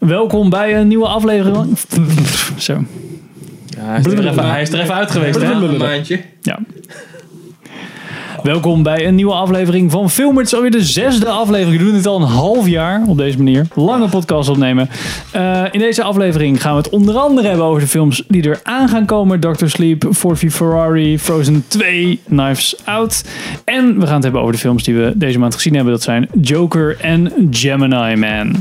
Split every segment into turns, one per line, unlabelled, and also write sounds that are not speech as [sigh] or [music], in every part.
Welkom bij een nieuwe aflevering. Zo,
Ja, hij, is
Blubber
er
even.
even, hij is er even uit geweest, hè?
Blubber.
Een maandje.
ja. Welkom bij een nieuwe aflevering van Filmers. Alweer de zesde aflevering. We doen dit al een half jaar op deze manier. Lange podcast opnemen. Eh, in deze aflevering gaan we het onder andere hebben over de films die er aan gaan komen. Dr. Sleep, Ford v Ferrari, Frozen 2, Knives Out. En we gaan het hebben over de films die we deze maand gezien hebben. Dat zijn Joker en Gemini Man.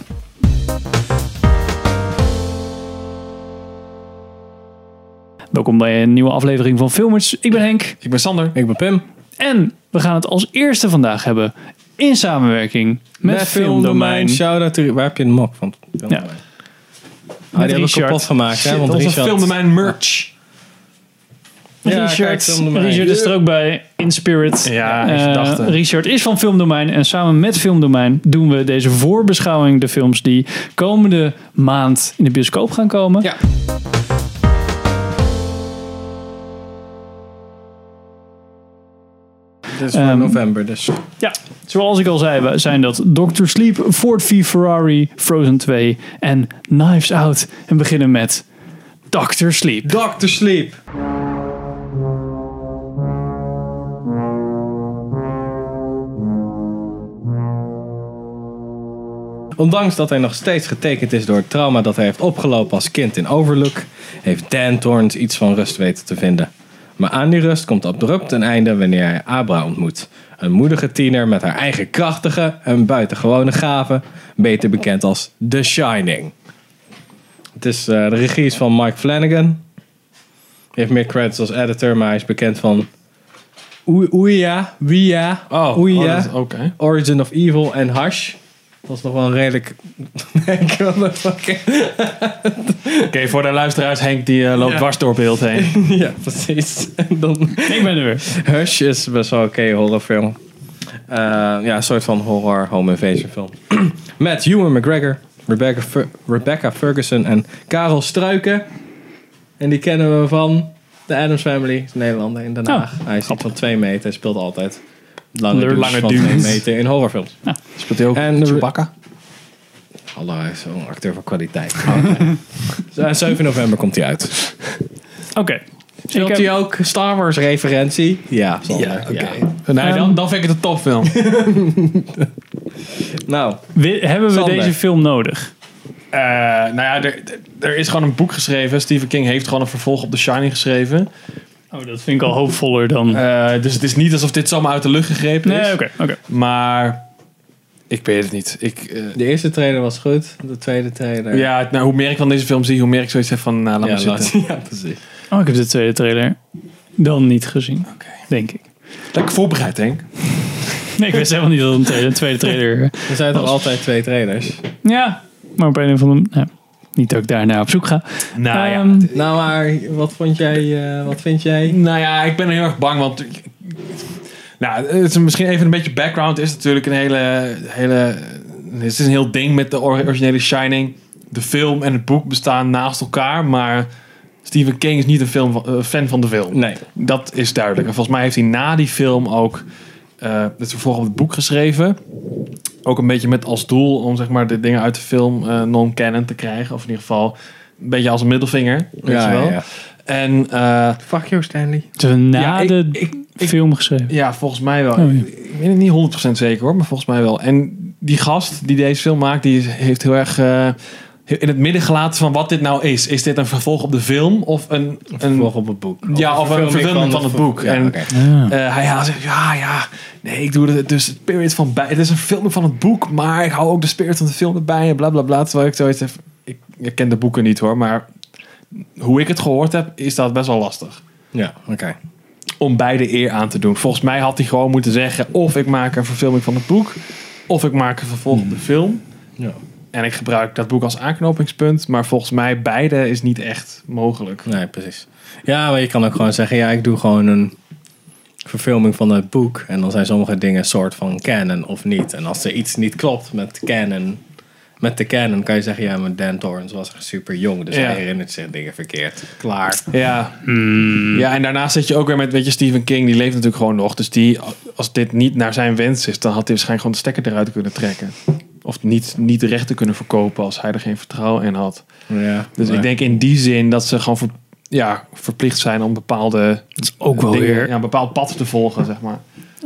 Welkom bij een nieuwe aflevering van Filmers. Ik ben Henk.
Ik ben Sander.
Ik ben Pim.
En we gaan het als eerste vandaag hebben in samenwerking met, Filmdomein.
Shout-out to... Waar heb je een mok van?
Ja.
Filmdomein. Ah,
Met
die hebben we
Richard.
kapot gemaakt, hè? Want
Onze
Richard...
filmdomein merch.
Ja,
Richard,
kijk, Filmdomein.
Richard is er ook bij, in spirit.
Ja,
Eh,
ik dacht het.
Richard is van Filmdomein en samen met Filmdomein doen we deze voorbeschouwing de films die komende maand in de bioscoop gaan komen.
Ja.
Dit is voor
Ehm,
november, dus...
Ja, zoals ik al zei, we- zijn dat Dr. Sleep, Ford v Ferrari, Frozen 2 en Knives Out. En we beginnen met Dr. Sleep.
Dr. Sleep. Ondanks dat hij nog steeds getekend is door het trauma dat hij heeft opgelopen als kind in Overlook, heeft Dan Torrance iets van rust weten te vinden. Maar aan die rust komt abrupt een einde wanneer hij Abra ontmoet. Een moedige tiener met haar eigen krachtige en buitengewone gaven, beter bekend als The Shining. Het is, eh, de regie is van Mike Flanagan. Hij heeft meer credits als editor, maar hij is bekend van Oe- Ouija, Ouija,
Oh,
Ouija.
oh, dat is- oké.
Origin of Evil en Hush. Dat is nog wel een redelijk... [laughs] Ik wil nog fucking-
Oké, voor de luisteraars, Henk die eh, loopt
Ja.
dwars door beeld heen.
[laughs] ja, precies. En dan...
Ik ben er weer.
Hush is best wel oké horrorfilm. Eh, ja, een soort van horror home invasion film. [clears throat] Met Ewan McGregor, Rebecca, Fer- Rebecca Ferguson en Karel Struiken. En die kennen we van de Adams Family, is een Nederlander in Den Haag. hij is iets van 2 meter, hij speelt altijd lange,
Lange
dudes van
dudes.
2 meter in horrorfilms.
Speelt hij ook
En-
Chewbacca?
Hallo, hij is zo'n acteur van kwaliteit. [laughs] Zo, en 7 november komt hij uit.
Oké. Ik eh,
Speelt
heb-
hij ook Star Wars referentie? Ja, Sander,
Ja, oké.
ja.
Nee,
Ehm,
dan, dan vind ik het een
[laughs]
topfilm.
Nou,
We- hebben we
Sander.
deze film nodig?
Eh, nou ja, er, er is gewoon een boek geschreven. Stephen King heeft gewoon een vervolg op The Shining geschreven.
Oh, dat vind ik al hoopvoller dan.
Eh, dus het is niet alsof dit zomaar uit de lucht gegrepen is.
nee, oké. oké.
Maar ik weet het niet. Ik, eh,
de eerste trailer was goed, de tweede trailer...
ja, nou, hoe meer ik van deze film zie, hoe meer ik zoiets heb van, nou, laat maar
ja,
zitten.
laat- [laughs] ja, precies.
Oh, ik heb de tweede trailer dan niet gezien,
Oké.
denk ik.
Lekker voorbereid, Henk.
Nee, ik wist helemaal niet dat het een tweede, een tweede trailer.
Er zijn toch altijd twee trailers?
[laughs] Ja, maar op een of andere. Nou, niet dat ik daarna op zoek ga.
Nou ja,
Ehm,
Nou, maar wat vond jij, eh, wat vind jij?
Nou ja, ik ben heel erg bang, want... Nou, het is misschien even een beetje background. Het is natuurlijk een hele... hele het is een heel ding met de or- originele Shining. De film en het boek bestaan naast elkaar, maar... Stephen King is niet een film van- eh, fan van de film.
Nee.
Dat is duidelijk. En volgens mij heeft hij na die film ook eh, het vervolg op het boek geschreven. Ook een beetje met als doel om zeg maar, de dingen uit de film eh, non-canon te krijgen. Of in ieder geval een beetje als een middelvinger. Weet je wel. En eh,
Fuck you, Stanley.
Ze hebben dus na
ja, ik-
Nou, de
ik,
film geschreven.
ja, volgens mij wel.
Oh, ja.
Ik weet het niet 100% zeker hoor, maar volgens mij wel. En die gast die deze film maakt, die is- heeft heel erg eh, in het midden gelaten van wat dit nou is. Is dit een vervolg op de film of een... een
Volg op het boek.
Ja, of een verfilming van het boek.
Ja,
En-
oké.
Ja.
eh, hij haalt zegt, ja, ja, nee, ik doe er dus het spirit van bij. Het is een film van het boek, maar ik hou ook de spirit van de film erbij en bla bla bla. Terwijl ik zoiets heb, ik, ik ken de boeken niet hoor, maar hoe ik het gehoord heb, is dat best wel lastig.
Ja, oké.
Om beide eer aan te doen. Volgens mij had hij gewoon moeten zeggen, of ik maak een verfilming van het boek, of ik maak een vervolg op de film.
Ja.
En ik gebruik dat boek als aanknopingspunt, maar volgens mij beide is niet echt mogelijk.
Nee, precies. Ja, maar je kan ook gewoon zeggen, ja, ik doe gewoon een verfilming van het boek. En dan zijn sommige dingen soort van canon of niet. En als er iets niet klopt met canon, met de canon, kan je zeggen, ja, maar Dan Torrance was echt super jong. Dus
Ja.
hij herinnert zich dingen verkeerd. Klaar.
Ja.
mm,
ja, en daarnaast zit je ook weer met, weet je, Stephen King, die leeft natuurlijk gewoon nog. Dus die, als dit niet naar zijn wens is, dan had hij waarschijnlijk gewoon de stekker eruit kunnen trekken. Of niet, niet rechten kunnen verkopen als hij er geen vertrouwen in had.
Ja,
Dus ik denk in die zin dat ze gewoon ver- ja, verplicht zijn om bepaalde
Dat is ook wel
dingen-
weer
ja, een bepaald pad te volgen, zeg maar.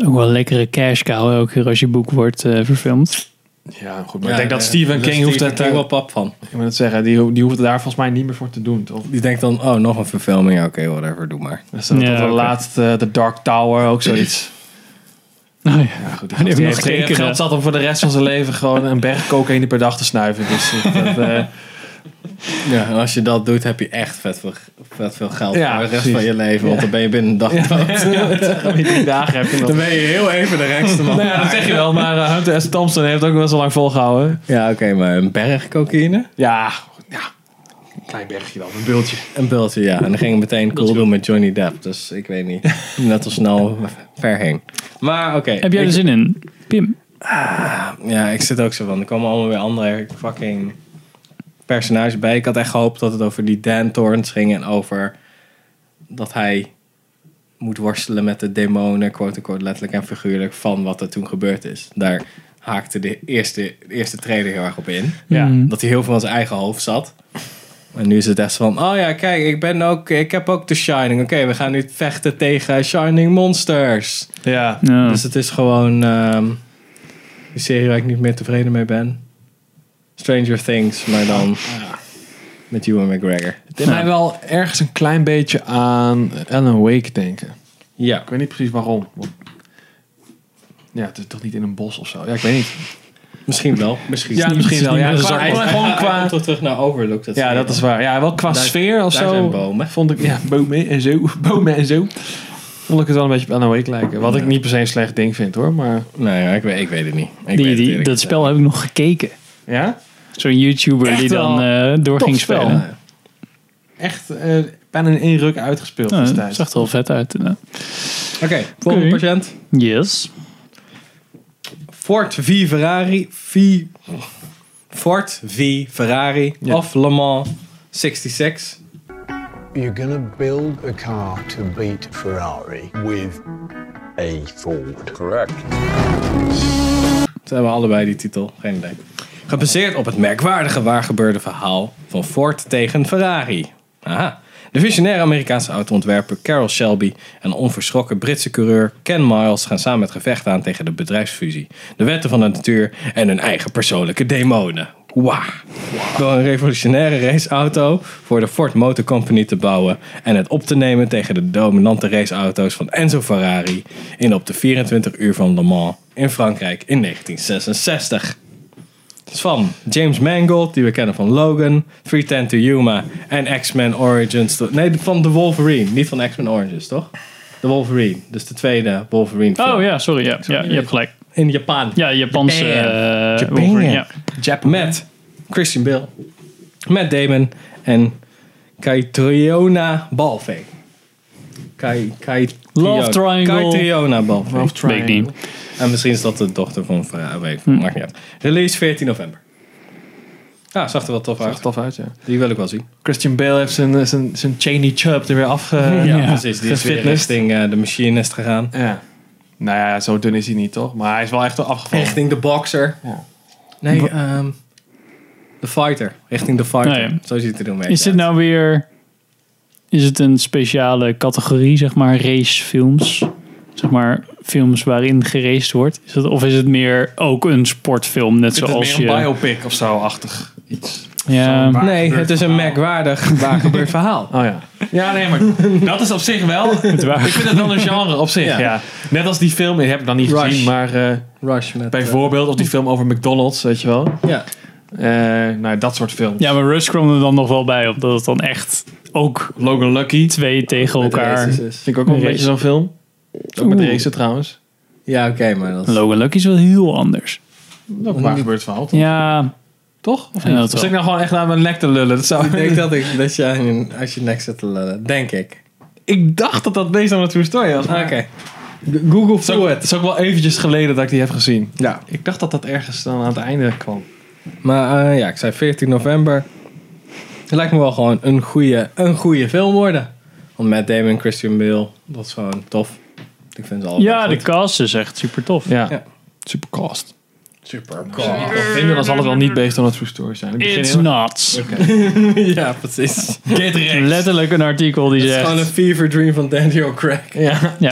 ook wel een lekkere cash cow elke keer als je boek wordt eh, verfilmd.
Ja, goed. Maar ik denk dat Stephen King hoeft
daar
het, eh,
Dus wel pap van.
ik moet het zeggen, die, ho- die hoeft daar volgens mij niet meer voor te doen. Toch?
Die denkt dan, oh, nog een verfilming. Ja, Oké, whatever, doe maar.
Dus dat,
Ja,
dat de
oké.
laatste, The Dark Tower, ook [clears throat] zoiets.
Nou ja.
Ja, goed, die
Die hebben
gast heeft
nog
geen
gekeken,
geld
hè?
zat om voor de rest van zijn leven gewoon een berg cocaïne per dag te snuiven. Dus dat, [laughs] eh,
Ja, en als je dat doet, heb je echt vet veel, vet veel geld
Ja,
voor de rest
precies.
van je leven. Want dan ben je binnen een dag dood.
Wie die dagen heb je nog.
Dan ben je heel even de rijkste man.
Nou ja, dat zeg je wel, maar eh, Hunter S. Thompson heeft ook wel zo lang volgehouden.
Ja, oké, maar een berg cocaïne?
Ja, ja. Een klein bergje dan, een bultje.
Een bultje, ja. En dan ging het meteen cool doen met Johnny Depp. Dus ik weet niet. [laughs] Net al snel ver heen. Maar oké.
Heb jij dus-
ik-
er zin in? Pim.
Ja, ik zit ook zo van. Er komen allemaal weer andere fucking personages bij. Ik had echt gehoopt dat het over die Dan Torrance ging. En over dat hij moet worstelen met de demonen, quote-unquote, letterlijk en figuurlijk, van wat er toen gebeurd is. Daar haakte de eerste, de eerste trailer heel erg op in.
Ja.
Mm.
Dat hij heel veel aan zijn eigen hoofd zat. En nu is het echt van, oh ja, kijk, ik ben ook, ik heb ook The Shining. Oké, we gaan nu vechten tegen Shining Monsters.
Ja.
Nou,
Dus het is gewoon ehm die serie waar ik niet meer tevreden mee ben. Stranger Things, maar dan
Ah,
met Ewan McGregor.
Het deed mij wel ergens een klein beetje aan Alan Wake denken.
Ja.
Ik weet niet precies waarom. want- Ja, het is toch niet in een bos of zo? Ja, ik weet niet.
Misschien wel. Misschien
Ja,
niet.
misschien wel. Ja,
Hij is-
qua-
hij-
gewoon-
hij- [laughs]
gewoon
hij
qua-
komt wel terug naar Overlook.
Ja,
zie je
dat is
wel.
waar. Ja, wel qua
Daar-
sfeer of
daar
zo.
zijn bomen.
Vond ik, ja, bomen en zo. [laughs] Bomen en zo. Vond ik het wel een beetje op Alan Wake lijken. Wat ik niet per se een slecht ding vind hoor. Maar
Nou ja, ik weet, ik weet het niet. Ik weet
die,
het
die,
eerlijk
dat
gezegd.
spel heb ik nog gekeken.
ja,
Zo'n YouTuber
Echt
die
wel
dan eh door ging
topspel.
spelen.
Ja.
echt eh, bijna in één ruk uitgespeeld
Nou, dat
destijds.
zag er wel vet uit. eh.
Oké, volgende
Oké.
patiënt.
Yes.
Ford V Ferrari. V... Ford V Ferrari.
Ja.
Of Le Mans 66.
You're gonna build a car to beat Ferrari with a Ford. Correct.
Ze hebben allebei die titel, geen idee. Gebaseerd op het merkwaardige waargebeurde verhaal van Ford tegen Ferrari. Aha. De visionaire Amerikaanse autoontwerper Carroll Shelby en de onverschrokken Britse coureur Ken Miles gaan samen het gevecht aan tegen de bedrijfsfusie, de wetten van de natuur en hun eigen persoonlijke demonen. Wauw. Door een revolutionaire raceauto voor de Ford Motor Company te bouwen en het op te nemen tegen de dominante raceauto's van Enzo Ferrari in op de 24 uur van Le Mans in Frankrijk in 1966. Het is van James Mangold, die we kennen van Logan, 310 to Yuma en X-Men Origins. Nee, van The Wolverine, niet van X-Men Origins, toch? The Wolverine, dus de tweede Wolverine film.
Oh ja, sorry. Ja, ja, je hebt gelijk.
In Japan.
Ja, Japanse... eh,
Japan.
Wolverine, ja.
Japan. Met Christian Bale, Matt Damon en Kaitriona Balfe. Kai, Kai,
Love triangle.
Kaitriona Balfe.
Love
Weet ik niet.
En misschien is dat de dochter van Ferrari.
Hm.
Maakt niet uit. Release 14 november. Ja, zag er wel tof
Zag er
uit.
tof uit, ja.
Die wil ik wel zien.
Christian Bale heeft zijn, eh, zijn, zijn Cheney Chubb er weer afge...
Ja.
precies. Die Dus is weer
Gefitnessed.
richting eh, de machinist gegaan.
Ja. Nou ja, zo dun is hij niet, toch? Maar hij is wel echt wel afgevallen.
Richting de boxer.
Ja.
Nee, ehm de fighter. Richting de fighter.
Nou ja.
Zo ziet het er een beetje
Is dit
uit.
nou weer... Is het een speciale categorie, zeg maar, racefilms? Zeg maar, films waarin geraced wordt? Is dat, of is het meer ook een sportfilm, net
Dit is
zoals
meer een
je...
biopic of zo-achtig iets.
[laughs] Ja,
Zo'n
Nee, het is een merkwaardig waar gebeurd
[laughs]
verhaal.
Oh ja. Ja, nee, maar [laughs] dat is op zich wel...
waar.
Ik vind het wel een genre op zich,
Ja.
ja. Net als die film, die heb ik dan niet
Rush.
gezien, maar eh,
Rush met...
bijvoorbeeld of die film over McDonald's, weet je wel.
eh, ja.
Eh, nou, dat soort films.
ja, maar Rush kwam er dan nog wel bij, omdat het dan echt ook
Logan Lucky,
twee tegen
Met
elkaar...
races is-
vind ik ook wel een
Race.
beetje zo'n film. Ook met
Oeh.
racen trouwens.
Ja, oké, maar dat is...
Logan Lucky is wel heel anders.
Ook waar gebeurt het verhaal, toch?
Ja,
Toch? Of
Ja,
niet?
dat
Of zit
wel.
ik nou gewoon echt naar mijn nek te lullen? Dat zou...
Ik denk dat, ik, dat je aan je, als je nek zit te lullen. Denk ik.
Ik dacht dat dat based on a true story was.
Ah, Oké.
maar-
Google
Het is, ook, het is ook wel eventjes geleden dat ik die heb gezien.
Ja.
Ik dacht dat dat ergens dan aan het einde kwam.
Maar eh, ja, ik zei 14 november. Het lijkt me wel gewoon een goede, een goede film worden. Want Matt Damon en Christian Bale, dat is gewoon tof. Ik vind ze allemaal
ja
goed.
de cast is echt super tof.
Ja.
Ja.
Super cost.
Supercar.
vinden, dan zal het wel niet based on a true story zijn. Ik begin
It's
heel-
nuts.
[laughs] ja, precies.
Get wrecked.
Letterlijk een artikel die
Het is gewoon een
zegt...
fever dream van Daniel Craig. [laughs]
Ja.
[laughs]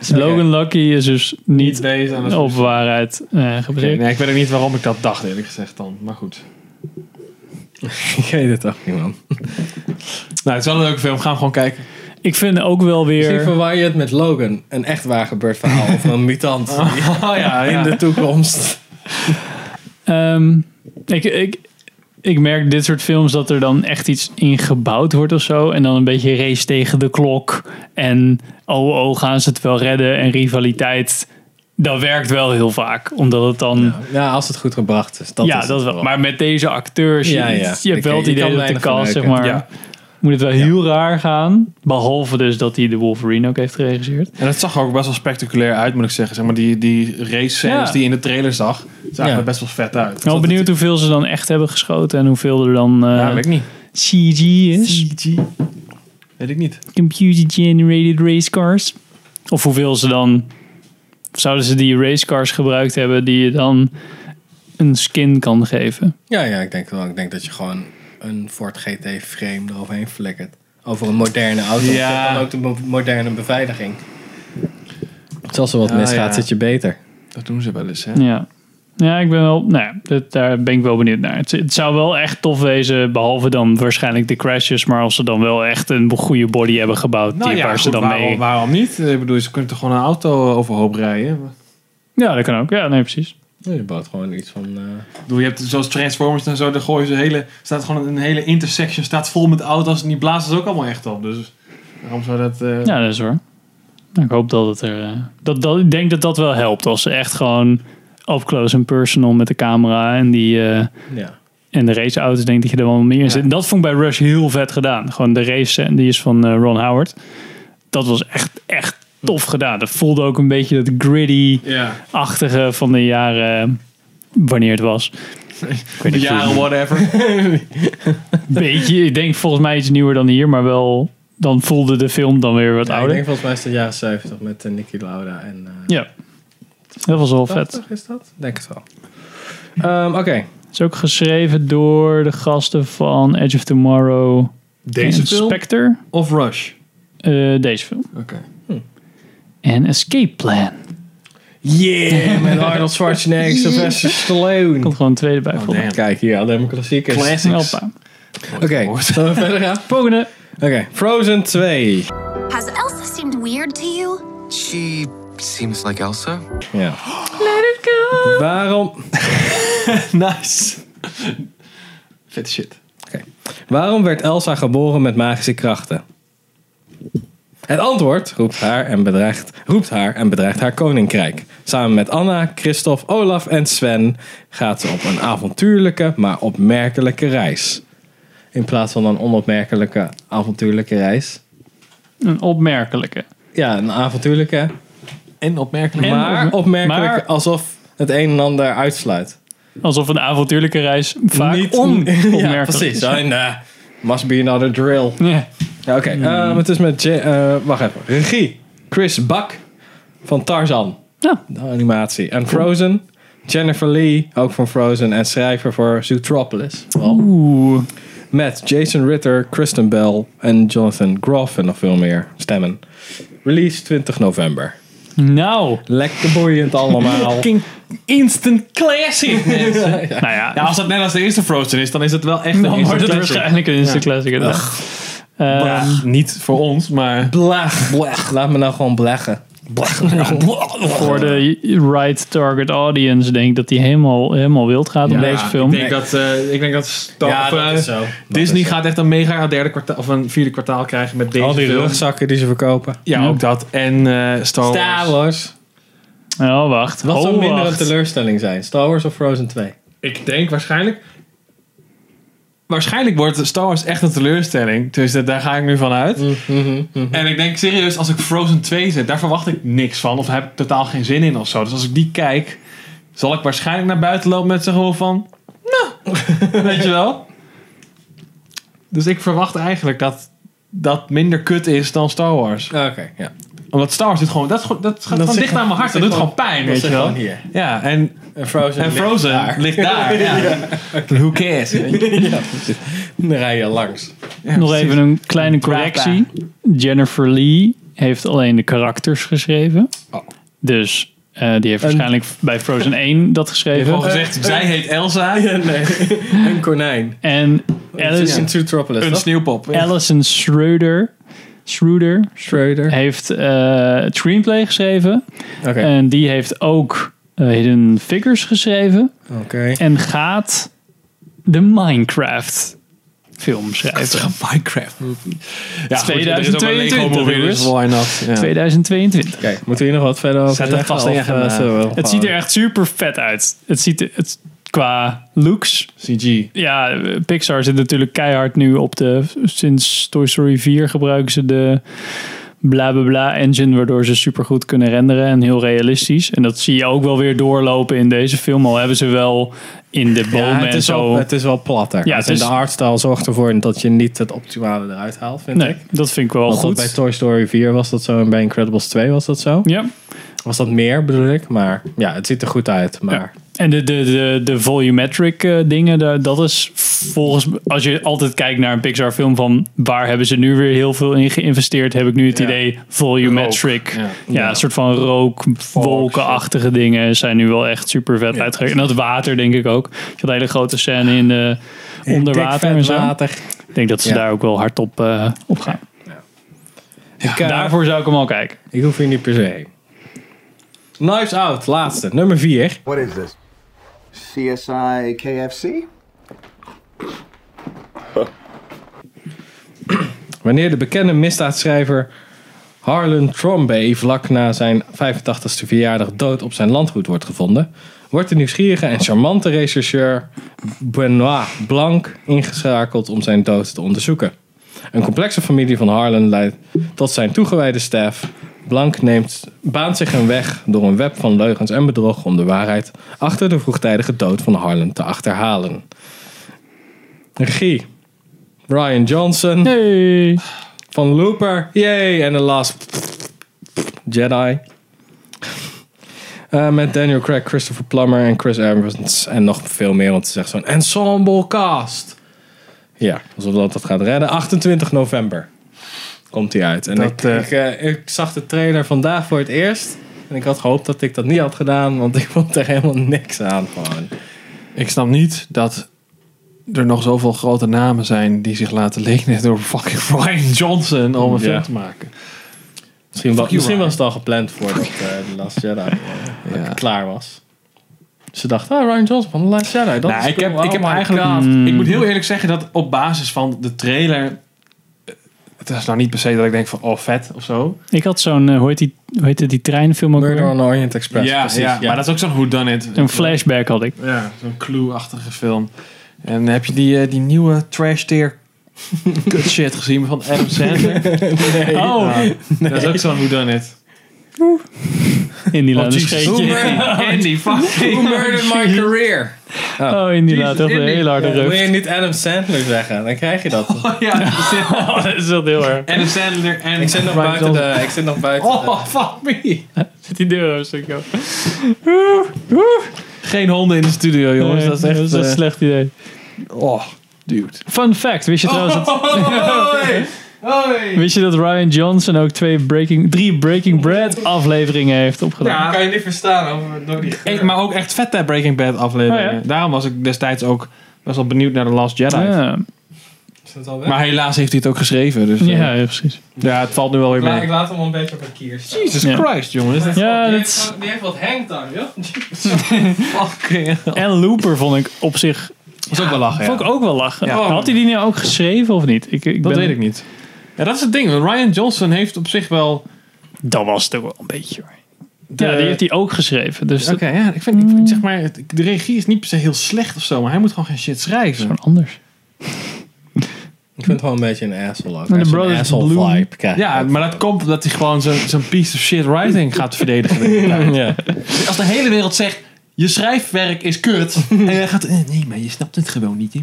Ja. Logan Lucky is dus
Niet
niet
based on a true
op
story.
waarheid eh
Oké,
gebaseerd.
nee, ik weet ook niet waarom ik dat dacht eerlijk gezegd dan. Maar goed.
Ik weet het ook niet, man.
Nou, het is wel een leuke film. Ga hem gewoon kijken.
Ik vind ook wel
Misschien
weer...
verwar je het met Logan. Een echt waar gebeurd verhaal van een [laughs] mutant.
Oh ja,
In de toekomst.
ehm, ik, ik, ik merk dit soort films dat er dan echt iets in gebouwd wordt of zo. En dan een beetje race tegen de klok. En oh oh, gaan ze het wel redden. En rivaliteit. Dat werkt wel heel vaak. Omdat het dan...
Ja, als het goed gebracht is. Dat
ja,
is het
dat wel.
vooral.
Maar met deze acteurs,
Ja,
je,
ja.
je hebt
Ik-
wel het
je
idee
kan
dat de
weinig
cast, zeg
verwerken.
maar,
Ja.
moet het wel heel raar gaan. Behalve dus dat hij de Wolverine ook heeft geregisseerd.
En het zag er ook best wel spectaculair uit, moet ik zeggen. Zeg maar die, die race scènes
Ja.
die je in de trailer zag, zagen
Ja.
er best wel vet uit.
Ik ben wel benieuwd hoeveel ze dan echt hebben geschoten en hoeveel er dan eh,
Ja, weet ik niet.
CG is.
CG. Weet ik niet.
Computer Generated Race Cars. Of hoeveel ze dan... of Zouden ze die race cars gebruikt hebben die je dan een skin kan geven?
Ja, ja, ik denk wel. Ik denk dat je gewoon een Ford GT frame eroverheen flikkert. Over een moderne auto.
Ja.
Ja. Dan ook de mo- moderne beveiliging. Dus als er wat
Ja,
misgaat,
ja.
zit je beter.
Dat doen ze wel eens, hè?
Ja. Ja, ik ben wel, nou ja, dat- daar ben ik wel benieuwd naar. Het, het zou wel echt tof wezen, behalve dan waarschijnlijk de crashes, maar als ze dan wel echt een goede body hebben gebouwd,
Nou
die,
ja,
waar ze
goed,
dan
waarom,
mee.
waarom niet? Ik bedoel, ze kunnen toch gewoon een auto overhoop rijden?
Ja, dat kan ook. Ja, nee, precies.
Je bouwt gewoon iets van... eh,
Ik bedoel, je hebt zoals Transformers en zo, daar gooien ze hele, staat gewoon een hele intersection staat vol met auto's en die blazen ze ook allemaal echt op. Dus waarom zou dat... eh,
Ja, dat is hoor. Nou, ik hoop dat het er. eh, Dat, dat, ik denk dat dat wel helpt als ze echt gewoon up close en personal met de camera en die. eh,
ja.
en de raceauto's denk dat je er wel meer in zit. En Dat vond ik bij Rush heel vet gedaan. Gewoon de race scène, die is van eh, Ron Howard. Dat was echt, echt tof gedaan. Dat voelde ook een beetje dat gritty-achtige
ja.
van de jaren... Wanneer het was. Ik weet niet
jaren,
hoe-
whatever.
Beetje, ik denk volgens mij iets nieuwer dan hier, maar wel... Dan voelde de film dan weer wat
Ja, ik
ouder.
denk volgens mij is het jaren 70 met eh, Niki Lauda en... eh,
Ja. Dat was wel vet.
80 is dat? Denk het wel. Ehm, Oké.
Het is ook geschreven door de gasten van Edge of Tomorrow. en Spectre.
Of Rush?
Eh, deze film. Hm.
Oké.
En Escape Plan.
Yeah! Met Arnold Schwarzenegger, Sylvester Stallone.
Komt gewoon een tweede bij.
Oh,
volgens mij.
damn.
Kijk hier, alleen maar klassiekers.
Classics.
Hoppa.
Oké, zullen we verder [laughs] gaan?
Volgende.
Oké, Frozen 2.
Has Elsa seemed weird to you?
She seems like Elsa.
Ja. Waarom,
Nice. Vet shit.
waarom werd Elsa geboren met magische krachten? Het antwoord roept haar en bedreigt, roept haar, en bedreigt haar koninkrijk. Samen met Anna, Christophe, Olaf en Sven gaat ze op een avontuurlijke, maar opmerkelijke reis. In plaats van een onopmerkelijke, avontuurlijke reis.
Een opmerkelijke.
Ja, een avontuurlijke,
En opmerkelijk.
En
maar
op-
opmerkelijk
maar-
alsof het een en ander uitsluit.
Alsof een avontuurlijke reis vaak
Niet-
onopmerkelijk
[laughs] ja,
is. [laughs]
precies. En, eh, must be another drill.
Ja.
Ja, Oké,
Hmm.
ehm, het is met... J- eh, wacht even. Regie. Chris Bak van Tarzan.
Ja.
De animatie. En Frozen. Jennifer Lee, ook van Frozen. En schrijver voor Zootropolis. Wel.
Oeh.
Met Jason Ritter, Kristen Bell en Jonathan Groff en nog veel meer stemmen. Release 20 november.
Nou.
Lekker boeiend
[laughs]
allemaal.
Instant classic,
[laughs]
mensen.
Nou ja. [laughs]
Ja, als dat net als de eerste Frozen is, dan is het wel echt een
dan wordt
instant
het
classic. [laughs]
waarschijnlijk een instant classic. inderdaad. Eh,
Bah, Niet voor ons, maar...
Blag. Blag. Laat me nou gewoon blaggen.
nou
voor de right target audience denk ik dat die helemaal, helemaal wild gaat om deze film.
Ik denk dat, eh, ik denk dat, Star-
Ja,
of,
dat
eh,
is zo. Dat
Disney
is zo.
gaat echt een mega derde kwartaal, of een vierde kwartaal krijgen met deze
Al die
film.
rugzakken die ze verkopen.
Ja, ook dat. En eh Star Wars.
Star Wars.
Oh, wacht.
Wat
oh,
zou minder een
wacht.
teleurstelling zijn? Star Wars of Frozen 2?
Ik denk waarschijnlijk... Waarschijnlijk wordt Star Wars echt een teleurstelling. Dus dat- daar ga ik nu van uit. En ik denk serieus, als ik Frozen 2 zet, daar verwacht ik niks van. Of heb ik totaal geen zin in of zo. Dus als ik die kijk, zal ik waarschijnlijk naar buiten lopen met ze gewoon van... [laughs] Nou, weet je wel? Dus ik verwacht eigenlijk dat dat minder kut is dan Star Wars.
Oké, ja.
Omdat Star Wars dit gewoon, dat, is gewoon- dat gaat
Dat
gewoon
zit
dicht aan mijn hart. Dat
zit
doet gewoon
gewoon-
pijn,
dat
weet je
zit
wel.
gewoon hier.
Ja, en,
En Frozen.
en
ligt
Frozen
daar.
ligt
[laughs]
daar. ja. Who cares? weet je.
ja, precies. Dan rij je langs.
Nog even een kleine correctie. Jennifer Lee heeft alleen de karakters geschreven.
Oh.
Dus eh, die heeft waarschijnlijk bij
[laughs]
Frozen 1 dat
Gewoon
geschreven.
gezegd, zij heet
[laughs]
Elsa.
Ja, nee. Een konijn.
En
in
Alison,
Tutropolis.
Een
toch?
sneeuwpop.
Alison Schroeder, Schroeder
Schroeder.
heeft eh, het screenplay geschreven.
Oké.
En die heeft ook eh, Hidden Figures geschreven.
Oké.
En gaat de Minecraft film schrijven.
Minecraft movie. Ja,
2022 jongens.
dus why not? Ja.
2022.
Kijk, moeten we hier nog wat verder over
Zet dat vast in je
of, eh,
agenda.
zullen we
Het
gewoon-
ziet er echt super vet uit. Het ziet er, het, qua looks.
CG.
Ja, eh, Pixar zit natuurlijk keihard nu op de. Sinds Toy Story 4 gebruiken ze de bla bla bla engine, waardoor ze super goed kunnen renderen en heel realistisch. En dat zie je ook wel weer doorlopen in deze film. Al hebben ze wel in de bomen
Ja, het,
en
is
zo.
wel, het is wel platter.
Ja,
Ja,
het is-
En de artstyle zorgt ervoor dat je niet het optimale eruit haalt, vind
nee,
ik.
dat vind ik wel
Want dat
goed.
bij Toy Story 4 was dat zo en bij Incredibles 2 was dat zo.
ja.
Was dat meer bedoel ik, maar ja, het ziet er goed uit. Maar
En de, de, de, de volumetric eh, dingen, da- dat is volgens als je altijd kijkt naar een Pixar film van waar hebben ze nu weer heel veel in geïnvesteerd, heb ik nu het
Ja.
idee volumetric.
Rook,
Ja.
ja.
een soort van rook, wolkenachtige dingen zijn nu wel echt super vet uitgewerkt. En dat water denk ik ook. Je had een hele grote scène in de onder water en zo.
water.
Ik denk dat ze
Ja.
daar ook wel hard op, eh, op gaan.
Ik, eh,
Daarvoor zou ik hem al kijken.
ik hoef hier niet per se heen. Knives Out, laatste, nummer 4.
What is this? CSI KFC?
Wanneer de bekende misdaadschrijver Harlan Trombay vlak na zijn 85ste verjaardag dood op zijn landgoed wordt gevonden, wordt de nieuwsgierige en charmante rechercheur Benoit Blanc ingeschakeld om zijn dood te onderzoeken. Een complexe familie van Harlan leidt tot zijn toegewijde staf. Blanc neemt, baant zich een weg door een web van leugens en bedrog om de waarheid achter de vroegtijdige dood van Harlan te achterhalen. Regie Ryan Johnson
Hey.
van Looper. Yay! En de Last Jedi. Eh, met Daniel Craig, Christopher Plummer en Chris Evans. En nog veel meer, want het is echt zo'n ensemble cast. Ja, alsof dat dat gaat redden. 28 november komt hij uit. En ik,
eh,
ik, eh, ik zag de trailer vandaag voor het eerst. En ik had gehoopt dat ik dat niet had gedaan, want ik vond er helemaal niks aan. Gewoon.
Ik snap niet dat er nog zoveel grote namen zijn die zich laten lenen door fucking [laughs] Ryan Johnson om een
Ja.
film te maken.
Misschien, wel,
you,
misschien
Ryan.
was het al gepland voordat de Last Jedi eh,
Ja.
klaar was. Ze dacht, ah, Ryan Johnson van The Last Jedi. Dat
Nou,
is
ik heb,
cool.
ik heb
Oh my
eigenlijk.
God.
Ik moet heel eerlijk zeggen dat op basis van de trailer. eh, Het is nou niet per se dat ik denk van oh vet of zo.
Ik had zo'n, eh, hoe, heet die, hoe heette die treinfilm ook
Murder
weer?
on the Orient Express.
ja,
precies.
ja, maar dat is ook zo'n hoe dan it.
Een flashback had ik.
Ja, zo'n clue-achtige film. En heb je die, eh, die nieuwe trash [laughs] tier kut shit gezien van Adam Sandler?
Ah.
Oh,
Dat is ook zo'n hoe dan it.
in die
Oh,
laatste
Jesus.
scheetje.
Andy, fucking.
murdered [laughs] my career?
Oh, inderdaad. Echt een
Indy.
hele harde
Wil
reuk.
je
[laughs]
niet Adam Sandler zeggen? Dan krijg je dat.
Ja, dat is het.
Oh, dat is wel heel
[laughs]
erg.
Adam Sandler en...
Ik zit nog
Ryan
buiten
Johnson.
de... Ik zit nog buiten
Oh, fuck me.
Zit die deur een stukje op.
Geen honden in de studio, jongens. dat is echt...
dat een
eh,
slecht idee.
oh, dude.
Fun fact. Wist je trouwens dat,
Oh, [laughs] Hoi! Hoi!
wist je dat Ryan Johnson ook twee breaking, drie Breaking Bread afleveringen heeft opgedaan?
Ja,
kan je niet verstaan over, door die
ik- maar ook echt vet, hè, Breaking Bad afleveringen.
Oh, ja.
Daarom was ik destijds ook best wel benieuwd naar The Last Jedi.
Ja,
Is het al weg?
Maar helaas heeft hij het ook geschreven. Dus eh,
ja, ja, precies.
ja, het valt nu wel weer
La- ik
mee.
laat hem al een beetje op een kier staan.
Jesus
Ja.
Christ, jongens.
Ja,
die,
dat
heeft,
is-
gewoon- die heeft wat hangtime, joh. [laughs]
Fucking hell.
En Looper vond ik op zich
was ook wel lachen, ja.
vond ik ook wel lachen.
Ja.
Had hij die nou ook geschreven of niet? Ik, ik
Dat
ben-
weet ik niet. Ja, dat is het ding. want Ryan Johnson heeft op zich wel...
Dat was het ook wel een beetje. hoor.
de-
Ja, die heeft hij ook geschreven. Dus
Oké,
dat is
ja, ik vind, ik vind, zeg maar, het- de regie is niet per se heel slecht of zo, maar hij moet gewoon geen shit schrijven.
gewoon anders.
Ik vind het gewoon een beetje een asshole. ook.
de
Echt zo'n
Brothers
asshole
Bloom.
vibe krijg ik
Ja,
ook.
maar dat komt omdat hij gewoon zo'n zo'n piece of shit writing gaat [laughs] verdedigen.
Ja.
Als de hele wereld zegt, je schrijfwerk is [laughs] kut. En jij gaat, eh, nee, maar je snapt het gewoon niet. hè.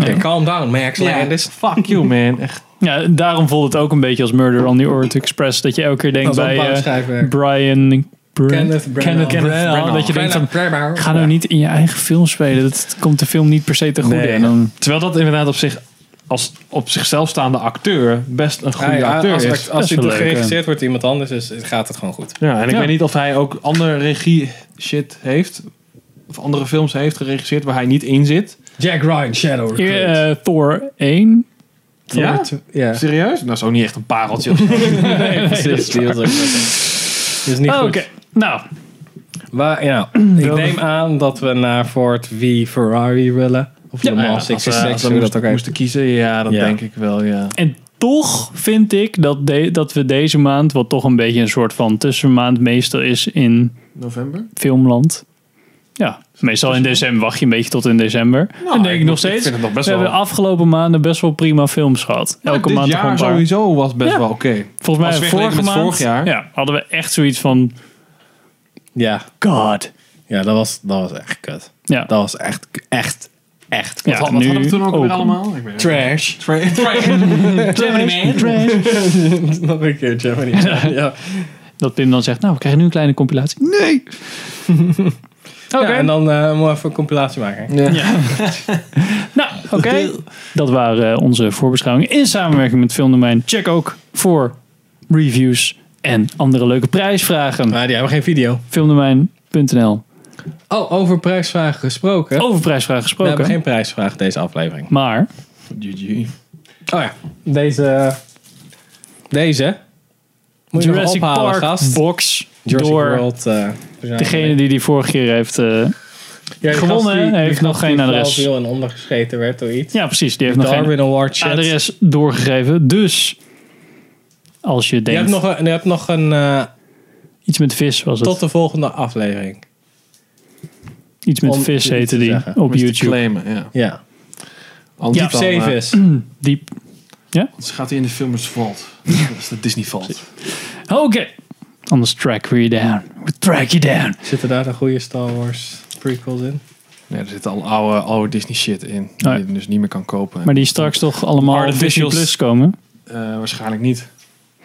Oké, calm down, Max.
Ja,
Landis.
dit is fuck you man. Echt
Ja, daarom voelt het ook een beetje als Murder on the Orient Express. Dat je elke keer denkt
Dat is
bij
wel
eh,
boutschrijfwerk.
Brian... Brand-
Kenneth Branagh.
Kenneth Branagh. Dat je denkt van, ga nou niet in je eigen film spelen. Dat komt de film niet per se te goede.
Nee.
En dan,
Terwijl dat inderdaad op zich als op zichzelf staande acteur best een goede
Ja, ja,
acteur
als
is.
als, als
Best wel
hij
leuk,
geregisseerd wordt door iemand anders, is, gaat het gewoon goed.
Ja, en ik
Ja.
weet niet of hij ook andere regie shit heeft. Of andere films heeft geregisseerd waar hij niet in zit.
Jack Ryan, Shadow
Hier, eh, Thor 1.
Ja?
Ja,
Serieus? Nou, zo niet echt een
[laughs]
pareltje. of zo.
precies. Die was ook- is niet
Oh, Oké,
goed.
nou. [clears throat]
Waar, ja, ik neem aan dat we naar Ford v Ferrari willen. Of de
Ja,
Mall
als, eh,
66,
als we
hoe
moest-
dat ook heet.
moesten kiezen, ja, dat
Ja.
denk ik wel, ja.
En toch vind ik dat, de- dat we deze maand, wat toch een beetje een soort van tussenmaand meestal is in
November?
filmland. Ja, meestal in december wacht je een beetje tot in december.
Nou,
en denk
ik
ik nog
vind
steeds,
het nog best
we hebben de
wel-
afgelopen maanden best wel prima films gehad. Elke
Nou, dit
maand gewoon
jaar
een paar.
sowieso was best
Ja.
wel oké.
Volgens mij
Als vergeleken
vorige
met
maand
vorig jaar.
Ja, hadden we echt zoiets van,
Ja,
god.
ja dat, was, dat was echt kut.
Ja,
Dat was echt, echt, echt
ja
kut.
Wat hadden we toen ook, weer allemaal? Ik weet het
Trash.
niet. [laughs] Tra- tra-
[laughs] Nog een keer Germany.
[laughs]
Ja, ja.
Dat Pim dan zegt, nou, we krijgen nu een kleine compilatie. Nee! [laughs] Oké.
Ja, en dan eh moet even een compilatie maken.
Nou, oké. Dat waren eh, onze voorbeschouwingen in samenwerking met Filmdomein. Check ook voor reviews en andere leuke prijsvragen.
Maar die hebben geen video.
Filmdomein.nl
Oh, over prijsvragen gesproken.
Over prijsvragen
we
gesproken.
hebben geen prijsvraag deze aflevering.
Maar,
GG.
Oh ja, deze... Deze. Moet je nog
Jurassic
ophalen,
Park
gast.
box
Jurassic
door
World. eh, verzamelen.
degene die die vorige keer heeft... eh,
Ja, die
gewonnen,
gast die-
heeft
die
nog
gast
geen
die
adres.
vooral veel en ondergescheten werd door iets.
ja, precies. Die heeft nog
Darwin
geen
Award shit.
adres doorgegeven. Dus, als je
Je
denkt...
hebt nog een, je hebt nog een eh,
iets met vis was het.
tot de volgende aflevering.
iets met
om
vis
iets
heette
te
die
zeggen.
op
Moest
YouTube.
claimen, ja.
Ja.
Anders
Diep
dan,
Zeven
eh,
is.
Diep.
anders gaat hij in de filmers Vault. Dat is de Disney Vault.
Oh, Oké. Anders track we down. We track you down.
Zitten daar de goede Star Wars prequels in?
Nee, er zit al oude, oude Disney shit in. Die
ja.
je dus niet meer kan kopen.
Maar die straks toch allemaal op Disney
Artificials.
Plus komen?
Eh, waarschijnlijk niet.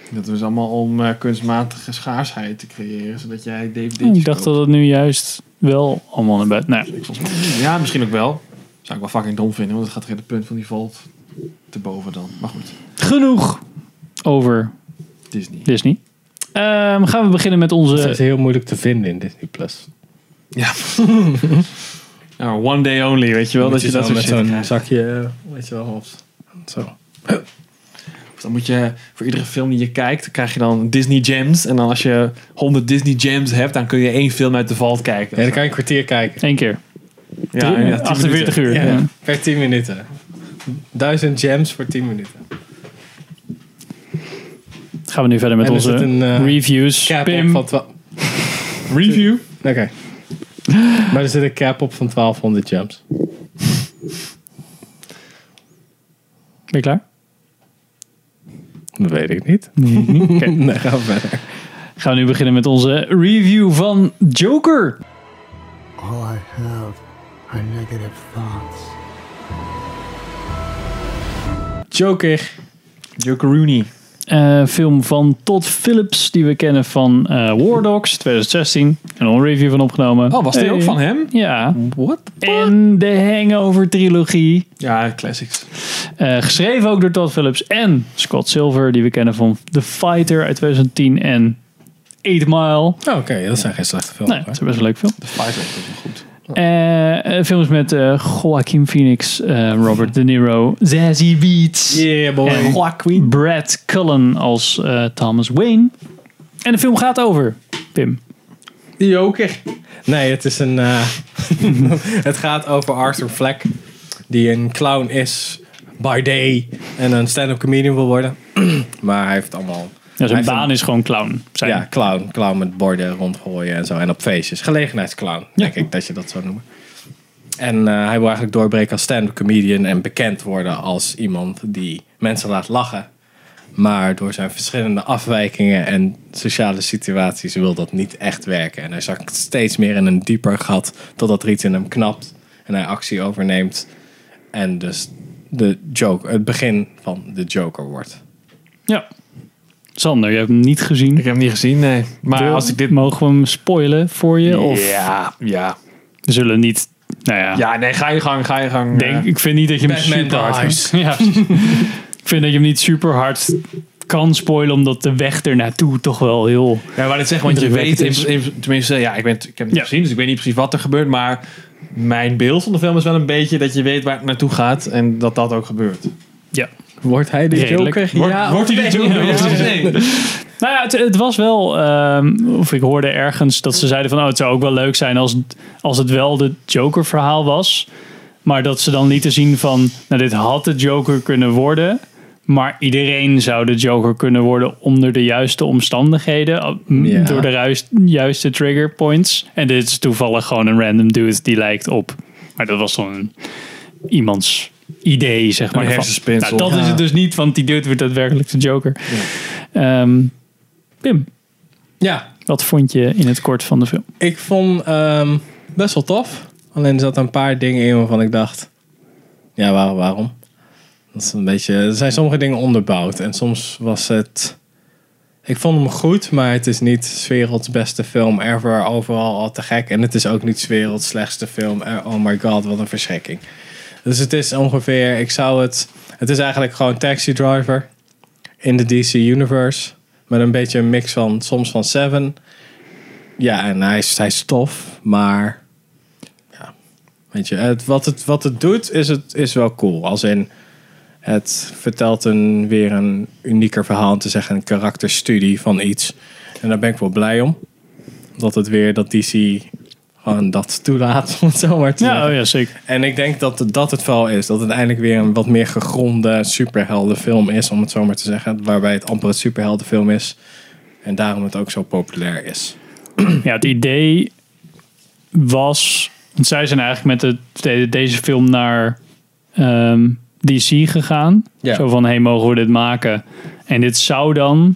Dat is allemaal om eh, kunstmatige schaarheid te creëren. Zodat jij DVD's
Ik dacht
koopt.
dat het nu juist wel allemaal naar buiten... Nou, ja.
Ja, misschien ook wel. Zou ik wel fucking dom vinden. Want het gaat tegen het punt van die Vault te boven dan. Maar goed,
genoeg over
Disney.
Disney. Ehm, gaan we beginnen met
Dat
onze...
is heel moeilijk te vinden in Disney+. Plus.
Ja. Ja, Nou, one day only, weet je wel. Dat je dat soort
met
shit
zo'n
krijgt.
zakje, eh, weet je wel, of zo.
Of Dan moet je voor iedere film die je kijkt, krijg je dan Disney Gems. En dan als je 100 Disney Gems hebt, dan kun je één film uit de Vault kijken.
Ja, dan kan je een kwartier kijken.
Eén keer.
Ja, ja, 10
48
minuten.
uur. Ja.
Ja, per 10 minuten. 1000 gems voor 10 minuten.
Gaan we nu verder met
En is
onze
het een, eh,
reviews.
Cap
Pim,
op van 12...
Review.
Oké. Maar er zit een cap op van 1200 gems.
ben je klaar?
Dat weet ik niet. [laughs]
Oké.
Nee, gaan we verder.
Gaan we nu beginnen met onze review van Joker.
All I have are negative thoughts.
Joker.
Joker Rooney.
Eh, film van Todd Phillips, die we kennen van eh War Dogs 2016. En een review van opgenomen.
Oh, was die
Hey.
ook van hem?
Ja.
What?
En de Hangover trilogie.
Ja, classics.
Eh, geschreven ook door Todd Phillips en Scott Silver, die we kennen van The Fighter uit 2010 en 8 Mile.
Oh, Oké, dat zijn geen slechte films.
Nee, dat is best een leuk film.
De Fighter is wel goed.
Eh, eh, films met eh Joaquin Phoenix, eh, Robert De Niro, Zazie Beetz.
Yeah, boy.
En Joaquin. Brad Cullen als eh, Thomas Wayne. En de film gaat over, Pim.
Joker. Nee, het is een. eh, [laughs] het gaat over Arthur Fleck, die een clown is by day en een stand-up comedian wil worden. [clears throat] maar hij heeft allemaal.
Ja,
hij
zijn
heeft
baan is gewoon clown. Zijn.
Ja, clown. Clown met borden rondgooien en zo. En op feestjes. Gelegenheidsclown, denk ik dat je dat zou noemen. En eh, hij wil eigenlijk doorbreken als stand-up comedian en bekend worden als iemand die mensen laat lachen. Maar door zijn verschillende afwijkingen en sociale situaties wil dat niet echt werken. En hij zakt steeds meer in een dieper gat totdat er iets in hem knapt en hij actie overneemt. En dus de Joker, het begin van de Joker wordt.
Ja. Sander, je hebt hem niet gezien.
Ik heb hem niet gezien, nee. Maar
Wil-
als ik dit...
Mogen we hem spoilen voor je? Of
Ja, ja.
we zullen niet... Nou ja,
Ja, nee, ga je gang, ga je gang.
Denk, ik vind niet dat je hem
Batman
super hard... [laughs]
dies.
Ja, precies. ik vind dat je hem niet super hard kan spoilen, omdat de weg ernaartoe toch wel heel...
Ja, maar dat zeggen, want je weet,
Indrukwekkend
in, in- tenminste, ja, ik, ben, ik heb het niet
Ja.
gezien, dus ik weet niet precies wat er gebeurt, maar mijn beeld van de film is wel een beetje dat je weet waar het naartoe gaat en dat dat ook gebeurt.
Ja.
Wordt hij de
Redelijk.
Joker?
Wordt-
ja,
wordt
of
hij de
nee?
Joker?
Ja,
Ja,
of nee?
nee.
Nou ja, het, het was wel... ehm, of ik hoorde ergens dat ze zeiden van... Oh, het zou ook wel leuk zijn als, het- als het wel de Joker-verhaal was. Maar dat ze dan lieten zien van... Nou, dit had de Joker kunnen worden... Maar iedereen zou de Joker kunnen worden onder de juiste omstandigheden. m,
Ja.
Door de ruis- juiste trigger points. En dit is toevallig gewoon een random dude die lijkt op. Maar dat was dan een- iemands idee, zeg maar. ervan.
hersenspinsel.
Nou, dat is het dus niet, want die dude wordt daadwerkelijk de Joker. Ehm, Pim,
ja,
wat vond je in het kort van de film?
ik vond ehm, best wel tof. Alleen er zaten een paar dingen in waarvan ik dacht... Ja, waar- waarom? Dat is een beetje... Er zijn sommige dingen onderbouwd. En soms was het... Ik vond hem goed, maar het is niet 's werelds beste film ever. Overal al te gek. En het is ook niet 's werelds slechtste film. Eh, Oh my god, wat een verschrikking. Dus het is ongeveer... Ik zou het... Het is eigenlijk gewoon Taxi Driver. In de DC Universe. Met een beetje een mix van... Soms van Seven... Ja, en hij is, hij is tof, maar. Ja. Weet je, het, wat, het, wat het doet is, het, is wel cool. Als in. Het vertelt een, weer een unieker verhaal, om te zeggen, een karakterstudie van iets. En daar ben ik wel blij om. Dat het weer dat DC gewoon dat toelaat, [laughs] om het zo maar te zeggen.
Ja, oh ja, zeker.
En ik denk dat dat het wel is. Dat het eindelijk weer een wat meer gegronde superheldenfilm is, om het zo maar te zeggen. Waarbij het amper een superheldenfilm is. En daarom het ook zo populair is.
Ja, het idee was. Want zij zijn eigenlijk met de, de- deze film naar ehm, DC gegaan.
Ja.
Zo van: hey, mogen we dit maken? En dit zou dan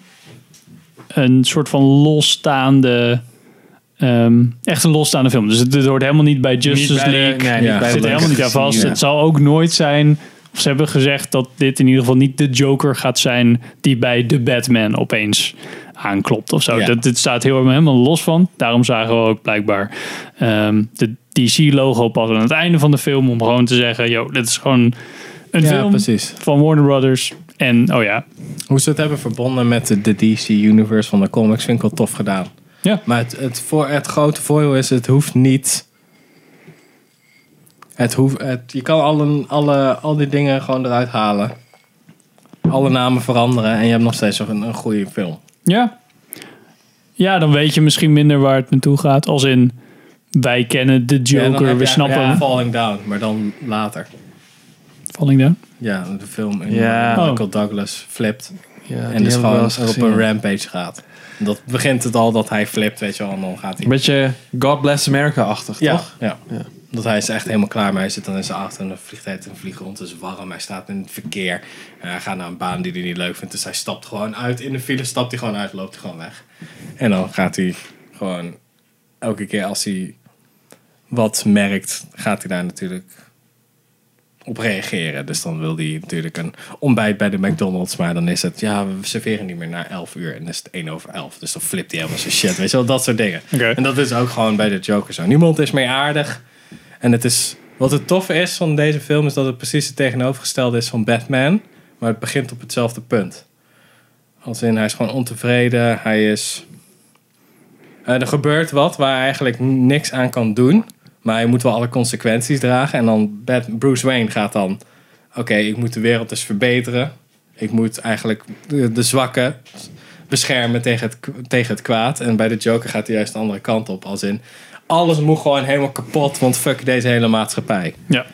een soort van losstaande. ehm, echt een losstaande film. Dus het, het hoort helemaal niet bij Justice
bij de-
League.
nee, niet
Ja.
bij
Het
de
zit
League.
helemaal niet aan vast.
Ja.
Het zal ook nooit zijn. Of ze hebben gezegd dat dit in ieder geval niet de Joker gaat zijn die bij de Batman opeens aanklopt of zo.
Ja.
Dat, dit staat heel helemaal los van. Daarom zagen we ook blijkbaar ehm, de DC-logo pas aan het einde van de film. Om gewoon te zeggen, yo, dit is gewoon een
Ja,
film
precies.
van Warner Brothers. En, oh ja.
Hoe ze het hebben verbonden met de, de DC Universe van de comics vind ik wel tof gedaan.
Ja.
Maar het, het, voor, het grote voordeel is, het hoeft niet... Het hoeft, het, je kan alle, alle, al die dingen gewoon eruit halen. Alle namen veranderen en je hebt nog steeds een, een goede film.
Ja. Ja, dan weet je misschien minder waar het naartoe gaat. Als in, wij kennen de
Ja, dan
Joker,
heb
we
je
snappen
eigenlijk
hem.
Falling Down, maar dan later.
Falling down.
Ja, de film in eh,
Ja.
Michael Douglas flipt.
Ja,
en dus gewoon op een rampage gaat. Dat begint het al dat hij flipt, weet je wel. En dan gaat hij
Een beetje God Bless America-achtig,
Ja,
toch?
ja. Dat hij is echt helemaal klaar mee. Hij zit dan in zijn achter en dan vliegt hij uit en vliegt rond. Het is warm. Hij staat in het verkeer. En hij gaat naar een baan die hij niet leuk vindt. Dus hij stapt gewoon uit. In de file stapt hij gewoon uit. Loopt hij gewoon weg. En dan gaat hij gewoon... Elke keer als hij wat merkt, gaat hij daar natuurlijk op reageren. Dus dan wil hij natuurlijk een ontbijt bij de McDonald's. Maar dan is het, ja, we serveren niet meer na 11 uur. En dan is het 1 over 11. Dus dan flipt hij helemaal zijn shit. Weet je wel, dat soort dingen.
Oké.
En dat is ook gewoon bij de Joker zo. Niemand is meer aardig. En het is, wat het toffe is van deze film... is dat het precies het tegenovergestelde is van Batman. Maar het begint op hetzelfde punt. Als in, hij is gewoon ontevreden. Hij is... eh, er gebeurt wat waar hij eigenlijk niks aan kan doen. Maar hij moet wel alle consequenties dragen. En dan Bat- Bruce Wayne gaat dan... Oké, ik moet de wereld dus verbeteren. Ik moet eigenlijk de, de zwakken beschermen tegen het, k- tegen het kwaad. En bij de Joker gaat hij juist de andere kant op. Als in, alles moet gewoon helemaal kapot. Want fuck deze hele maatschappij.
Ja.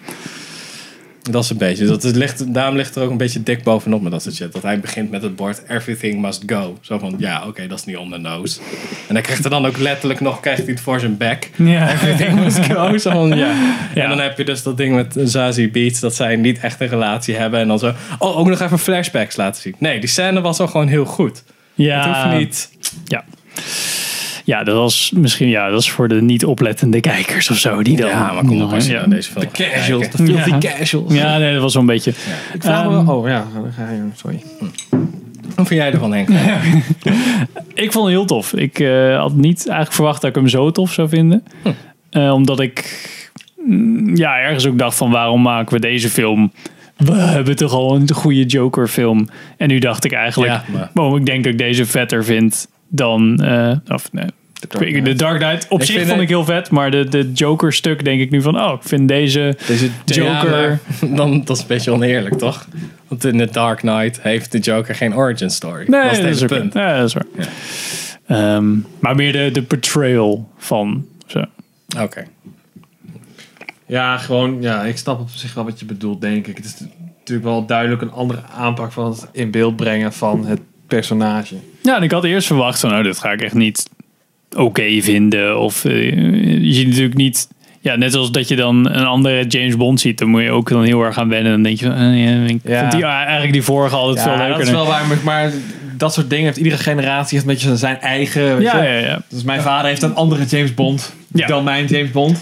Dat is een beetje. Dat is, ligt, daarom ligt er ook een beetje dik bovenop met dat soort shit. Dat hij begint met het bord Everything must go. Zo van, ja, oké, dat is niet on the nose. En hij krijgt er dan ook letterlijk nog, krijgt hij het voor zijn bek.
Ja.
Everything must
[laughs]
go. Zo van, ja.
Ja.
En dan heb je dus dat ding met Zazie Beats, dat zij niet echt een relatie hebben. En dan zo, oh, ook nog even [laughs] flashbacks laten zien. Nee, die scène was al gewoon heel goed.
ja.
Het hoeft niet...
Ja. Ja, dat was misschien ja, dat is voor de niet oplettende kijkers of zo. Die dan,
Ja, maar kom op als je
ja.
naar deze film
De
gaat
casuals,
kijken.
de filthy
Ja.
casuals.
Ja, nee, dat was zo'n beetje. Ehm,
Ik vraag me wel- oh ja, dan ga je, sorry.
Wat vind jij ervan, Henk?
Ik vond hem heel tof. Ik eh, had niet eigenlijk verwacht dat ik hem zo tof zou vinden.
Hm.
Eh, omdat ik mm, ja, ergens ook dacht van waarom maken we deze film? We hebben toch al een goede Joker film. En nu dacht ik eigenlijk,
Ja, maar-
waarom ik denk dat ik deze vetter vind dan... eh, of, nee, de Dark Knight. Op
Ik
zich
vind
vond
het-
ik heel vet, maar de, de Joker stuk denk ik nu van... Oh, ik vind deze,
Deze
Joker...
Joker, dan, dat is een beetje oneerlijk, toch? Want in The Dark Knight heeft de Joker geen origin story.
Nee,
dat is het hele
ook-
punt.
Ja, dat is waar. Ehm, maar meer de, de portrayal van... Zo.
Oké.
Ja, gewoon, ja, ik snap op zich wel wat je bedoelt, denk ik. Het is natuurlijk wel duidelijk een andere aanpak van het in beeld brengen van het personage.
Ja, en ik had eerst verwacht van, nou, dit ga ik echt niet oké vinden. Of eh, je ziet natuurlijk niet... Ja, net als dat je dan een andere James Bond ziet, dan moet je ook dan heel erg gaan wennen. Dan denk je van, eh, ja, ik
Ja.
vond die, ah, eigenlijk die vorige altijd veel
Ja,
leuker.
dat is wel waar, maar, maar dat soort dingen heeft iedere generatie heeft een beetje zijn eigen. Weet
ja,
je?
ja, ja.
Dus mijn vader heeft een andere James Bond
Ja.
dan mijn James Bond.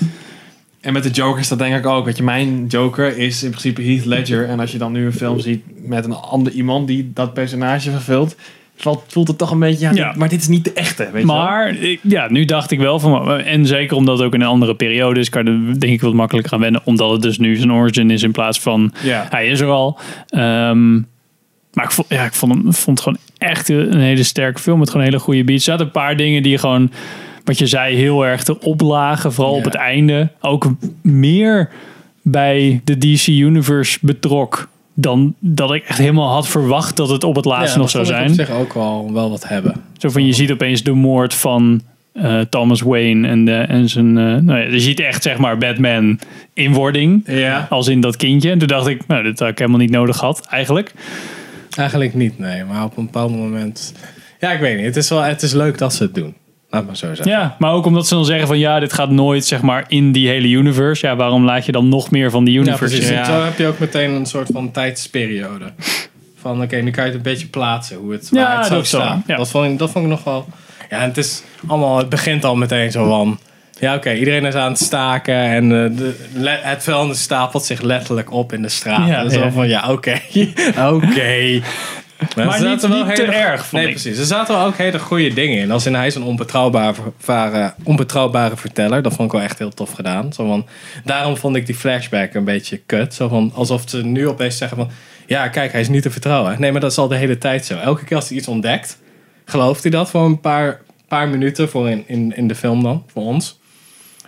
En met de Joker is dat denk ik ook. Weet je, mijn Joker is in principe Heath Ledger. En als je dan nu een film ziet met een ander iemand die dat personage vervult, valt- voelt het toch een beetje. Ja,
Ja.
dit- maar dit is niet de echte. Weet je wel?
Maar ik- ja, nu dacht ik wel van, en zeker omdat het ook in een andere periode is, kan je er denk ik wat makkelijker aan wennen, omdat het dus nu zijn origin is in plaats van
Ja.
hij is er al. Ehm, maar ik vond, ja, ik vond hem vond het gewoon echt een hele sterke film met gewoon een hele goede beats. Er zaten een paar dingen die gewoon, wat je zei, heel erg erop lagen, vooral op het einde. Ook meer bij de DC Universe betrok dan dat ik echt helemaal had verwacht dat het op het laatste nog zou
dat vond ik
zijn.
op zich ook wel, wel wat hebben.
Zo van, je ziet opeens de moord van eh, Thomas Wayne en, de, en zijn... eh, nou ja, je ziet echt, zeg maar, Batman in wording.
Ja.
Als in dat kindje. En toen dacht ik, nou, dit had ik helemaal niet nodig gehad, eigenlijk.
Eigenlijk niet, nee. Maar op een bepaald moment... Ja, ik weet niet. Het is, wel, het is leuk dat ze het doen. Laat maar zo zeggen.
Ja, maar ook omdat ze dan zeggen van, ja, dit gaat nooit, zeg maar, in die hele universe. Ja, waarom laat je dan nog meer van die
Ja,
universe?
precies. eh,
in?
En Zo heb je ook meteen een soort van tijdsperiode. Van oké, nu kan je het een beetje plaatsen hoe het, waar
Ja,
het
dat
zou
is wel,
staan.
ja.
Dat, vond ik, dat vond ik nog wel... Ja, en het, is allemaal, het begint al meteen zo van... Ja, oké, iedereen is aan het staken en eh, de, le- het vuilnis stapelt zich letterlijk op in de straat.
Ja,
en zo
ja.
van, ja, oké, [laughs] oké. Maar,
niet-
er zaten wel
niet
hele
te
go-
erg, vond
Nee,
ik.
precies. Er zaten wel ook hele goede dingen in. Als in hij is een onbetrouwbare, vare- onbetrouwbare verteller. Dat vond ik wel echt heel tof gedaan. Zo van, daarom vond ik die flashback een beetje kut. Zo van, alsof ze nu opeens zeggen van... Ja, kijk, hij is niet te vertrouwen. Nee, maar dat is al de hele tijd zo. Elke keer als hij iets ontdekt, gelooft hij dat voor een paar, paar minuten voor in, in, in de film dan, voor ons.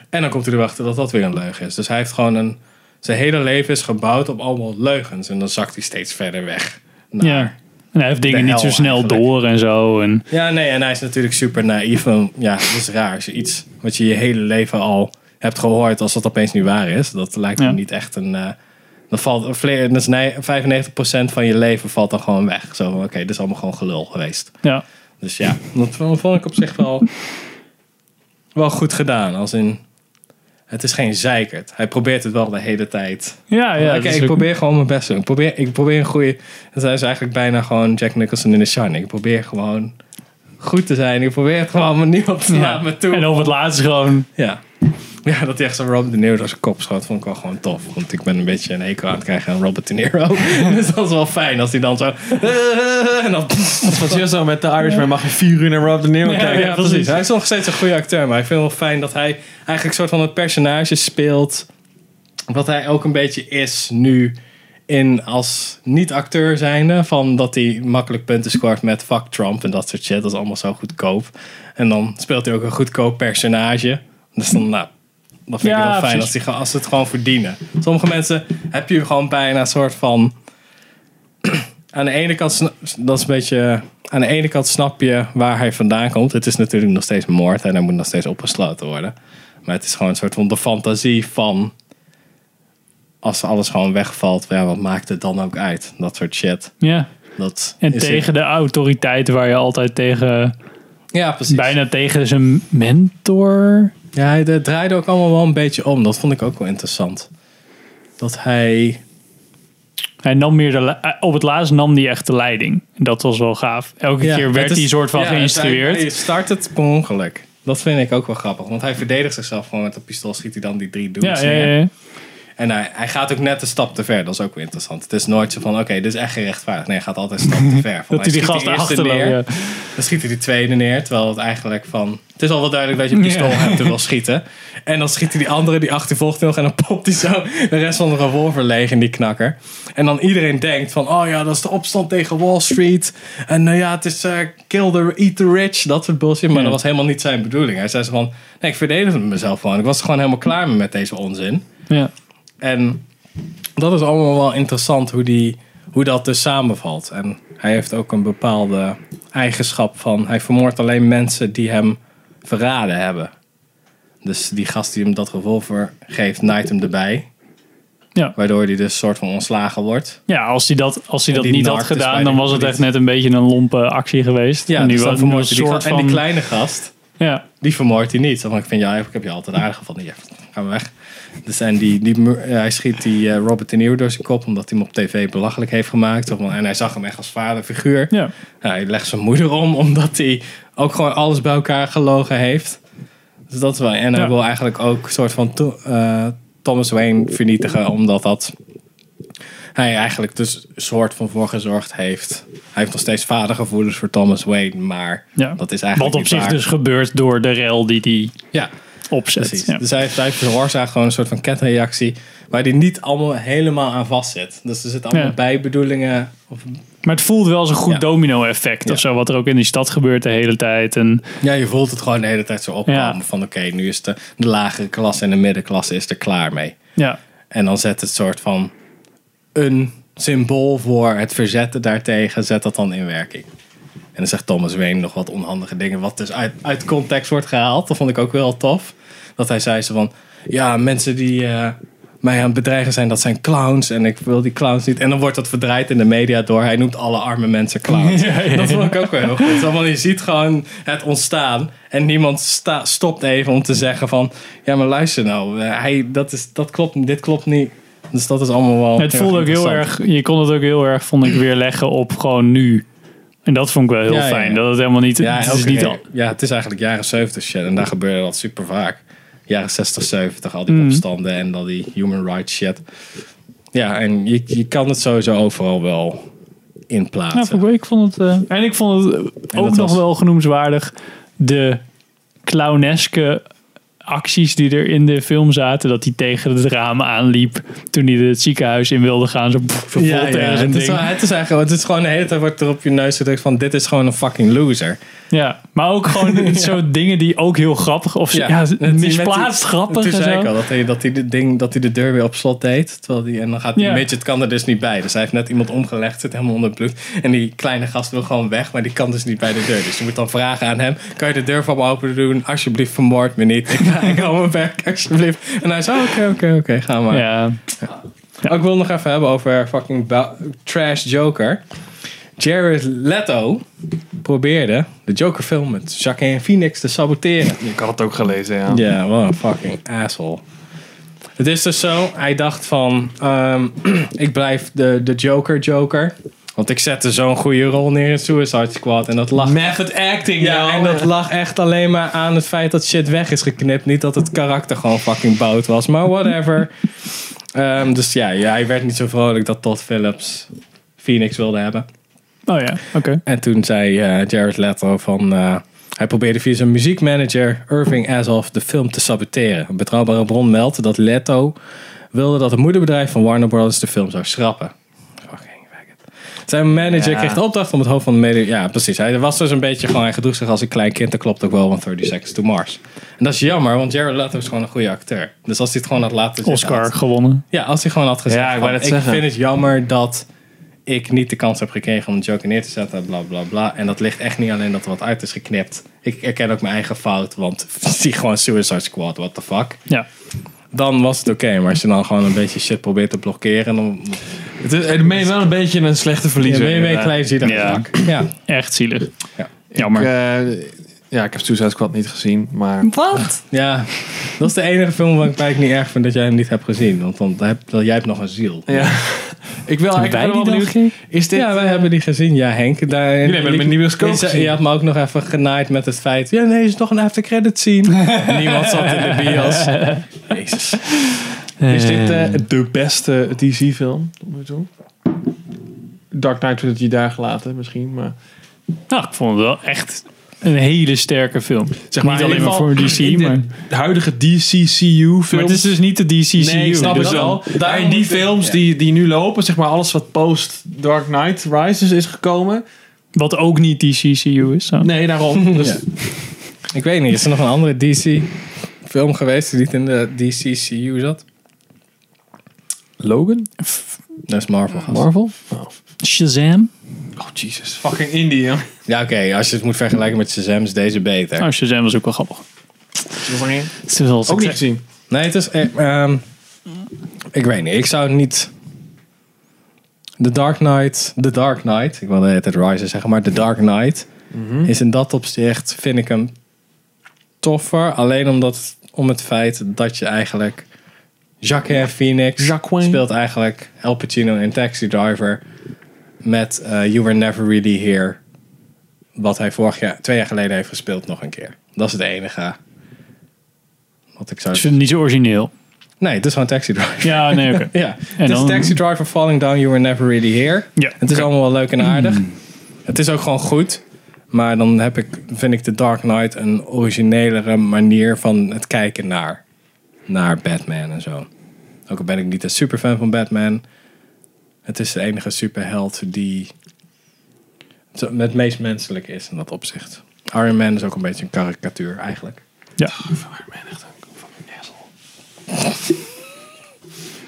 En dan komt hij erachter dat dat weer een leugen is. Dus hij heeft gewoon een... Zijn hele leven is gebouwd op allemaal leugens. En dan zakt hij steeds verder weg. Nou, naar-
Ja. En hij heeft dingen
De
niet zo
hel
snel
eigenlijk.
door en zo. En,
ja, nee, en hij is natuurlijk super naïef. En ja, dat is raar. Als je iets wat je je hele leven al hebt gehoord, als dat opeens niet waar is, dat lijkt me
Ja.
niet echt een. eh dan valt een vle- dat is nij- 95% van je leven valt dan gewoon weg. Zo, van, oké, dit is allemaal gewoon gelul geweest.
ja.
Dus ja, dat vond vond ik op zich wel, wel goed gedaan. Als in, het is geen zeikert. Hij probeert het wel de hele tijd.
Ja, Ah, ja.
Oké,
dat is
dus ik
ook-
probeer gewoon mijn best te doen. Ik probeer, ik probeer een goede... Dat is eigenlijk bijna gewoon Jack Nicholson in The Shining. Ik probeer gewoon goed te zijn. Ik probeer het gewoon maar niemand te laten me toe.
En op het laatst gewoon...
Ja. ja, dat hij echt zo'n Robert De Niro door zijn kop schoot, vond ik wel gewoon tof. Want ik ben een beetje een eco aan het krijgen aan Robert
[laughs]
De Niro. [laughs] dus dat is wel fijn als hij dan zo... [laughs] en dan...
[laughs] Dat is hier zo met de Irishman mag je vier uur naar Rob De Niro
Ja,
kijken.
ja, precies. Hij is nog steeds een goede acteur, maar ik vind het wel fijn dat hij eigenlijk een soort van het personage speelt. Wat hij ook een beetje is nu in als niet-acteur zijnde. Van dat hij makkelijk punten scoort met fuck Trump en dat soort shit. Dat is allemaal zo goedkoop. En dan speelt hij ook een goedkoop personage. Dus dan, nou, dat vind ik
Ja,
wel fijn
precies.
als, die, gewoon- als ze het gewoon verdienen. Sommige mensen heb je gewoon bijna een soort van aan de ene kant, sna- dat is een beetje, aan de ene kant snap je waar hij vandaan komt. Het is natuurlijk nog steeds moord en hij moet nog steeds opgesloten worden. Maar het is gewoon een soort van de fantasie van. Als alles gewoon wegvalt, ja, wat maakt het dan ook uit? Dat soort shit.
Ja.
Dat
En
is-
tegen de autoriteiten waar je altijd tegen...
Ja, precies.
Bijna tegen zijn mentor.
Ja, hij eh, draaide ook allemaal wel een beetje om. Dat vond ik ook wel interessant. Dat hij.
Hij nam meer de, le- eh, op het laatst nam hij echt de leiding. En Dat was wel gaaf. Elke
Ja,
keer
het
werd
is-
hij soort van
ja, het-
geïnstrueerd.
Hij, hij start het per ongeluk. Dat vind ik ook wel grappig. Want hij verdedigt zichzelf gewoon met een pistool. Schiet hij dan die drie
Ja,
dudes
ja,
neer.
ja, ja.
En hij, hij gaat ook net een stap te ver. Dat is ook weer interessant. Het is nooit zo van, oké, dit is echt gerechtvaardigd. Nee, hij gaat altijd een stap te ver.
[laughs]
Van,
Dat hij die
schiet
gasten
eerste
achterloopt.
neer.
Ja.
Dan schiet hij die tweede neer. Terwijl het eigenlijk van... Het is al wel duidelijk dat je een pistool
Ja.
hebt en wil schieten. En dan schiet hij die andere, die achtervolgt nog. En dan popt hij zo de rest van de revolver leeg in die knakker. En dan iedereen denkt van... Oh ja, dat is de opstand tegen Wall Street. En nou ja, het is eh, kill the... Eat the rich. Dat soort bullshit. Maar
Ja.
dat was helemaal niet zijn bedoeling. Hij zei zo van... Nee, ik verdedigde mezelf gewoon. Ik was er gewoon helemaal klaar mee met deze onzin.
Ja.
En dat is allemaal wel interessant hoe, die, hoe dat dus samenvalt. En hij heeft ook een bepaalde eigenschap van... Hij vermoordt alleen mensen die hem verraden hebben. Dus die gast die hem dat revolver geeft, naait hem erbij.
Ja.
Waardoor hij dus soort van ontslagen wordt.
Ja, als hij dat, als hij
En
dat
die
niet
narc
had
dus bij
gedaan,
de
dan was het echt
politie.
net een beetje een lompe actie geweest.
Ja,
En
dus
was
dan
een
vermoordt hij die
soort
gast. En
van-
die kleine gast,
Ja,
die vermoordt hij niet. Dan denk ik van, ja, ik heb je altijd aangevallen. Ja, ga maar weg. Dus en die, die, mu- eh, hij schiet die eh, Robert De Niro door zijn kop, omdat hij hem op tv belachelijk heeft gemaakt. Of- En hij zag hem echt als vaderfiguur.
ja.
Nou, hij legt zijn moeder om, omdat hij ook gewoon alles bij elkaar gelogen heeft. Dus dat is wel. En hij
Ja.
wil eigenlijk ook een soort van to- eh, Thomas Wayne vernietigen, omdat dat hij eigenlijk dus een soort van voor gezorgd heeft. Hij heeft nog steeds vadergevoelens voor Thomas Wayne, maar
Ja.
dat is eigenlijk
Wat op
niet
zich
waar.
dus gebeurt door de rel die die
Ja,
opzet.
precies.
Ja.
Dus hij, hij veroorzaakt gewoon een soort van ketreactie, waar die niet allemaal helemaal aan vastzit. Dus er zitten allemaal
Ja.
bijbedoelingen. Of,
Maar het voelt wel als een goed
Ja.
domino-effect of
Ja.
zo, wat er ook in die stad gebeurt de hele tijd. En
Ja, je voelt het gewoon de hele tijd zo opkomen.
Ja.
Van oké, nu is de, de lagere klasse en de middenklasse is er klaar mee.
ja,
En dan zet het soort van een symbool voor het verzetten daartegen, zet dat dan in werking. En dan zegt Thomas Wayne nog wat onhandige dingen, wat dus uit, uit context wordt gehaald. Dat vond ik ook wel tof. Dat hij zei zo van, ja, mensen die eh, mij aan het bedreigen zijn, dat zijn clowns. En ik wil die clowns niet. En dan wordt dat verdraaid in de media door, hij noemt alle arme mensen
[laughs]
clowns. Dat vond ik ook wel heel goed. Want je ziet gewoon het ontstaan. En niemand sta- stopt even om te zeggen van, ja, maar luister nou, eh, hij, dat, is, dat klopt, niet, dit klopt niet. Dus dat is allemaal wel.
het voelde ook heel
interessant.
erg, je kon het ook heel erg, vond ik, weer leggen op gewoon nu. En dat vond ik wel heel
Ja, ja,
fijn.
ja.
Dat het helemaal niet,
Ja,
het is
elke
niet
keer.
al,
ja, het is eigenlijk jaren 70 shit. En daar gebeurde dat super vaak. Jaren 60, 70, al die opstanden en al die human rights shit. Ja, en je, je kan het sowieso overal wel
Ja,
inplaatsen.
vond ik, ik Nou, vond het, eh, en ik vond het eh, ook
dat
nog
was-
wel genoemswaardig. De clowneske acties die er in de film zaten. Dat hij tegen het raam aanliep toen hij het ziekenhuis in wilde gaan. Zo, pff, zo vol
Ja, ja,
tegen zijn
het, is
ding.
wel, het is eigenlijk, het is gewoon de hele tijd wordt er op je neus gedrukt van dit is gewoon een fucking loser.
Ja, maar ook [laughs] gewoon zo dingen die ook heel grappig of ja,
net die- met
misplaatst
die-
grappig
Toen
en
zei ik
zo.
al dat hij, dat, hij de ding, dat hij de deur weer op slot deed. Terwijl die, en dan gaat die
Ja.
midget kan er dus niet bij. Dus hij heeft net iemand omgelegd, zit helemaal onder het bloed. En die kleine gast wil gewoon weg, maar die kan dus niet bij de deur. Dus je moet dan vragen aan hem, kan je de deur van me open doen? Alsjeblieft, vermoord me niet. Ik ga ik hou mijn werk, alsjeblieft. En hij zei, oké, oké, oké, ga maar.
Ja,
Oh, ik wil nog even hebben over fucking ba- trash Joker. Jared Leto probeerde de Joker-film met Joaquin Phoenix te saboteren.
Ik had het ook gelezen, ja.
Ja, wat een fucking asshole. Het is dus zo, hij dacht van, ehm, [clears throat] ik blijf de, de Joker Joker. Want ik zette zo'n goede rol neer in Suicide Squad. En dat lag,
Method acting,
ja, en dat lag echt alleen maar aan het feit dat shit weg is geknipt. Niet dat het karakter gewoon fucking bout was, maar whatever. Ehm, dus ja, ja, hij werd niet zo vrolijk dat Todd Phillips Phoenix wilde hebben.
oh ja, oké.
En toen zei eh, Jared Leto van... eh, hij probeerde via zijn muziekmanager Irving Azoff de film te saboteren. Een betrouwbare bron meldt dat Leto wilde dat het moederbedrijf van Warner Bros. de film zou schrappen. Fucking faggot. Zijn manager
Ja.
kreeg de opdracht om het hoofd van de mede... Ja, precies. Hij was dus een beetje gewoon... Hij gedroeg zich als een klein kind. Dat klopt ook wel van 30 Seconds to Mars. En dat is jammer, want Jared Leto is gewoon een goede acteur. Dus als hij het gewoon had laten zitten,
Oscar
had-
gewonnen.
ja, als hij gewoon had gezegd.
Ja, ik wou
van,
net zeggen.
vind het jammer dat ik niet de kans heb gekregen om de Joker neer te zetten, bla bla bla. En dat ligt echt niet alleen dat er wat uit is geknipt. Ik erken ook mijn eigen fout, want [laughs] zie gewoon Suicide Squad, what the fuck.
Ja,
Dan was het oké, maar als je dan gewoon een beetje shit probeert te blokkeren, dan
Het is, het ben je wel een beetje een slechte
dan
verliezer.
ben je weer
inderdaad.
klein zielig.
Ja.
Ja.
echt zielig.
Ja.
Jammer.
Ik, eh, Ja, ik heb Suicide Squad niet gezien, maar...
Wat?
Ja, dat is de enige film waar ik het eigenlijk niet erg vind dat jij hem niet hebt gezien. Want dan heb, dan, jij hebt nog een ziel.
[laughs] Ja. ik wil eigenlijk
Wij
ben wel
die
benieuwd.
dan?
Is dit... eh,
Ja, wij hebben die gezien. Ja, Henk. Daar,
Jullie hebben hem in de bioscoop
Je zei-
gezien.
Je had me ook nog even genaaid met het feit. Ja, nee, is toch een aftercredit
[laughs]
scene. Niemand zat in de bios. Jezus.
Is dit eh, de beste DC-film tot nu toe? Dark Knight wordt het je daar gelaten misschien, maar...
Nou, ik vond het wel echt een hele sterke film. Zeg niet alleen maar voor DC, maar...
De, huidige DCCU-films...
Maar het is dus niet de DCCU.
Nee, ik snap
dus
het
dat-
wel. Maar
daarom
in die
moet ik-
films
ja.
die, die nu lopen, zeg maar alles wat post Dark Knight Rises is gekomen.
Wat ook niet DCCU is. Zo.
Nee, [laughs] daarom. Dus,
[laughs] Ik weet niet, is er nog een andere DC-film geweest die niet in de DCCU zat?
Logan?
Dat is Marvel. gast.
Marvel?
Shazam.
Oh, Jesus. Fucking Indie, hè?
Ja, oké, als je het moet vergelijken met Shazam is deze beter.
Nou, Shazam was ook wel grappig. Het is wel
Ook niet gezien.
Nee, het is... eh, ehm, ik weet niet, ik zou het niet... The Dark Knight, The Dark Knight, ik wilde het Rises zeggen, maar The Dark Knight is in dat opzicht, vind ik hem toffer. Alleen omdat, om het feit dat je eigenlijk Jacques Phoenix
Jacquin.
speelt eigenlijk El Pacino in Taxi Driver met eh, You Were Never Really Here. Wat hij vorig jaar, twee jaar geleden heeft gespeeld nog een keer. Dat is het enige wat ik zou
Ik vind het niet zo origineel.
Nee, het is gewoon Taxi Driver.
Ja, nee, oké.
[laughs] Ja,
En
het
dan-
is Taxi Driver Falling Down, You Were Never Really Here.
Ja,
Het is
oké. Mm.
allemaal wel leuk en aardig. Het is ook gewoon goed. Maar dan heb ik, vind ik The Dark Knight een originelere manier van het kijken naar, naar Batman en zo. Ook al ben ik niet een superfan van Batman. Het is de enige superheld die zo- het meest menselijk is in dat opzicht. Iron Man is ook een beetje een karikatuur eigenlijk.
Ja.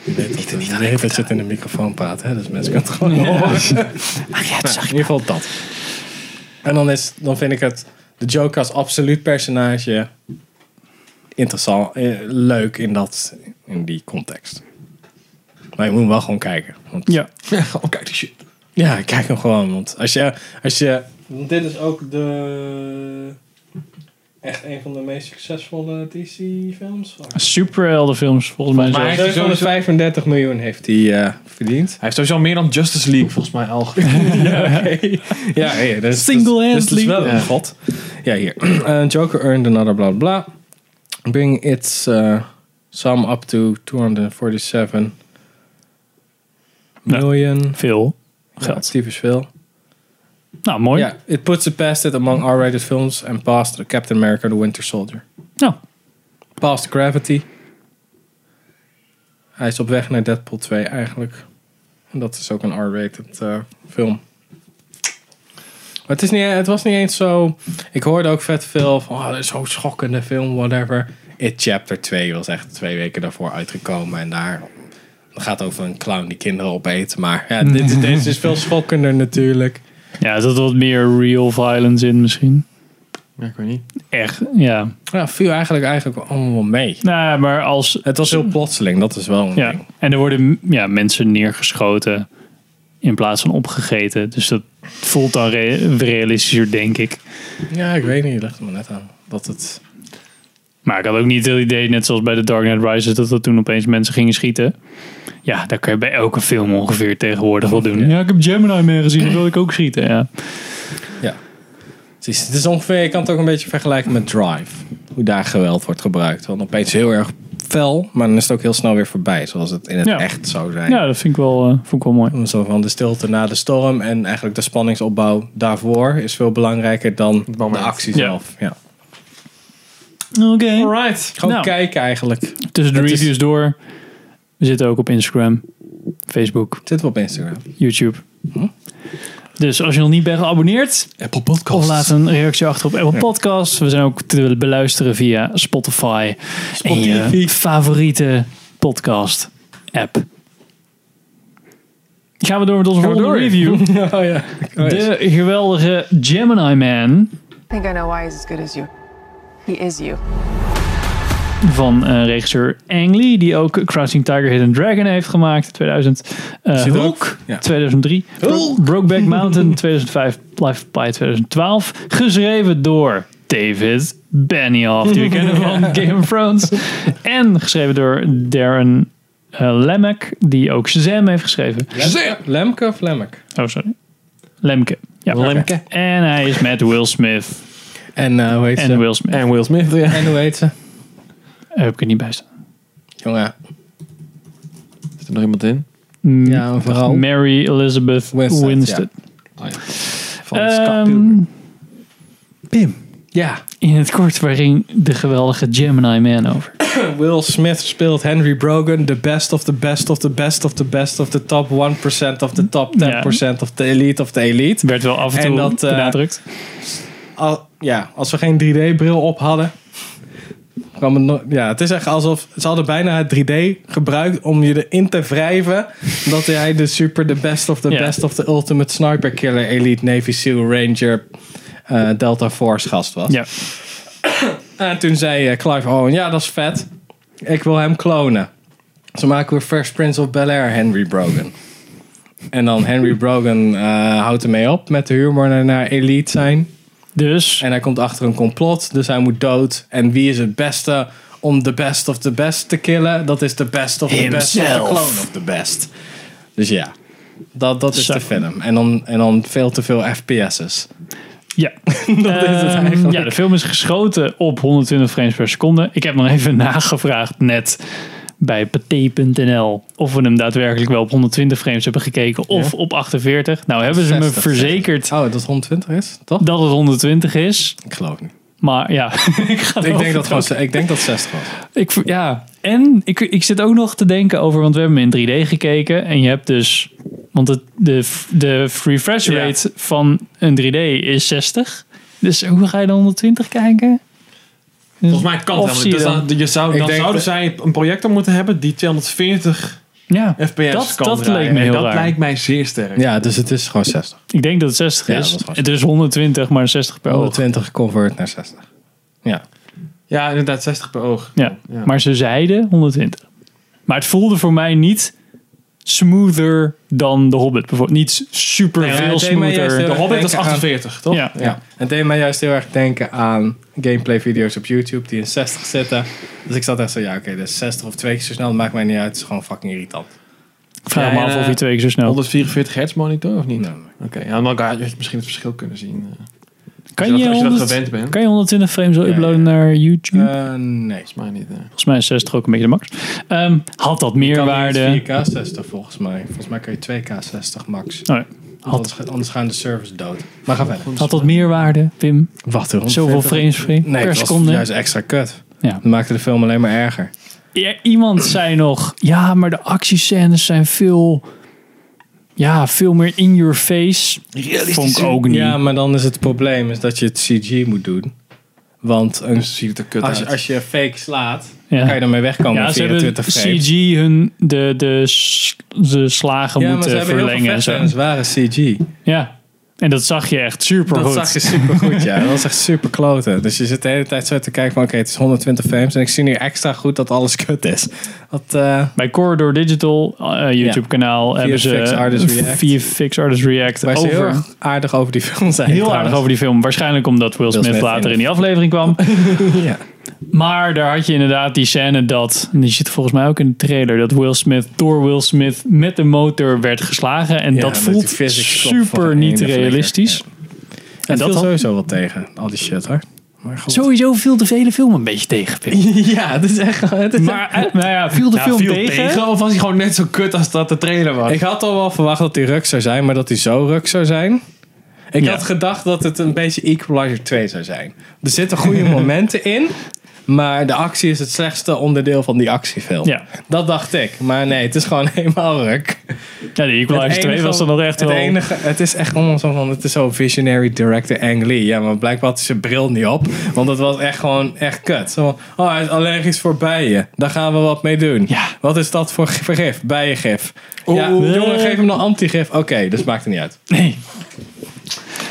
Niet, niet de hele tijd zit in de microfoon praten, hè? dus mensen kunnen het gewoon horen. Nou, in ieder geval dat. En dan, is, dan vind ik het de Joker als absoluut personage interessant, eh, leuk in, dat, in die context. Maar je moet hem wel gewoon kijken. Want,
ja.
Oh, kijk die shit.
ja, kijk hem gewoon. Want als je, als je, want dit is ook de echt een van de meest succesvolle DC-films.
Superheldenfilms, volgens mij.
Maar-
zo.
heeft hij sowieso-
735 miljoen heeft hij eh, verdiend.
Hij heeft sowieso meer dan Justice League volgens mij al. gekregen.
[laughs] Ja, hey, dat is,
Single-handedly.
dat is- dat is wel een
Ja.
god. Ja, hier. [clears throat] Eh, Joker earned another bla bla. bla. Bring its eh, sum up to 247
Nou,
million.
Veel
Ja,
geld.
typisch veel.
Nou, mooi.
Ja, it puts it past it among R-rated films and past Captain America the Winter Soldier.
Nou,
Past Gravity. Hij is op weg naar Deadpool 2 eigenlijk. En dat is ook een R-rated eh, film. Maar het, is niet, het was niet eens zo... Ik hoorde ook vet veel van... Oh, dit is zo'n schokkende film, whatever. It Chapter 2 was echt twee weken daarvoor uitgekomen. En daar het gaat over een clown die kinderen opeet. Maar ja, dit, is- deze is veel schokkender natuurlijk.
ja, er zat wat meer real violence in misschien.
Ja, ik weet niet.
Echt, ja.
Ja, viel eigenlijk, eigenlijk allemaal wel mee.
Nou, maar als...
Het was heel plotseling, dat is wel een
Ja.
ding.
En er worden ja, mensen neergeschoten in plaats van opgegeten. Dus dat voelt dan re- realistischer, denk ik.
Ja, ik weet niet. Je legt me net aan. Dat het...
Maar ik had ook niet het idee, net zoals bij The Dark Knight Rises, dat er toen opeens mensen gingen schieten. Ja, daar kun je bij elke film ongeveer tegenwoordig wel doen. Ja, ik heb Gemini meer gezien, dan wil ik ook schieten. Ja.
Ja. Het is, het is ongeveer... Je kan het ook een beetje vergelijken met Drive. Hoe daar geweld wordt gebruikt. Want opeens heel erg fel. Maar dan is het ook heel snel weer voorbij. Zoals het in het
Ja.
echt zou zijn.
ja, dat vind ik wel, eh, vond ik wel mooi.
Zo van de stilte na de storm. En eigenlijk de spanningsopbouw daarvoor is veel belangrijker dan de
moment.
actie
Ja.
zelf. Ja.
Oké.
Alright.
Gewoon
Nou.
kijken eigenlijk.
Tussen de
Het is-
reviews door. We zitten ook op Instagram, Facebook,
Zitten we op Instagram.
YouTube. Dus als je nog niet bent geabonneerd,
Apple Podcasts.
of laat een reactie achter op Apple Podcasts. We zijn ook te beluisteren via Spotify. En je favoriete podcast app. Gaan we door met onze volgende
door.
review.
Oh ja.
De geweldige Gemini Man
I think I know why he's as good as you. He is you.
van eh, regisseur Ang Lee, die ook Crouching Tiger, Hidden Dragon heeft gemaakt in 2000. Eh,
Zit er
Hulk,
ook? Ja.
2003.
[laughs]
Brokeback Mountain 2005, Life by 2012. Geschreven door David Benioff,
[laughs]
die we kennen van Game of Thrones. En geschreven door Darren eh, Lemek, die ook Shazam heeft geschreven.
Lemke of Lemmek?
Oh, sorry. Lemke. Ja,
Lemke.
En hij is met Will Smith.
En eh, hoe heet
En
ze?
Will Smith.
En Will Smith, ja.
En hoe heet ze?
Daar heb ik er niet bij staan.
Jongen,
Zit er nog iemand in?
ja, vooral
Mary Elizabeth
Winstead,
Winstead.
van
Ehm, Pim,
Ja,
in het kort, waar ging de geweldige Gemini Man over?
Will Smith speelt Henry Brogan, the best of the best of the best of the best of the top 1% of the top 10% of the elite of the elite.
Werd wel af en toe
En dat, eh,
benadrukt.
Al- ja, als we geen 3D-bril op hadden. kwam het no- Ja, het is echt alsof ze hadden bijna het 3D gebruikt om je erin te wrijven dat hij de super, the best of the
Ja.
best of the ultimate sniper killer, elite Navy SEAL Ranger, eh, Delta Force gast was.
Ja.
En toen zei eh, Clive Owen, ja, dat is vet. Ik wil hem klonen. Ze maken weer Fresh Prince of Bel-Air, Henry Brogan. En dan Henry Brogan eh, houdt ermee op met de humor naar- naar elite zijn.
Dus,
En hij komt achter een complot, dus hij moet dood. En wie is het beste om de best of the best te killen? Dat is de best of the best of de
Himself.
clone of the best. Dus ja, dat, dat is
Zo.
de film. En dan, en dan veel te veel [laughs] FPS's.
ja.
[laughs] Dat is het
Ehm,
eigenlijk.
ja, de film is geschoten op 120 frames per seconde. Ik heb nog even [laughs] nagevraagd net bij pathé.nl of we hem daadwerkelijk wel op 120 frames hebben gekeken of op 48. Nou hebben ze me
60,
verzekerd
Oh, dat het 120 is, toch?
dat het 120 is.
Ik geloof niet.
Maar ja, [laughs] ik, ga
Ik denk
erover
dat, gewoon, ik denk dat 60 was.
Ik, v- ja, en ik, ik zit ook nog te denken over, want we hebben hem in 3D gekeken. En je hebt dus, want het, de, f- de f- refresh
Ja.
rate van een 3D is 60. Dus hoe ga je dan 120 kijken?
Volgens mij kan
Of
het
zie
helemaal
je
niet. Dus dan, je zou,
Ik
dan
denk
zouden
dat-
zij een projector moeten hebben die 240
Ja,
fps
dat,
kan
dat
draaien.
leek me
En
heel
dat
raar.
lijkt mij zeer sterk.
Ja, dus het is gewoon 60.
Ik denk dat het 60
Ja,
is.
dat was
het is 120, maar 60 per oog.
120 convert naar 60. Ja.
Ja, inderdaad, 60 per oog.
Ja.
Ja.
maar ze zeiden 120. Maar het voelde voor mij niet smoother dan The Hobbit. Bijvoorbeeld. Niet super
Nee, maar
veel
het deed mij juist
smoother.
De
heel
Hobbit was
Denk aan-
48, toch?
Ja.
Ja. Het deed mij juist heel erg denken aan gameplay video's op YouTube die in 60 zitten. Dus ik zat echt zo, ja oké, dus 60 of twee keer zo snel, dat maakt mij niet uit. Het is gewoon fucking irritant.
Ik vraag
Ja,
me
en,
af of
eh,
hij twee keer zo snel...
144 hertz monitor of niet?
Nee.
Oké, ja, dan had je misschien het verschil kunnen zien. eh,
Kan
als
je,
je, dat, als je dat
100
gewend bent.
Kan je 120 frames wel
Ja,
uploaden
ja.
naar YouTube?
Eh, nee.
Volgens mij niet. eh.
Volgens mij is 60 ook een beetje de max. Ehm, had dat meerwaarde?
4K 60 volgens mij. Volgens mij kan je 2K 60 max.
Oh, ja.
Anders, ga- anders gaan de servers dood. Maar ga verder.
Had dat meerwaarde, Pim?
Wacht erop.
Zoveel frames frame
Nee,
per
dat was
seconde?
juist extra kut.
Ja.
Dat maakte de film alleen maar erger.
Ja, iemand zei nog, ja, maar de actiescènes zijn veel, ja, veel meer in your face. Vond ik ook niet.
Ja, maar dan is het probleem is dat je het CG moet doen. Want een
Dus ziet het er kut
Als, je-
uit.
als je fake slaat,
Ja.
kan je ermee wegkomen
Ja,
met
ze hebben
24 frames.
CG hun de, de, s- de slagen
ja, maar ze
moeten
hebben heel
verlengen
veel
en zo.
vechtclans waren CG.
Ja, en dat zag je echt super
Dat
goed.
zag je super goed, ja. Dat was echt super kloten. Dus je zit de hele tijd zo te kijken van, oké, het is 120 frames en ik zie nu extra goed dat alles kut is. Dat, eh,
Bij Corridor Digital, eh, YouTube kanaal, hebben ze
Fix Artist React.
via Fix Artist React
waar ze heel
over.
erg aardig over die film zijn.
Heel aardig over die film. Waarschijnlijk omdat Will Smith
Smith
later
in-
in die aflevering kwam.
die [laughs] ja.
Maar daar had je inderdaad die scène dat, en die zit volgens mij ook in de trailer, dat Will Smith door Will Smith met de motor werd geslagen. En
Ja,
dat
met
voelt
die physics klop van
super
de
niet
ene flikker.
realistisch.
En dat
dat
viel
had-
sowieso wel tegen, al die shit
[laughs]
hoor. Maar goed.
Sowieso viel de hele film een beetje tegen. Pim.
Ja, het is echt... Het is
Maar eh, nou ja, viel de
Ja,
film
viel
tegen.
Of was hij gewoon net zo kut als dat de trailer was?
Ik had al wel verwacht dat die ruk zou zijn, maar dat die zo ruk zou zijn. Ik
Ja.
had gedacht dat het een beetje Equalizer 2 zou zijn. Er zitten
[laughs]
goede momenten in, maar de actie is het slechtste onderdeel van die actiefilm.
Ja.
Dat dacht ik, maar nee, het is gewoon [laughs] helemaal ruk.
Ja, de Equalizer 2 was dan nog echt
het
wel...
enige, het is echt allemaal zo van, het is zo visionary director Ang Lee. Ja, maar blijkbaar had hij zijn bril niet op, want dat was echt gewoon echt kut. Zo van, oh, hij is allergisch voor bijen. Daar gaan we wat mee doen.
Ja.
Wat is dat voor vergif? Bijengif. Ja,
Oeh.
jongen, geef hem dan antigif. Oké, dus maakt het niet uit.
Nee,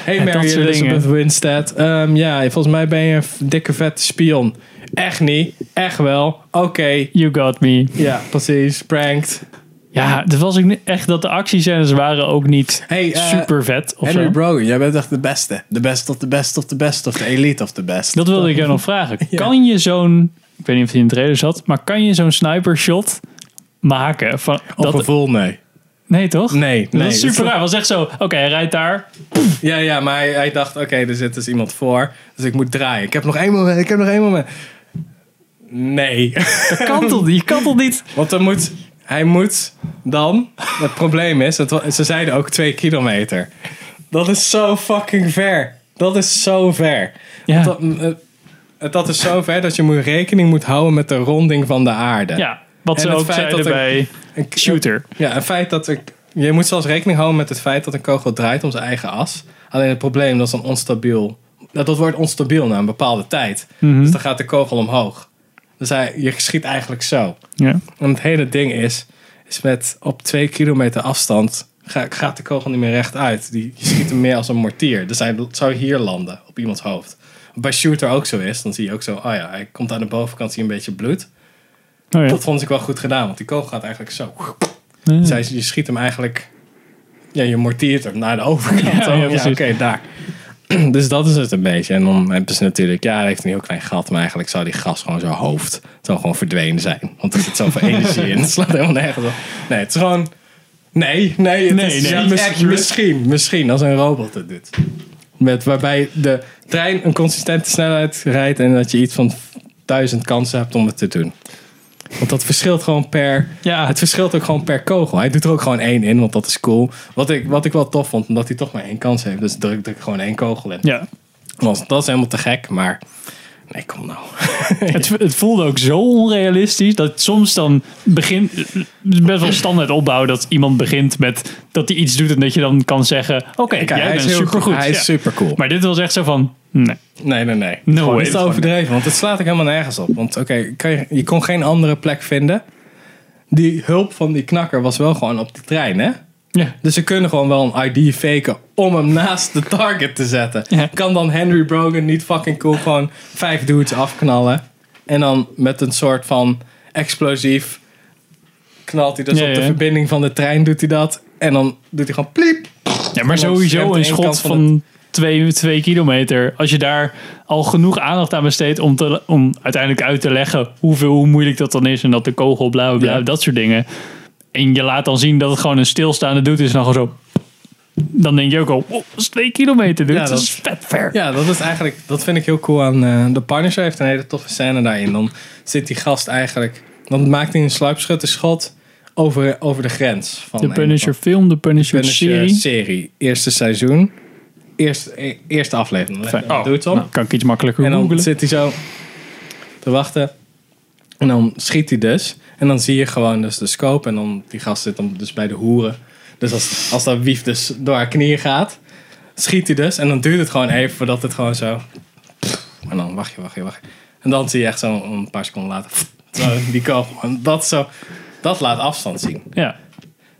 Hey
En dat
Mary
soort
Elizabeth
dingen.
Winstead. Ehm, ja, volgens mij ben je een f- dikke vette spion. Echt niet. Echt wel. Oké.
you got me.
Ja, precies. Pranked.
Ja, het was ook niet- echt dat de actiescènes waren ook niet
Hey, eh,
super vet of
Henry
zo.
Brogan, jij bent echt de beste. De best of de best of de best of de elite of de best.
Dat wilde ik jou nog vragen.
[laughs]
Kan je zo'n, ik weet niet of die in de trailer zat, maar kan je zo'n sniper shot maken? Van,
Op
dat,
gevoel, nee.
nee toch?
Nee, nee,
Dat is super
dat-
raar. was echt zo, oké, hij rijdt
[laughs]
daar.
Ja, ja, maar hij, hij dacht, oké, er zit dus iemand voor. Dus ik moet draaien. Ik heb nog één moment, ik heb nog één moment. Nee. [laughs]
Dat kan toch niet? Je kan toch niet?
Want dan moet, hij moet dan... Het probleem is, het, wa- ze zeiden ook twee kilometer. Dat is zo fucking ver. Dat is zo ver.
Ja.
Dat, mm, eh, het- dat is zo ver dat je moet rekening moet houden met de ronding van de aarde.
Ja, wat
En
ze
het
ook
feit
zeiden
dat er-
bij
Een-
Shooter.
Ja, het feit dat ik... Je moet zelfs rekening houden met het feit dat een kogel draait om zijn eigen as. Alleen het probleem, dat is dan onstabiel. Dat, dat wordt onstabiel na een bepaalde tijd. Dus dan gaat de kogel omhoog. Dus hij, je schiet eigenlijk zo.
Ja. Oh
En het hele ding is, is met op twee kilometer afstand ga, gaat de kogel niet meer rechtuit. Die, je schiet hem meer als een mortier. Dus hij zou hier landen, op iemands hoofd. Wat Bij Shooter ook zo is, dan zie je ook zo, oh ja, hij komt aan de bovenkant, zie je een beetje bloed.
Oh ja.
Dat vond ik wel goed gedaan, want die kogel gaat eigenlijk zo. Dus hij- je schiet hem eigenlijk, ja, je mortiert hem naar de overkant.
Ja,
Oh,
ja,
Ja,
precies.
oké, daar. [clears throat] Dus dat is het een beetje. En dan hebben ze natuurlijk, ja, hij heeft een heel klein gat, maar eigenlijk zou die gas gewoon zo hoofd zou gewoon verdwenen zijn. Want er zit zoveel energie in. [laughs] Het slaat helemaal nergens op. Nee, het is gewoon. Nee, nee, het
Nee,
is
nee,
ja,
niet
mis-
accurate.
misschien, misschien als een robot het doet. Met, waarbij de trein een consistente snelheid rijdt en dat je iets van duizend kansen hebt om het te doen. Want dat verschilt gewoon per.
Ja.
Het verschilt ook gewoon per kogel. Hij doet er ook gewoon één in, want dat is cool. Wat ik, wat ik wel tof vond, omdat hij toch maar één kans heeft. Dus druk ik gewoon één kogel in.
ja.
Want dat is helemaal te gek, maar. Nee, kom nou. [laughs]
Het, het voelde ook zo onrealistisch dat soms dan begint best wel standaard opbouw dat iemand begint met dat hij iets doet en dat je dan kan zeggen: Oké,
Kijk,
jij
hij
bent
is heel
supergoed.
goed. Hij is supercool.
Maar dit was echt zo van: nee.
Nee, nee, nee.
No
Gewoon
way.
Niet te overdreven, want het slaat ik helemaal nergens op. Want oké, kan je, je kon geen andere plek vinden. Die hulp van die knakker was wel gewoon op die trein, hè?
Ja.
Dus ze kunnen gewoon wel een ID faken om hem naast de target te zetten.
Ja.
Kan dan Henry Brogan niet fucking cool gewoon vijf dudes afknallen. En dan met een soort van explosief knalt hij dus
Ja,
op de
ja.
verbinding van de trein, doet hij dat. En dan doet hij gewoon pliep.
ja, maar
Iemand zwemt
sowieso
aan
een
één kant
schot
van
van twee, twee kilometer. Als je daar al genoeg aandacht aan besteedt om, te, om uiteindelijk uit te leggen hoeveel, hoe moeilijk dat dan is en dat de kogel bla bla, bla
Ja.
dat soort dingen. En je laat dan zien dat het gewoon een stilstaande doet is en dan gewoon zo. Dan denk je ook al, oh, dat is twee kilometer, dude.
Ja,
dat
dat-
is vet ver.
Ja, dat is eigenlijk, dat vind ik heel cool aan eh The Punisher. Heeft een hele toffe scène daarin. Dan zit die gast eigenlijk, dan maakt hij een sluipschutterschot over, over de grens. Van
De
een
Punisher film, de Punisher,
Punisher-serie.
serie.
Eerste seizoen. Eerste, e- eerste aflevering. Dan legt hij de doet om.
nou, kan ik iets makkelijker
en dan
googlen.
zit hij zo te wachten. En dan schiet hij dus. En dan zie je gewoon dus de scope. En dan die gast zit dan dus bij de hoeren. Dus als, als dat wief dus door haar knieën gaat, schiet hij dus. En dan duurt het gewoon even voordat het gewoon zo... En dan wacht je, wacht je, wacht je. En dan zie je echt zo een paar seconden later... Zo, die kogel. En dat, zo, dat laat afstand zien.
Ja.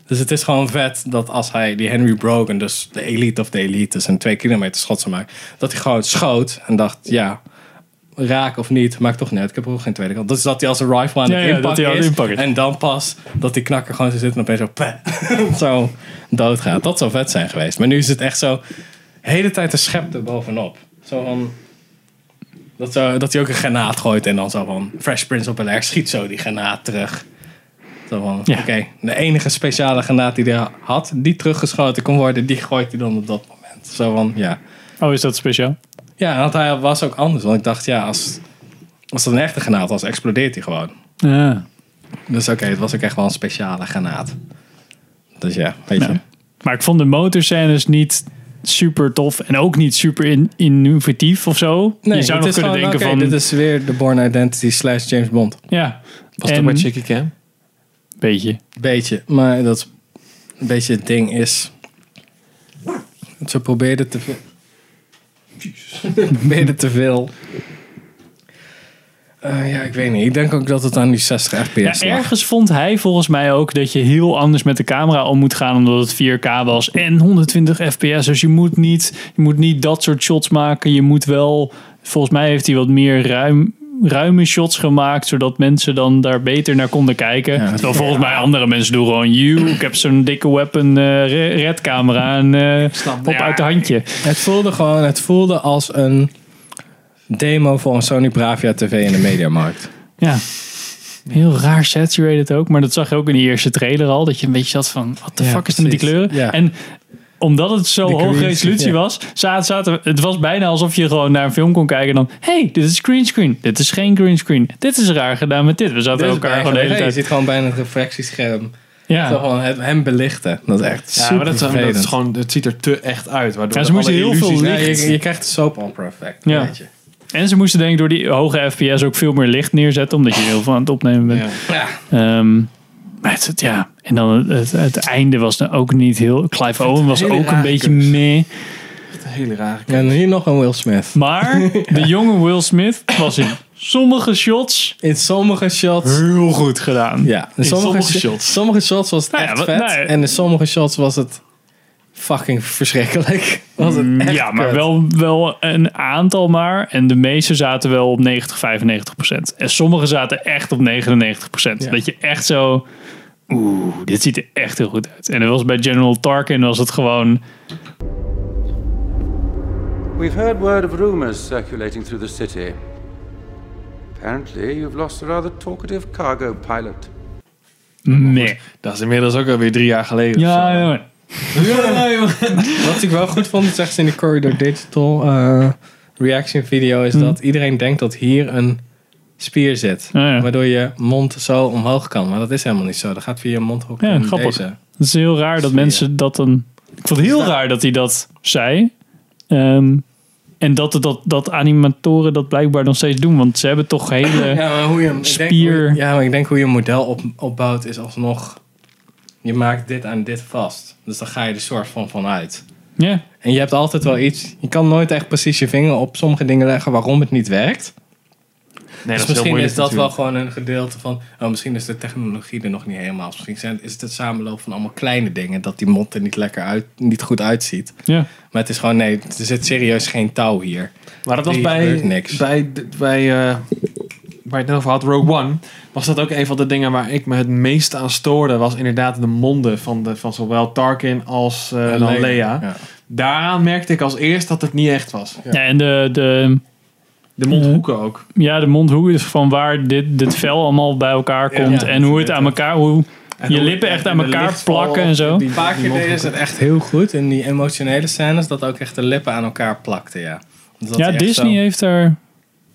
Dus het is gewoon vet dat als hij die Henry Brogan, dus de elite of de elite, is een twee kilometer schot zou maken, dat hij gewoon schoot en dacht, ja, raak of niet, maakt toch niet uit, ik heb er ook geen tweede kant. Dus dat hij als een rifle aan
Ja,
het
ja, dat
inpakken
hij aan het
is,
inpakken is.
En dan pas dat die knakker gewoon zo zit en opeens zo, pah, zo [laughs] doodgaat. Dat zou vet zijn geweest. Maar nu is het echt zo, de hele tijd een schep er bovenop. Zo van, dat, zo, dat hij ook een granaat gooit en dan zo van, Fresh Prince op Bel-Air schiet zo die granaat terug. Zo van,
Ja.
Oké, de enige speciale granaat die hij had, die teruggeschoten kon worden, die gooit hij dan op dat moment. Zo van, ja.
Oh, is dat speciaal?
Ja, want hij was ook anders. Want ik dacht, ja, als, als dat een echte granaat was, explodeert hij gewoon.
Ja.
Dus oké, het was ook echt wel een speciale granaat. Dus ja, weet je.
Maar ik vond de motorscènes niet super tof en ook niet super in, innovatief of zo. je zou nog kunnen denken van...
dit is weer de Born Identity slash James Bond.
Ja.
Was
En-
toch bij Chicky Cam?
Beetje.
Beetje, maar dat is een beetje het ding is. Ze probeerden te veel. [laughs] probeerden te veel. Eh, ja, ik weet niet. Ik denk ook dat het aan die 60 fps
Ja,
lag.
ergens vond hij volgens mij ook dat je heel anders met de camera om moet gaan omdat het 4K was en 120 fps. Dus je moet, niet, je moet niet dat soort shots maken. Je moet wel, volgens mij heeft hij wat meer ruim, ruime shots gemaakt, zodat mensen dan daar beter naar konden kijken. Terwijl volgens mij andere mensen doen gewoon, you, ik heb zo'n dikke weapon eh, re- red camera en eh, op uit de handje.
Het voelde gewoon, het voelde als een demo voor een Sony Bravia TV in de Mediamarkt.
Ja. Heel raar saturated ook. Maar dat zag je ook in die eerste trailer al. Dat je een beetje zat van, what the
Ja,
fuck is het met die
precies.
kleuren?
Ja.
En omdat het zo
Die
hoge
green
resolutie
screen, ja.
was, zaten, zaten, het was bijna alsof je gewoon naar een film kon kijken en dan, hey, dit is green screen. Dit is geen green screen. Dit is raar gedaan met dit. We zaten elkaar gewoon de hele
Je
tijd.
zit gewoon bij een reflectiescherm.
Ja.
Zo gewoon hem- hem belichten. Dat is echt
Ja,
super
maar dat, is- dat
vervelend.
is gewoon, het ziet er te echt uit. Waardoor
Ja, ze
alle
moesten heel veel
illusies-
Ja,
licht.
je, je krijgt de soap opera effect.
Ja.
Weet je.
En ze moesten denk ik door die hoge FPS ook veel meer licht neerzetten, omdat je heel veel aan het opnemen bent. Ehm, maar het, het- ja. En dan het, het, het einde was dan ook niet heel... Clive Owen was
hele
ook een
rare
beetje
keus.
meh.
Hele raar.
En hier nog een Will Smith. [laughs]
Maar de jonge Will Smith was in sommige shots
In sommige shots.
heel goed gedaan.
Ja, in sommige,
sommige
sho-
shots.
Sommige shots was het
Nou ja,
echt
wat-
vet.
nou ja.
En in sommige shots was het fucking verschrikkelijk. [laughs] Was het echt
Mm, Ja, maar
kut.
wel, wel een aantal maar. En de meeste zaten wel op 90, 95 procent. En sommige zaten echt op 99 procent.
Ja.
Dat je echt zo... Oeh, dit ziet er echt heel goed uit. En dat was bij General Tarkin was het gewoon...
We've heard word of rumors circulating through the city. Apparently, you've lost a rather talkative cargo pilot.
Meh.
Dat is inmiddels ook alweer drie jaar geleden.
Ja, jongen.
[laughs] Wat ik wel goed vond, zegt ze in de Corridor Digital eh, reaction video,
Hm.
is dat iedereen denkt dat hier een spier zit.
Ah, ja.
Waardoor je mond zo omhoog kan. Maar dat is helemaal niet zo. Dat gaat via je mond ook
Ja,
in
grappig.
deze.
Het is heel raar dat
Sfeer.
mensen dat dan. Ik vond het heel raar dat hij dat zei. Ehm, en dat, het- dat, dat animatoren dat blijkbaar nog steeds doen. Want ze hebben toch hele.
Ja, maar hoe je, ik denk hoe je-
Spier.
ja, maar ik denk hoe je een model op, opbouwt is alsnog... Je maakt dit aan dit vast. Dus dan ga je er soort van vanuit.
Ja.
En je hebt altijd wel iets... Je kan nooit echt precies je vinger op sommige dingen leggen waarom het niet werkt.
Nee,
dus misschien is dat wel gewoon een gedeelte van. Oh, misschien is de technologie er nog niet helemaal. Misschien zijn, is het het samenloop van allemaal kleine dingen. Dat die mond er niet lekker uit, niet goed uitziet.
ja.
Maar het is gewoon, nee, er zit serieus geen touw hier.
Maar dat was
Nee,
bij,
gebeurt niks.
bij, bij eh, waar je het net over had, Rogue One, was dat ook een van de dingen waar ik me het meest aan stoorde, was inderdaad de monden van, de, van zowel Tarkin als eh, dan Leia.
Ja.
Daaraan merkte ik als eerst dat het niet echt was.
Ja, en de, de,
De mondhoeken ook.
ja, de mondhoek is van waar dit, dit vel allemaal bij elkaar komt.
ja,
en hoe het aan elkaar. Hoe je lippen echt aan
de
elkaar
lichtval
plakken en zo.
Een paar keer deden ze het echt heel goed. In die emotionele scènes, dat ook echt de lippen aan elkaar plakten, ja. Dus dat
Ja,
hij echt
Disney
zo-
heeft daar.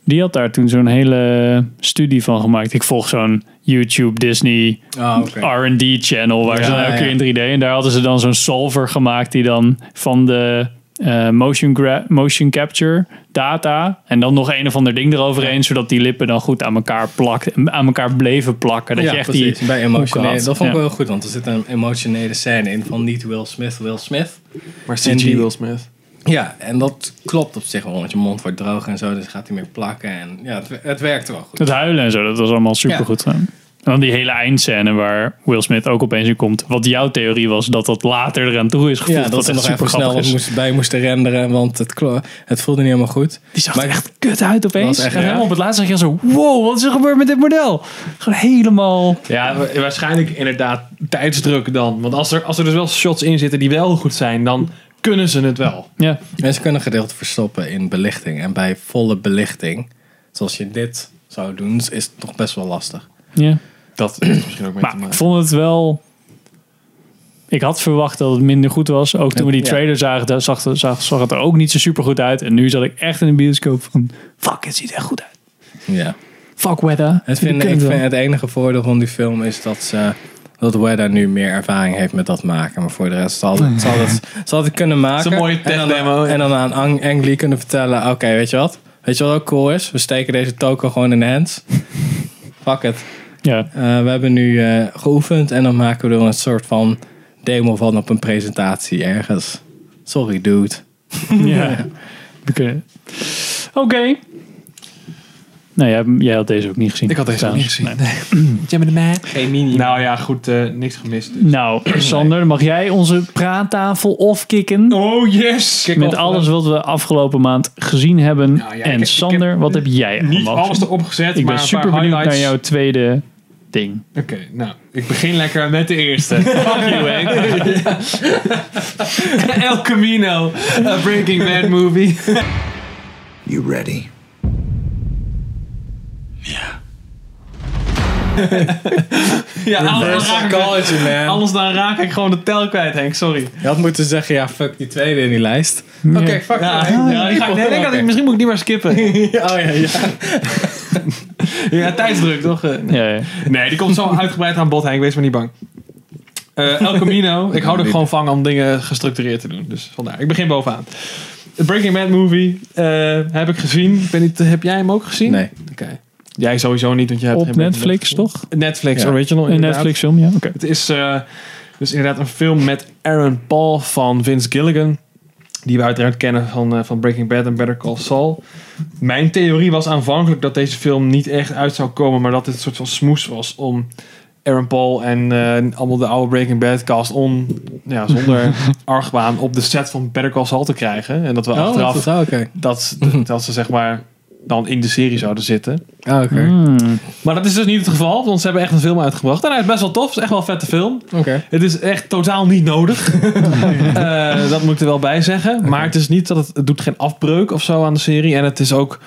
Die had daar toen zo'n hele studie van gemaakt. Ik volg zo'n YouTube Disney
Ah, oké.
R&D channel waar
Ja,
ze dan elke
ja.
keer in 3D en daar hadden ze dan zo'n solver gemaakt die dan van de eh, motion, gra- motion capture data en dan nog een of ander ding eroverheen zodat die lippen dan goed aan elkaar plakt en aan elkaar bleven plakken dat
ja,
je echt
precies.
die
bij
hoeken
emotionele.
had.
Dat vond ik
Ja.
wel heel goed, want er zit een emotionele scène in van niet Will Smith, Will Smith.
Maar
En
CG
die-
Will Smith.
Ja, en dat klopt op zich wel, want je mond wordt droog en zo, dus gaat hij meer plakken. En ja, het, het werkt wel goed.
het huilen en zo dat was allemaal supergoed gedaan. En dan die hele eindscène waar Will Smith ook opeens in komt. Wat jouw theorie was dat dat later eraan toe is gevoegd.
Ja, dat
wat
ze
echt
nog
super
even snel
grappig
wat
is.
moest, bij moesten renderen, want het, klo- het voelde niet helemaal goed.
Die zag
Maar-
er echt kut uit
Dat
opeens.
was echt,
en
ja.
helemaal op het laatste zag je zo... Wow, wat is er gebeurd met dit model? Gewoon helemaal...
Ja, wa- waarschijnlijk inderdaad tijdsdruk dan. Want als er, als er dus wel shots in zitten die wel goed zijn, dan kunnen ze het wel.
Ja.
En ze kunnen gedeelte verstoppen in belichting. En bij volle belichting, zoals je dit zou doen, is het toch best wel lastig.
Ja.
Dat heeft misschien ook mee te
Maar ik
maken.
vond het wel. Ik had verwacht dat het minder goed was. Ook toen we die
Ja.
trailer zagen, daar zag, zag, zag het er ook niet zo super goed uit. En nu zat ik echt in de bioscoop van. Fuck, het ziet er echt goed uit.
Ja.
Fuck weather.
Het, vind, ik vind het enige voordeel van die film is dat ze... Dat Wedda nu meer ervaring heeft met dat maken. Maar voor de rest zal het, zal het, zal het kunnen maken.
Het is een mooie
en dan-
tech-demo, ja.
En dan aan Ang, Ang Lee kunnen vertellen... Oké, weet je wat? Weet je wat ook cool is? We steken deze token gewoon in de hands. Fuck it. [laughs]
Ja,
Eh, we hebben nu eh, geoefend en dan maken we er een soort van demo van op een presentatie ergens. Sorry, dude.
ja. We kunnen- Oké. Nee, Nou, jij, jij had deze ook niet gezien.
Ik had deze ook niet
trouwens.
gezien.
Nee.
Geen mini.
Nou ja, goed, eh, niks gemist. dus.
Nou, Sander, dan mag jij onze praattafel offkicken?
Oh yes! Kijk,
Met alles wat we afgelopen maand gezien hebben.
ja, ik-
en
ik heb
Sander, wat heb jij
niet
allemaal
alles
gezien?
erop gezet,
Ik
maar
ben
een
super
paar
benieuwd
highlights.
naar jouw tweede ding.
Oké, nou, ik begin lekker met de
[laughs]
eerste. Fuck you, Henk. El Camino, a Breaking Bad movie.
You ready?
Ja, anders dan, raak ik,
Psychology, man.
anders dan raak ik gewoon de tel kwijt, Henk, sorry.
Je had moeten zeggen, ja, fuck die tweede in die lijst. Oké, fuck
Ja,
die
ja, die ga ik, nee, ik denk dat ik, misschien moet ik die maar skippen.
Oh [laughs] ja, ja.
[laughs] Ja, tijdsdruk,
[laughs]
toch? Eh,
Ja, ja.
Nee, die
[laughs]
komt zo uitgebreid aan bod, Henk. Wees maar niet bang. Eh,
[laughs]
El Camino. ik hou er gewoon van om dingen gestructureerd te doen. Dus vandaar. Ik begin bovenaan. De Breaking Bad movie eh, heb ik gezien. Ik weet niet, heb jij hem ook gezien?
Nee.
Oké. Jij sowieso niet, want je hebt
Op
geen Breaking
Netflix,
Bad gezien.
toch?
Netflix
Ja.
original.
Een
inderdaad.
Netflix film, ja. Oké.
Het is eh, dus inderdaad een film met Aaron Paul van Vince Gilligan. Die we uiteraard kennen van, eh, van Breaking Bad en Better Call Saul. Mijn theorie was aanvankelijk dat deze film niet echt uit zou komen. Maar dat het een soort van smoes was om Aaron Paul en eh, allemaal de oude Breaking Bad cast on, ja, [laughs] zonder argwaan op de set van Better Call Saul te krijgen. En Oh, dat
Oh,
we achteraf dat,
oké. Okay.
dat ze zeg maar dan in de serie zouden zitten.
Ah, oké.
Hmm.
Maar dat is dus niet het geval, want ze hebben echt een film uitgebracht. En hij is best wel tof, het is echt wel een vette film.
Oké.
Het is echt totaal niet nodig. Eh, dat moet ik er wel bij zeggen. Maar het is niet dat het, het doet geen afbreuk of zo aan de serie. En het is ook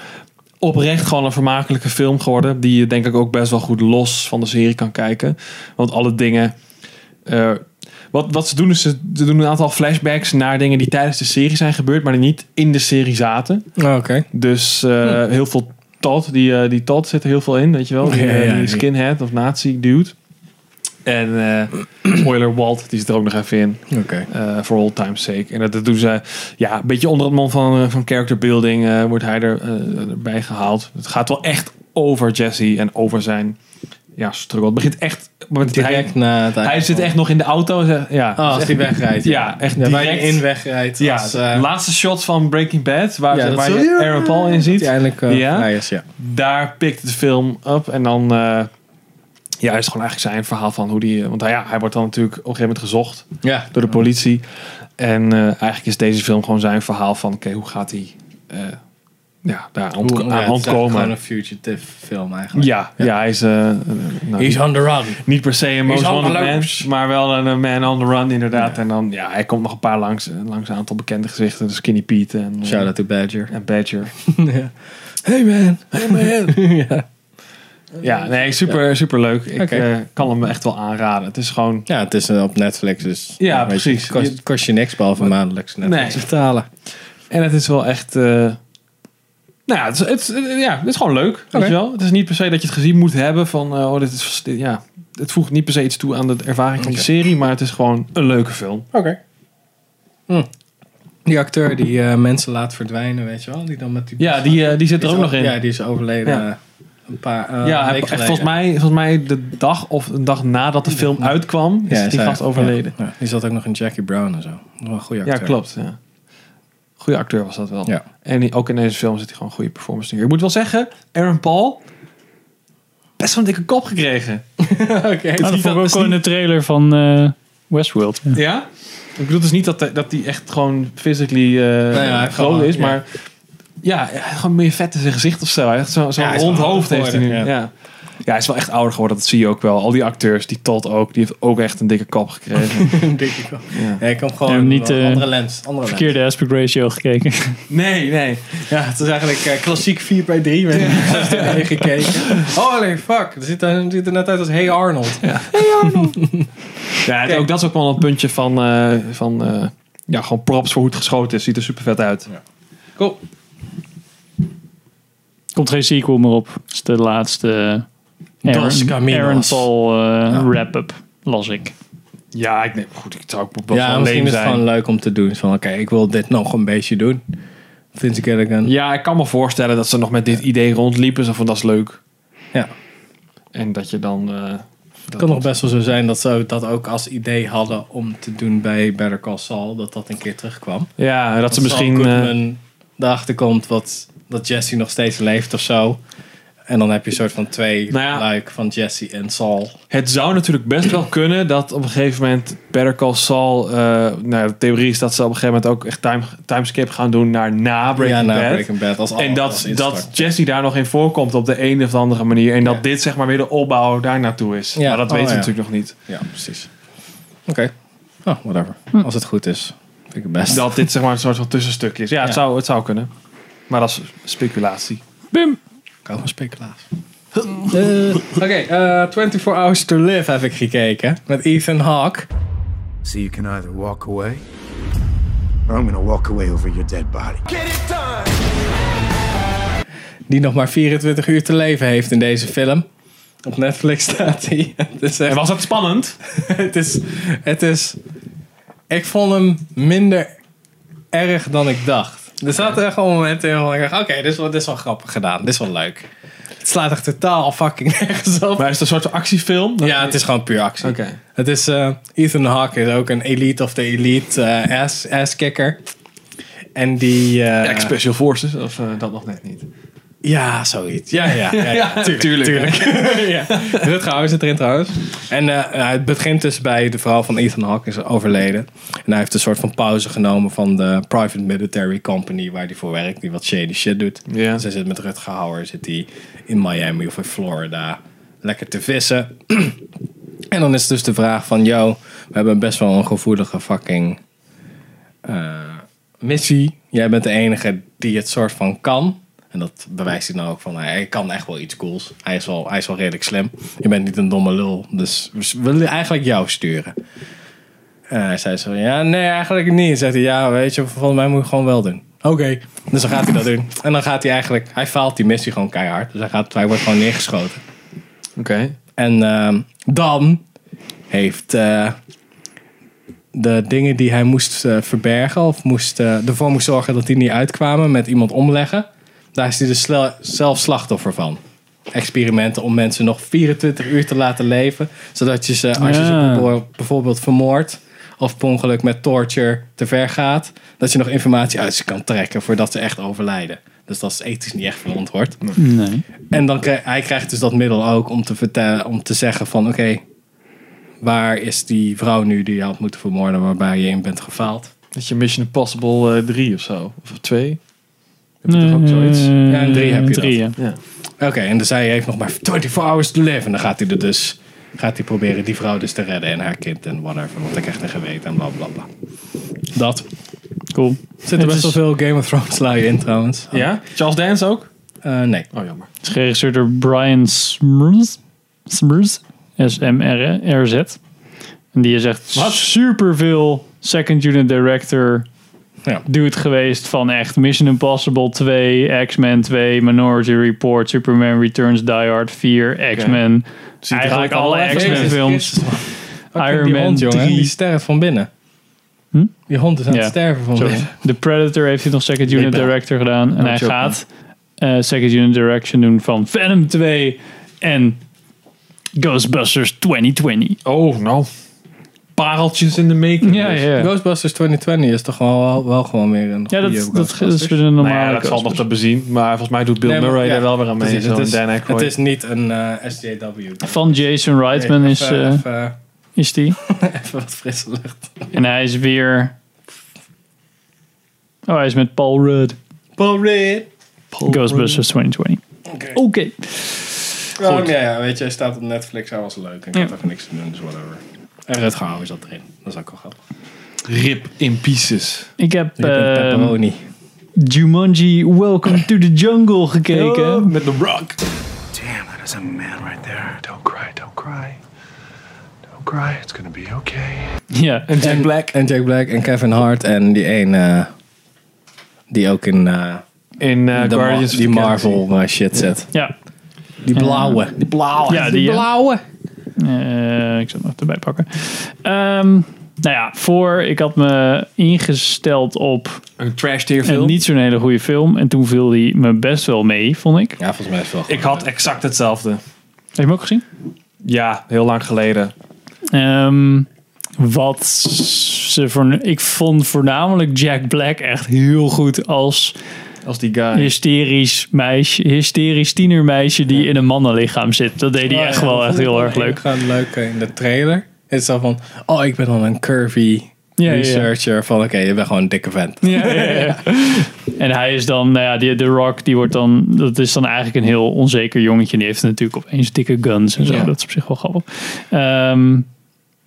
oprecht gewoon een vermakelijke film geworden. Die je denk ik ook best wel goed los van de serie kan kijken. Want alle dingen. eh, wat, wat ze doen is, ze ze doen een aantal flashbacks naar dingen die tijdens de serie zijn gebeurd, maar die niet in de serie zaten.
Ah, Oké.
Dus eh,
Hm.
heel veel Todd, die, eh, die Todd zit er heel veel in, weet je wel. Die,
Ja,
eh,
ja,
die
die-
skinhead of nazi dude. En eh, [clears throat] spoiler Walt, die zit er ook nog even in.
Oké.
eh, for all time's sake. En dat, dat doen ze ja, een beetje onder het mom van, eh, van character building eh, wordt hij er, eh, erbij gehaald. Het gaat wel echt over Jesse en over zijn ja, struggle. Het begint echt... Want hij,
Direct na het
hij oh,
einde
zit
van-
echt nog in de auto. zeg- Ja,
Ah, als die wegrijdt.
ja, echt
Ja, waar je
direct-
in wegrijdt.
ja,
als,
de
eh,
laatste shot van Breaking Bad, waar,
Ja,
ze-
dat
waar
zo-
je Aaron Paul in ziet.
uiteindelijk eh,
Ja?
vrij is, ja.
daar pikt de film op. En dan eh, ja, is het gewoon eigenlijk zijn verhaal van hoe die. eh, Want hij, ja, hij wordt dan natuurlijk op een gegeven moment gezocht
Ja.
door de politie. En eh, eigenlijk is deze film gewoon zijn verhaal van: oké, hoe gaat hij eh, ja, daar aan,
Hoe- ja,
aan
het is Gewoon
ontkomen?
een fugitive film eigenlijk.
Ja, ja. hij is eh, eh, nou,
He's on the run.
niet per se een most
He's on
wanted
the
man,
loose.
maar wel een eh, man on the run inderdaad. En dan, ja, hij komt nog een paar langs, langs een aantal bekende gezichten. Skinny Pete en, eh,
Shout out to Badger.
en Badger.
Hey man. Hey man.
Ja, nee, super, super leuk. Ik
Oké.
eh, kan hem echt wel aanraden. Het is gewoon
[laughs] ja, het is eh, op Netflix dus.
Ja,
weet je,
precies.
Kost, kost je niks behalve maandelijks Netflix
Nee.
betalen.
En het is wel echt. eh, nou ja het, is, het is- eh, ja, het is gewoon leuk. Weet
Oké.
je wel? Het is niet per se dat je het gezien moet hebben van. eh, oh, dit is, dit- ja, het voegt niet per se iets toe aan de ervaring van de serie, maar het is gewoon een leuke film.
Oké. Hm. Die acteur die eh, mensen laat verdwijnen, weet je wel? Die dan met die
Ja, die, eh, die zit er ook
is
nog
o-
in.
Ja, die is overleden
Ja.
eh, een paar eh,
Ja,
een
hij-
week
echt,
geleden.
volgens, mij, volgens mij de dag of een dag nadat de film uitkwam, is
Ja,
die
hij-
gast overleden.
Ja, ja. Die zat ook nog in Jackie Brown en zo. Wel een goede
Ja,
acteur.
klopt. Ja. Goede acteur was dat wel.
Ja.
En die- ook in deze film zit hij gewoon een goede performance neer. Ik moet wel zeggen, Aaron Paul, best wel een dikke kop gekregen.
Oké.
Ah, dat
niet
vond ik
dat-
ook
is
wel in de trailer van eh, Westworld. Ja.
Ja? Ik bedoel dus niet dat hij dat die echt gewoon physically eh
hij heeft
groot
gewoon-
is,
ja.
maar ja, hij heeft gewoon meer vet in zijn gezicht of zo. Hij heeft zo- zo'n
Ja, hij is
rond
wel
hoofd heeft hij nu. Ja.
geworden,
Ja. hij is wel echt ouder geworden, dat zie je ook wel. Al die acteurs, die Todd ook, die heeft ook echt een dikke kop [laughs] gekregen.
Een dikke kop.
Ja.
Ja, ik kom gewoon
En niet,
wel
eh,
andere lens. Andere lens.
Verkeerde aspect ratio gekeken. [laughs]
nee, nee.
Ja, het is eigenlijk eh, klassiek 4 bij 3 met [laughs] ja. gekeken. Holy fuck, er ziet er, het ziet er net uit als Hey Arnold.
Ja, het- ook dat is ook wel een puntje van, eh, van eh, ja, gewoon props voor hoe het geschoten is. Ziet er super vet uit.
Cool.
Komt geen sequel meer op. Het is de laatste eh,
Dos
Aaron,
Caminos.
Aaron Paul eh, wrap-up, las ik.
Ja, ik neem goed. Ik zou ook wel
Ja,
van
misschien
leem
is het
zijn.
gewoon leuk om te doen. Van oké, ik wil dit nog een beetje doen. Vince Gilligan. Ja.
Ja, ik kan me voorstellen dat ze nog met dit idee rondliepen. Zo van, dat is leuk.
ja.
En dat je dan... eh,
Het kan nog best wel zo zijn dat ze dat ook als idee hadden om te doen bij Better Call Saul. Dat dat een keer terugkwam.
Ja, dat, ze
Saul
misschien. eh,
Goodman erachter komt wat, dat Jesse nog steeds leeft of zo. Eh, En dan heb je een soort van twee
Nou ja.
luik van Jesse en Saul.
Het zou natuurlijk best wel kunnen dat op een gegeven moment Better Call Saul... eh, nou, de theorie is dat ze op een gegeven moment ook echt time, timeskip gaan doen naar na Breaking
ja, na
Bad.
Breaking Bad. Als
en
als
dat,
instart.
dat Jesse daar nog in voorkomt op de een of andere manier. En dat dit zeg maar weer de opbouw daar naartoe is.
Ja.
Maar dat
Oh,
weten we
ja.
natuurlijk nog niet.
Ja, precies. Oké. Oh, whatever. Als het goed is, vind ik het best.
Dat dit zeg maar een soort van tussenstuk is. Ja, Het,
Ja.
zou, het zou kunnen. Maar dat is speculatie.
Bim.
kan gewoon speculaas. Oké, eh, 24 Hours to Live heb ik gekeken. Met Ethan Hawke.
So you can either walk away, or I'm gonna walk away over your dead body.
Die nog maar 24 uur te leven heeft in deze film. Op Netflix staat hij. [laughs] Het is echt
En was dat spannend?
[laughs] het is, het is. Ik vond hem minder erg dan ik dacht. Er zaten echt wel momenten in waarvan ik dacht: oké, dit, is wel- dit is wel grappig gedaan. Dit is wel leuk. Het slaat echt totaal fucking [laughs] nergens op.
Maar is het een soort van actiefilm? Dat-
ja, het is gewoon puur actie.
Oké.
Het is, eh, Ethan Hawke is ook een elite of the elite eh, ass, ass-kicker. En die... eh,
Ex Special Forces, of eh, dat nog net niet.
ja, zoiets. Ja, ja, ja, [laughs] ja. tuurlijk.
tuurlijk.
[laughs] ja. Rutger Hauer zit erin trouwens. En eh, het begint dus bij de vrouw van Ethan Hawke is overleden. En hij heeft een soort van pauze genomen van de private military company waar hij voor werkt. Die wat shady shit doet.
Ja.
Dus hij zit met Rutger Hauer zit hij in Miami of in Florida lekker te vissen. [clears throat] en dan is dus de vraag van, yo, we hebben best wel een gevoelige fucking eh, missie. Jij bent de enige die het soort van kan. En dat bewijst hij dan ook van, hij kan echt wel iets cools. Hij is wel, hij is wel redelijk slim. Je bent niet een domme lul, dus we willen eigenlijk jou sturen. En hij zei zo, ja, nee, eigenlijk niet. Zegt hij, ja, weet je, volgens mij moet je het gewoon wel doen. Oké. Dus dan gaat hij dat doen. En dan gaat hij eigenlijk, hij faalt die missie gewoon keihard. Dus hij, gaat, hij wordt gewoon neergeschoten.
Oké.
En ehm, dan heeft eh, de dingen die hij moest eh, verbergen of moest, eh, ervoor moest zorgen dat die niet uitkwamen met iemand omleggen. Daar is hij dus sle- zelf slachtoffer van. Experimenten om mensen nog 24 uur te laten leven. Zodat je ze, als je ze
Ja.
bijvoorbeeld- bijvoorbeeld vermoordt of per ongeluk met torture te ver gaat, dat je nog informatie uit ze kan trekken voordat ze echt overlijden. Dus dat is ethisch niet echt verantwoord.
Nee.
En dan krijg, hij krijgt dus dat middel ook om te, vertellen, om te zeggen van oké, waar is die vrouw nu die je had moeten vermoorden waarbij je in bent gefaald?
Dat je Mission Impossible eh, 3 of zo. Of 2. Heb je
Nee,
toch ook zoiets?
eh,
Ja, een drie heb je
drie,
dat.
ja.
Ja.
Oké, en dus hij heeft nog maar 24 hours to live en dan gaat hij er dus gaat hij proberen die vrouw dus te redden en haar kind en whatever, want hij krijgt een geweten en bla bla bla. Dat.
Cool.
Zit er
Het
best wel
is-
veel Game of Thrones lui in trouwens.
ja? Charles Dance ook?
Eh, nee.
Oh, jammer.
Het is geregisseerd door Brian Smurs. Smurs. S-M-R-Z. En die is echt
Wat?
superveel second unit director
Ja.
dude geweest van echt Mission Impossible 2, X-Men 2, Minority Report, Superman Returns, Die Hard 4, X-Men. Eigenlijk
draait
alle
al
X-Men
even.
films.
Iron
Iron
die Man
Man
hond, jongen,
3.
die sterft van binnen. Die hond is aan
Hm? Ja.
het sterven van
Sorry.
binnen.
The Predator heeft hij nog second unit
ben-
director gedaan. En hij
joke,
gaat eh, second unit direction doen van Venom 2 en Ghostbusters 2020.
Oh, nou. Pareltjes in de making.
Ja,
dus.
ja. ja.
Ghostbusters 2020 is toch wel, wel, wel gewoon weer een
Ja,
goede
dat, dat
Ghostbusters.
is weer een normale
Nou ja, dat valt nog te
Ghostbusters.
bezien. Maar volgens mij doet Bill
Nee, maar-
Murray
ja,
daar wel weer aan mee.
precies,
Zo'n
het, is,
Dan Aykroyd.
het is niet een eh, SJW.
Van Jason Reitman
Nee,
is,
even,
eh,
even,
is die.
even wat frisse lucht.
En hij is weer... Oh, hij is met Paul Rudd.
Paul Reed.
Ghostbusters 2020.
Oké.
Oké.
Oh, ja, ja, weet je, hij staat op Netflix. Hij was leuk. Ik
Ja.
had even niks te doen, dus whatever. En Red Gauw is dat erin. Dat is ook wel grappig.
Rip in pieces.
Ik heb
Ik heb
eh,
pepperoni.
Jumanji Welcome to the Jungle gekeken.
Oh, Met The Rock.
Damn, that is a man right there. Don't cry, don't cry. Don't cry, it's gonna be okay.
Ja.
En Jack Black.
En Jack Black en Kevin Hart en die een eh, die ook in eh,
In eh,
de Mar-
Guardians of
die
the
Marvel eh, shit zit.
ja.
Die blauwe. Die blauwe.
Ja, die, eh,
blauwe.
Eh, ik zal het nog erbij pakken. Ehm, nou ja, voor ik had me ingesteld op
Galaxy. Een trash tier
een
film.
niet zo'n hele goede film. En toen viel die me best wel mee, vond ik. Heb
Ja, volgens mij is het wel
Ik had exact hetzelfde.
je hem ook gezien?
Ja, heel lang geleden.
Ehm, wat ze voor, ik vond voornamelijk Jack Black echt heel goed als
Als die guy.
hysterisch meisje, hysterisch tienermeisje die in een mannenlichaam zit. Dat deed hij
Oh
Oh
echt wel echt heel erg leuk.
Gewoon leuk eh, in de trailer. Het is dan van, oh, ik ben dan een curvy
Ja, ja, ja.
researcher. Van, oké, je bent gewoon een dikke vent.
[laughs] Ja, ja, ja. En hij is dan, nou ja, die, de Rock, die wordt dan, dat is dan eigenlijk een heel onzeker jongetje. Die heeft natuurlijk opeens dikke guns en zo.
Ja.
Dat is op zich wel grappig. Ehm,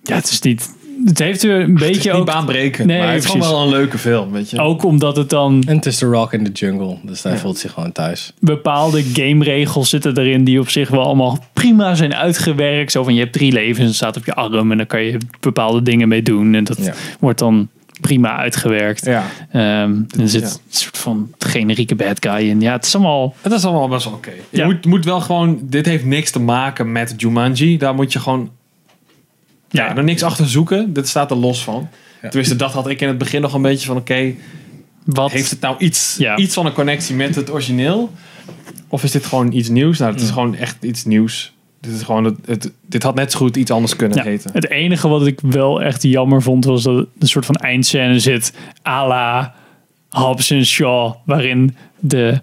ja, het is niet, het heeft weer een
Het is
beetje
niet
ook,
baanbrekend,
Nee,
maar het is gewoon
precies. Oh.
wel een leuke film, weet je.
ook omdat het dan
En het is The Rock in the Jungle. Dus hij voelt zich gewoon thuis.
bepaalde gameregels zitten erin die op zich wel allemaal prima zijn uitgewerkt. Zo van je hebt drie levens en het staat op je arm en dan kan je bepaalde dingen mee doen. En dat
Ja.
wordt dan prima uitgewerkt.
Ja.
Ehm, en er zit een soort van generieke bad guy in. Ja, het is allemaal...
Het is allemaal best wel oké. Je
Ja.
moet, moet wel gewoon... Dit heeft niks te maken met Jumanji. Daar moet je gewoon ja, er niks achter zoeken. Dit staat er los van. Tenminste, dat had ik in het begin nog een beetje van... Oké,
wat...
heeft het nou iets,
Ja.
iets van een connectie met het origineel? Of is dit gewoon iets nieuws? Nou, het
Mm.
is gewoon echt iets nieuws. Dit, is gewoon het, het- dit had net zo goed iets anders kunnen
Ja,
heten.
Het enige wat ik wel echt jammer vond was dat er een soort van eindscène zit à la Hobbs en Shaw, waarin de,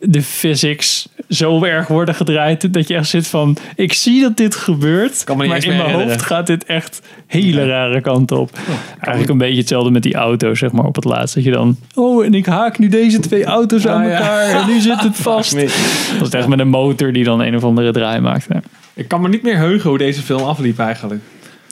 de physics zo erg worden gedraaid dat je echt zit van, ik zie dat dit gebeurt,
Kan me
maar
niet
in
eens
mijn
meer
hoofd
herinneren. Oh,
gaat dit echt hele rare kant op. Eigenlijk een beetje hetzelfde met die auto, zeg maar, op het laatst. Dat je dan, oh, en ik haak nu deze twee auto's aan
Ah, ja.
elkaar en nu zit
[laughs]
het vast.
Nee.
Dat is echt met een motor die dan een of andere draai maakt. Ja.
Ik kan me niet meer heugen hoe deze film afliep eigenlijk.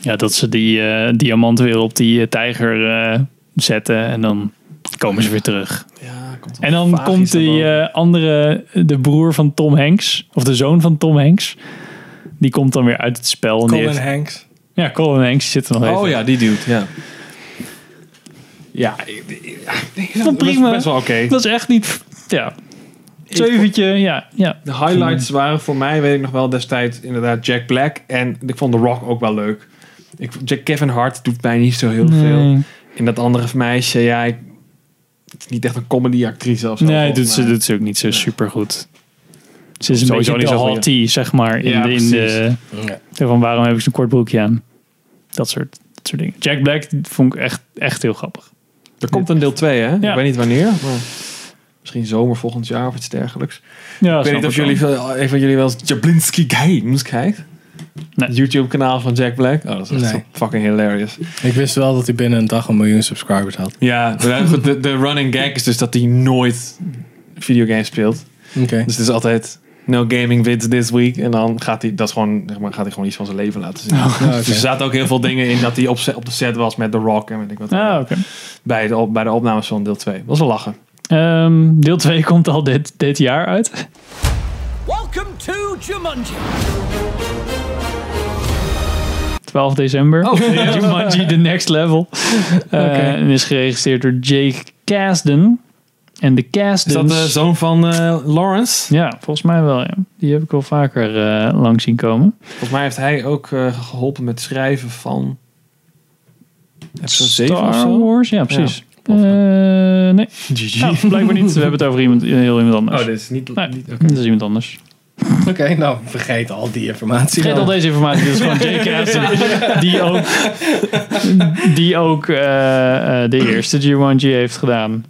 Ja, dat ze die eh diamant weer op die eh, tijger eh, zetten en dan komen ze weer terug.
Ja, komt
En dan
vaag
komt
is dat
die
ook.
eh, andere, de broer van Tom Hanks, of de zoon van Tom Hanks, die komt dan weer uit het spel. en die
Colin
heeft-
Hanks.
ja, Colin Hanks die zit er nog even.
Oh ja, die dude, ja. Ja, ik- ik- ik- dat was
prima.
best wel oké.
Dat is echt niet... Ja, zeventje, ja, ja.
De highlights waren voor mij, weet ik nog wel, destijds inderdaad Jack Black. En ik vond The Rock ook wel leuk. Ik, vond- Jack Kevin Hart doet mij niet zo heel veel. En dat andere meisje, ja, ik, het is niet echt een comedy-actrice of zo.
eh, Nee,
volgens
doet ze,
mij.
doet ze ook niet zo super goed. Ze is een
Sowieso
beetje
niet
de
zo goed,
hottie, zeg maar. In
Ja,
de, in de,
Ja.
Zo van waarom heb ik zo'n kort broekje aan? Dat soort, dat soort dingen. Jack Black vond ik echt, echt heel grappig.
Er komt een deel 2, hè?
Ja.
Ik weet niet wanneer. Maar misschien zomer volgend jaar of iets dergelijks.
Ja,
Ik weet niet of jullie, veel- een van jullie wel eens Jablinski Games kijkt.
Nee.
Het YouTube-kanaal van Jack Black. Oh, dat is echt
Nee.
zo fucking hilarious.
Ik wist wel dat hij binnen een dag een miljoen subscribers had.
Ja, maar goed, de, de running gag is dus dat hij nooit videogames speelt.
Oké.
Dus het is altijd no gaming wins this week. En dan gaat hij, dat is gewoon, zeg maar, gaat hij gewoon iets van zijn leven laten zien.
oké.
Dus er zaten ook heel veel dingen in dat hij op, se- op de set was met The Rock en weet ik wat.
Ah, oké.
bij, de, op- bij de opnames van deel 2. Was wel lachen.
Ehm, deel 2 [laughs] komt al dit, dit jaar uit.
Welcome to Jumanji.
12 december.
Oh.
[laughs] Jumanji The Next Level.
[laughs]
Eh, En is geregistreerd door Jake Kasdan. En de
Is
Kasdans...
dat de zoon van eh, Lawrence?
ja, volgens mij wel. Ja. Die heb ik wel vaker eh, langs zien komen.
Volgens mij heeft hij ook eh, geholpen met het schrijven van... Episode 7 of
Star
zo?
Wars? Ja, precies.
Ja.
Eh, nee,
GG.
Nou, blijkbaar niet. We hebben het over iemand, heel iemand anders.
Oh, dit is niet...
Nee,
niet oké.
dat is iemand anders.
[laughs] Oké, nou vergeet al die informatie.
Vergeet al
dan.
deze informatie. Dit is gewoon
[laughs]
Jake Aston. Die ook, die ook eh, eh, de eerste Jumanji heeft gedaan.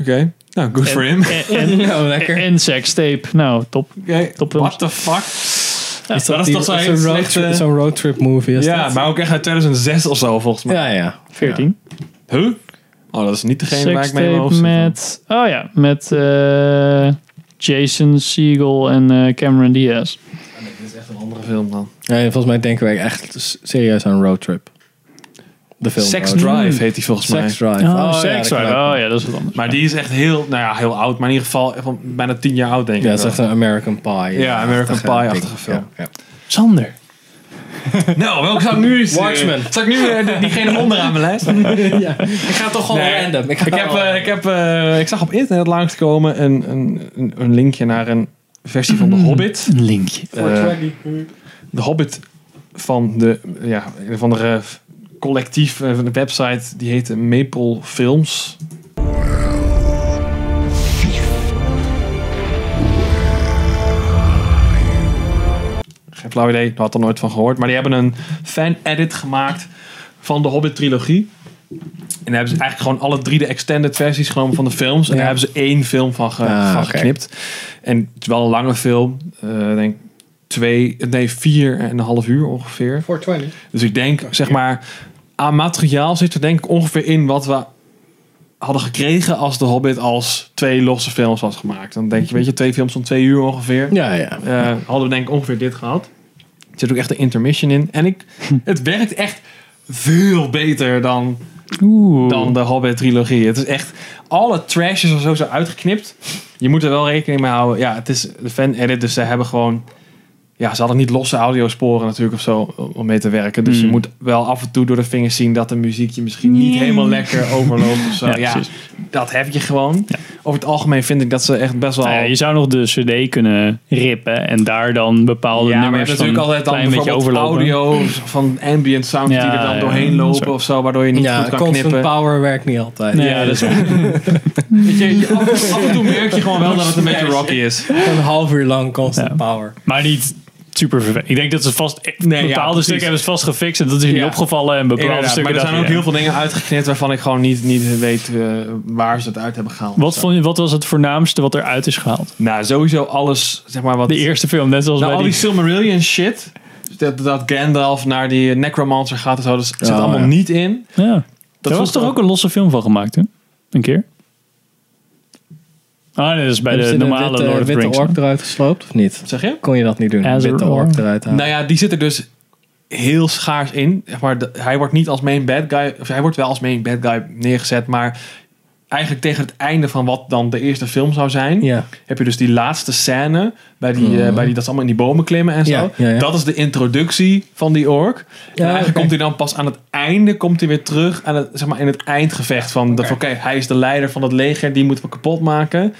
Oké. Nou, good for him.
En, en,
Nou,
en,
lekker.
sextape. Nou, top.
Oké.
Top films.
What the fuck?
Ja,
dat is
Die-
toch zo'n
zo'n road
slechte-
trip- zo'n roadtrip movie is
Ja,
dat?
maar ook echt uit 2006 of zo, volgens mij.
Ja, ja.
14.
Huh? Oh, dat is niet degene waar ik mee in mijn
Sextape
hoofd zit.
met... Oh ja, met eh, Jason Segel en eh, Cameron Diaz.
Dit is echt een andere film dan.
Nee, volgens mij denken wij echt s- serieus aan road trip. De film.
Sex
Road Trip.
Drive heet die volgens mij.
Sex Drive.
Oh,
ja,
Sex
dat kan
Drive.
ook.
Oh ja, dat is wat anders.
Maar die is echt heel, nou ja, heel oud. Maar in ieder geval echt van bijna tien jaar oud, denk ik.
Ja, dat is
wel.
echt een American Pie. eh,
Ja, American Pie-achtige
ding.
film.
Ja, ja.
Sander.
Nou, welke zou ik nu eens... eh,
Watchmen.
Zou ik nu eh, diegene onderaan mijn [laughs] lijst?
Ik ga toch gewoon
Nee,
random.
Ik, heb, eh, ik, heb, eh, ik zag op internet langskomen een, een, een, een linkje naar een versie van The Hobbit.
Een linkje.
Eh, de Hobbit van de eh, ja, een of andere collectief eh, van de website die heette Maple Films. Geen flauw idee, daar had er nooit van gehoord. Maar die hebben een fan-edit gemaakt van de Hobbit-trilogie. En daar hebben ze eigenlijk gewoon alle drie de extended versies genomen van de films. En daar hebben ze één film van, ge-
Ah,
van
oké.
geknipt. En het is wel een lange film. Eh, ik denk twee, nee, vier en een half uur ongeveer.
420.
Dus ik denk, zeg maar, aan materiaal zit er denk ik ongeveer in wat we hadden gekregen als The Hobbit als twee losse films was gemaakt. Dan denk je, weet je, twee films van twee uur ongeveer.
Ja, ja.
Eh, hadden we denk ik ongeveer dit gehad. Er zit ook echt een intermission in.
[laughs]
En ik, het werkt echt veel beter dan,
Oeh.
dan de Hobbit trilogie. Het is echt, alle trash is er zo zo uitgeknipt. Je moet er wel rekening mee houden. Ja, het is de fan edit, dus ze hebben gewoon... Ja, ze hadden niet losse audiosporen natuurlijk of zo om mee te werken. Dus
Hmm.
je moet wel af en toe door de vingers zien dat de muziekje misschien niet helemaal lekker overloopt of
[laughs]
zo.
Ja,
Ja,
precies.
dat heb je gewoon. Over het algemeen vind ik dat ze echt best wel...
Nou ja, je zou nog de CD kunnen rippen en daar dan bepaalde
Ja, maar je
nummers
hebt
van
natuurlijk altijd dan
klein beetje
bijvoorbeeld
overlopen.
audio van ambient sound
Ja,
die er dan
ja,
doorheen
ja,
lopen
sorry.
of zo, waardoor je niet
Ja,
goed kan
constant
knippen.
power werkt niet altijd.
Nee, ja, dat is waar.
Weet
[laughs]
je, je- af, af en toe merk je gewoon wel dat het een beetje rocky is.
Een half uur lang constant power.
maar niet super vervelend. Ik denk dat ze vast e-
Nee, ja,
bepaalde
precies.
stukken hebben ze vast gefixt en dat is je niet
Ja.
opgevallen en bepaalde
Inderdaad,
stukken
maar er
dacht je,
zijn ook
ja.
heel veel dingen uitgeknipt waarvan ik gewoon niet, niet weet eh, waar ze het uit hebben gehaald.
Wat, vond je, wat was het voornaamste wat eruit is gehaald?
Nou, sowieso alles, zeg maar wat...
De eerste film, net zoals
nou, al
bij
die
die...
Silmarillion shit. Dat, dat Gandalf naar die Necromancer gaat en zo, dat zit
Oh,
allemaal
ja.
niet in.
Ja. Daar was
vond ik
toch
ook-
ook een losse film van gemaakt, hè? Een keer? Ah, nee, dat is bij
Hebben
de
ze
normale
witte,
Lord of the
witte
Rings.
ork eruit gesloopt of niet?
Zeg je?
Kon je dat niet doen?
As a
witte
roar.
ork eruit halen.
Nou ja, die zit er dus heel schaars in. Zeg maar, de- hij wordt niet als main bad guy, of hij wordt wel als main bad guy neergezet, maar eigenlijk tegen het einde van wat dan de eerste film zou zijn,
Ja. Mhm.
heb je dus die laatste scène bij die, eh, bij die dat ze allemaal in die bomen klimmen en zo.
Ja, ja, ja.
Dat is de introductie van die ork. en eigenlijk
oké.
komt hij dan pas aan het einde komt hij weer terug aan het, zeg maar, in het eindgevecht van dat van, oké, hij is de leider van het leger, die moeten we kapot maken.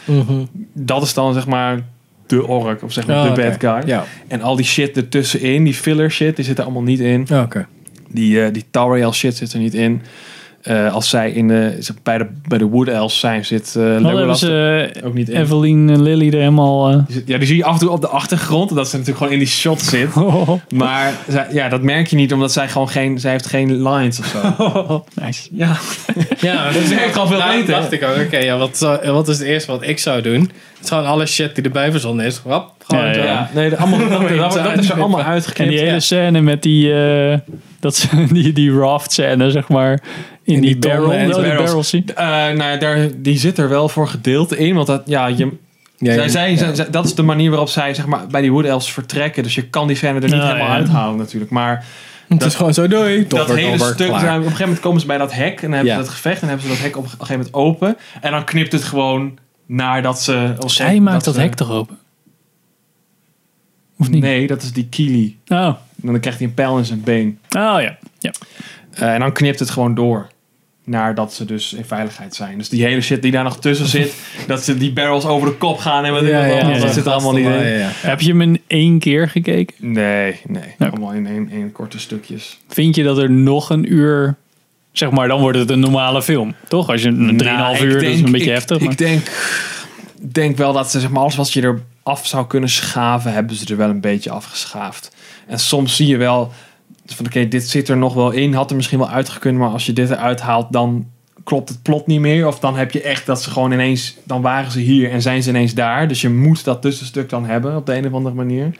Dat is dan zeg maar de ork of zeg maar
Oh,
de
Mhm. oké.
bad guy.
Ja.
En al die shit ertussenin, die filler shit, die zit er allemaal niet in.
Oh, Oké.
Die, eh, die Tower Elf shit zit er niet in. Eh, als zij in de, ze- bij, de, bij de Wood Elves zijn, zit eh
Wat hebben
Legolas er
ze Oh, eh,
ook niet in.
Evelyn en Lily er helemaal... eh,
Die zit- Ja, die zie je af en toe op de achtergrond. Dat ze natuurlijk gewoon in die shot
[laughs]
zit. Maar zij- ja, dat merk je niet, omdat zij gewoon geen... Zij heeft geen lines of zo.
nice.
[laughs] Ja,
Ja, dat
is echt al veel beter.
Nou, dacht ik ook. Oké, ja, wat, zou- wat is het eerste wat ik zou doen? Het is gewoon alle shit die erbij verzonnen is. Hop, gewoon
Ja,
zo.
ja.
nee, [laughs] dat, allemaal, dat, dat- dat is er allemaal
En
uitgeknipt.
die hele scène met die, eh, dat, ze- [laughs] die, die raft scène, zeg maar. In, die,
die
barrel.
tonnen en
oh,
die
die
barrels.
barrels. zie-
Eh, nou ja, daar, die zit er wel voor gedeelte in. Want dat, ja, je,
Ja,
zij,
ja.
zij- zij- zij- dat is de manier waarop zij zeg maar, bij die Wood Elves vertrekken. Dus je kan die scène er niet
Ja,
helemaal
Nou, ja.
uithalen natuurlijk. Maar
het is gewoon zo, doei.
dat
Dobber,
hele
dobber,
stuk,
klaar.
zijn- op een gegeven moment komen ze bij dat hek. En dan hebben
Ja.
ze dat gevecht. En dan hebben ze dat hek op een gegeven moment open. En dan knipt het gewoon nadat ze... of
Zij
ze-
maakt dat,
ze-
hek toch open? Of niet?
Nee, dat is die Kili.
Oh.
En dan krijgt hij een pijl in zijn been.
oh, ja. ja.
Eh, en dan knipt het gewoon door. Nadat ze dus in veiligheid zijn. Dus die hele shit die daar nog tussen zit.
[laughs]
dat ze die barrels over de kop gaan. En met
Ja, ja, ja,
dat
dat zit er allemaal niet in.
Ja, ja, ja.
Heb je hem in één keer gekeken?
Nee, nee.
Ja.
Allemaal in één, één korte stukjes.
Vind je dat er nog een uur... Zeg maar, dan wordt het een normale film. Toch? Als je een 3,5
Nou, ik
uur, dat is
denk-
een beetje
ik-
heftig.
Ik
maar-
denk, ik denk wel dat ze zeg maar, alles wat je er af zou kunnen schaven, hebben ze er wel een beetje afgeschaafd. En soms zie je wel van oké, dit zit er nog wel in, had er misschien wel uitgekund, maar als je dit eruit haalt, dan klopt het plot niet meer. Of dan heb je echt dat ze gewoon ineens, dan waren ze hier en zijn ze ineens daar. Dus je moet dat tussenstuk dan hebben op de een of andere manier.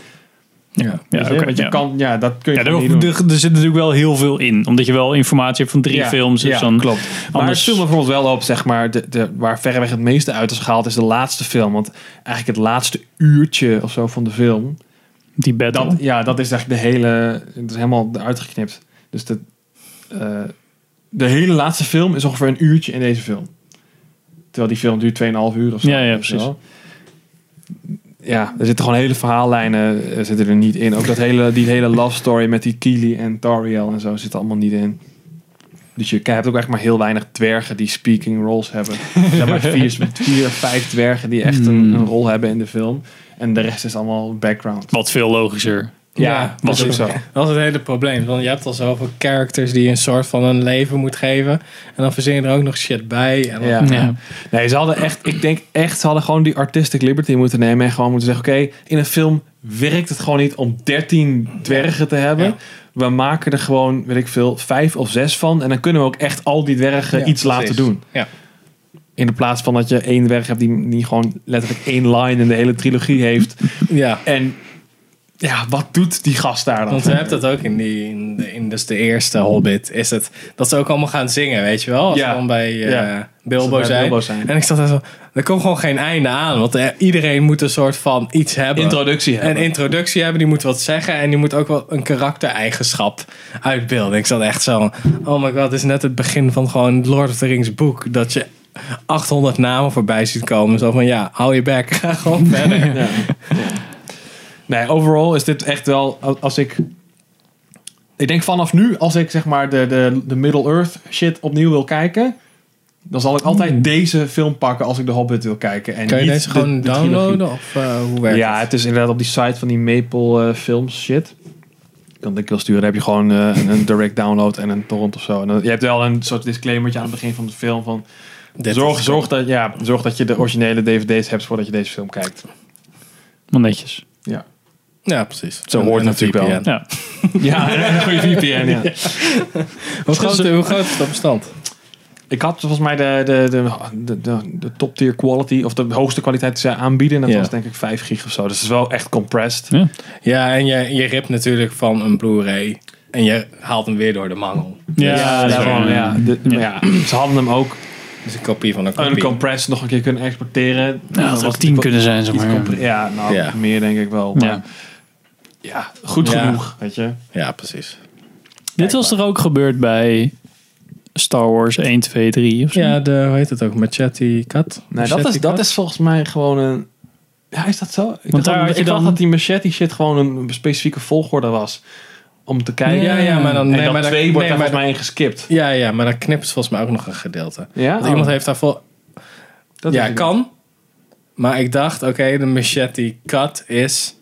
Ja.
ja,
Weet je?
oké,
Want je
ja.
kan, ja, dat kun je
Ja,
gewoon
er,
niet doen.
er, er zit natuurlijk wel heel veel in. Omdat je wel informatie hebt van drie
Ja,
films. Dus
ja,
dan
klopt. Maar het
Anders-
viel me bijvoorbeeld wel op, zeg maar, de, de, waar verreweg het meeste uit is gehaald, is de laatste film. Want eigenlijk het laatste uurtje of zo van de film,
die battle.
dat, ja, dat is eigenlijk de hele, het is helemaal eruit geknipt. Dus de, eh, de hele laatste film is ongeveer een uurtje in deze film. Terwijl die film duurt 2,5 uur of zo.
Ja, ja,
weet je
precies.
wel. Ja, er zitten gewoon hele verhaallijnen eh, zitten er niet in. Ook dat hele, die hele love story met die Kili en Tariel en zo zit er allemaal niet in. Dus je hebt ook echt maar heel weinig dwergen die speaking roles hebben. Er
[laughs]
zijn maar vier, vier of vijf dwergen die echt
Hmm.
een, een rol hebben in de film. En de rest is allemaal background.
Wat veel logischer.
Ja,
was ook
precies.
zo.
[laughs] Dat is het hele probleem. Want je hebt al zoveel characters die je een soort van een leven moet geven. En dan verzin je er ook nog shit bij. En dan-
Ja.
Ja.
Nee, ze hadden echt, ik denk echt, ze hadden gewoon die artistic liberty moeten nemen. En gewoon moeten zeggen: oké, in een film werkt het gewoon niet om 13 dwergen te hebben. we maken er gewoon, weet ik veel, vijf of zes van. En dan kunnen we ook echt al die dwergen iets laten doen.
Ja.
In de plaats van dat je één dwerg hebt die, die gewoon letterlijk één line in de hele trilogie heeft.
ja.
En ja, wat doet die gast daar dan?
Want je hebt dat ook in, die, in, de, in dus de eerste Hobbit. Is het dat ze ook allemaal gaan zingen, weet je wel? Als
Ja.
ze dan bij eh,
Ja. Als ze
Bilbo,
bij
zijn.
Bilbo zijn.
En ik zat daar zo... Er komt gewoon geen einde aan. Want eh, iedereen moet een soort van iets hebben.
Introductie hebben.
Een introductie hebben. Die moet wat zeggen. En die moet ook wel een karaktereigenschap uitbeelden. Ik zat echt zo... Oh my god, het is net het begin van gewoon het Lord of the Rings boek. Dat je 800 namen voorbij ziet komen. Zo van, ja, hou je bek. [laughs] Ga gewoon verder.
Nee, overall is dit echt wel, als- als ik... Ik denk vanaf nu, als ik zeg maar de, de, de Middle-earth shit opnieuw wil kijken... Dan zal ik altijd deze film pakken als ik de Hobbit wil kijken. En
Hmm. Kan je
niet
deze
de-
gewoon
de trilogie.
downloaden? Of eh, hoe werkt
Ja, het is inderdaad op die site van die Maple eh, Films shit. Ik kan ik wel sturen. Dan heb je gewoon eh, een- een direct download en een torrent of zo. En dan, je hebt wel een soort disclaimertje aan het begin van de film van...
Dit
zorg,
is-
zorg, dat, ja, zorg dat je de originele dvd's hebt voordat je deze film kijkt.
Wel netjes.
Ja.
[laughs] Ja, precies.
Zo hoort het natuurlijk wel.
Ja.
Ja, [laughs] en een goede VPN, ja.
Hoe groot, hoe groot is dat bestand?
Ik had volgens mij de, de, de, de, de, de top tier quality, of de hoogste kwaliteit die zij aanbieden. En dat
Ja.
was denk ik 5 gig of zo. Dus het is wel echt compressed.
Ja.
Ja, en je, je ript natuurlijk van een Blu-ray. En je haalt hem weer door de mangel. eh,
Ja,
Ja, daarom, Dus, eh, ja. De- maar ja, ze hadden hem ook
Dus een kopie van een kopie.
uncompressed nog Oh, een keer kunnen exporteren.
Nou,
Dan
dat
was
had
het
tien
natuurlijk
kunnen zijn, zeg
iets
maar.
compre- Ja, nou,
Ja.
meer denk ik wel.
Ja.
Maar ja, goed
Ja.
genoeg, weet je.
Ja, precies.
Dit was er ook gebeurd bij Star Wars 1, 2, 3 of zo.
Ja, de, hoe heet het ook? Machete Cat?
Nee, dat, is, dat is volgens mij gewoon een... Ja, is dat zo? Ik, dacht,
daar
dat-
had je
ik dacht
dan-
dat die machete shit gewoon een specifieke volgorde was. Om te kijken.
Ja, ja, maar dan...
En
Nee,
dat
maar daar-
twee
nee,
wordt daar
maar
volgens mij in geskipt.
Ja, ja, maar daar knipt ze volgens mij ook nog een gedeelte.
Ja?
Want
Oh.
iemand heeft daar vol...
Dat
ja,
weet ik
kan. Maar ik dacht, oké, de machete cut is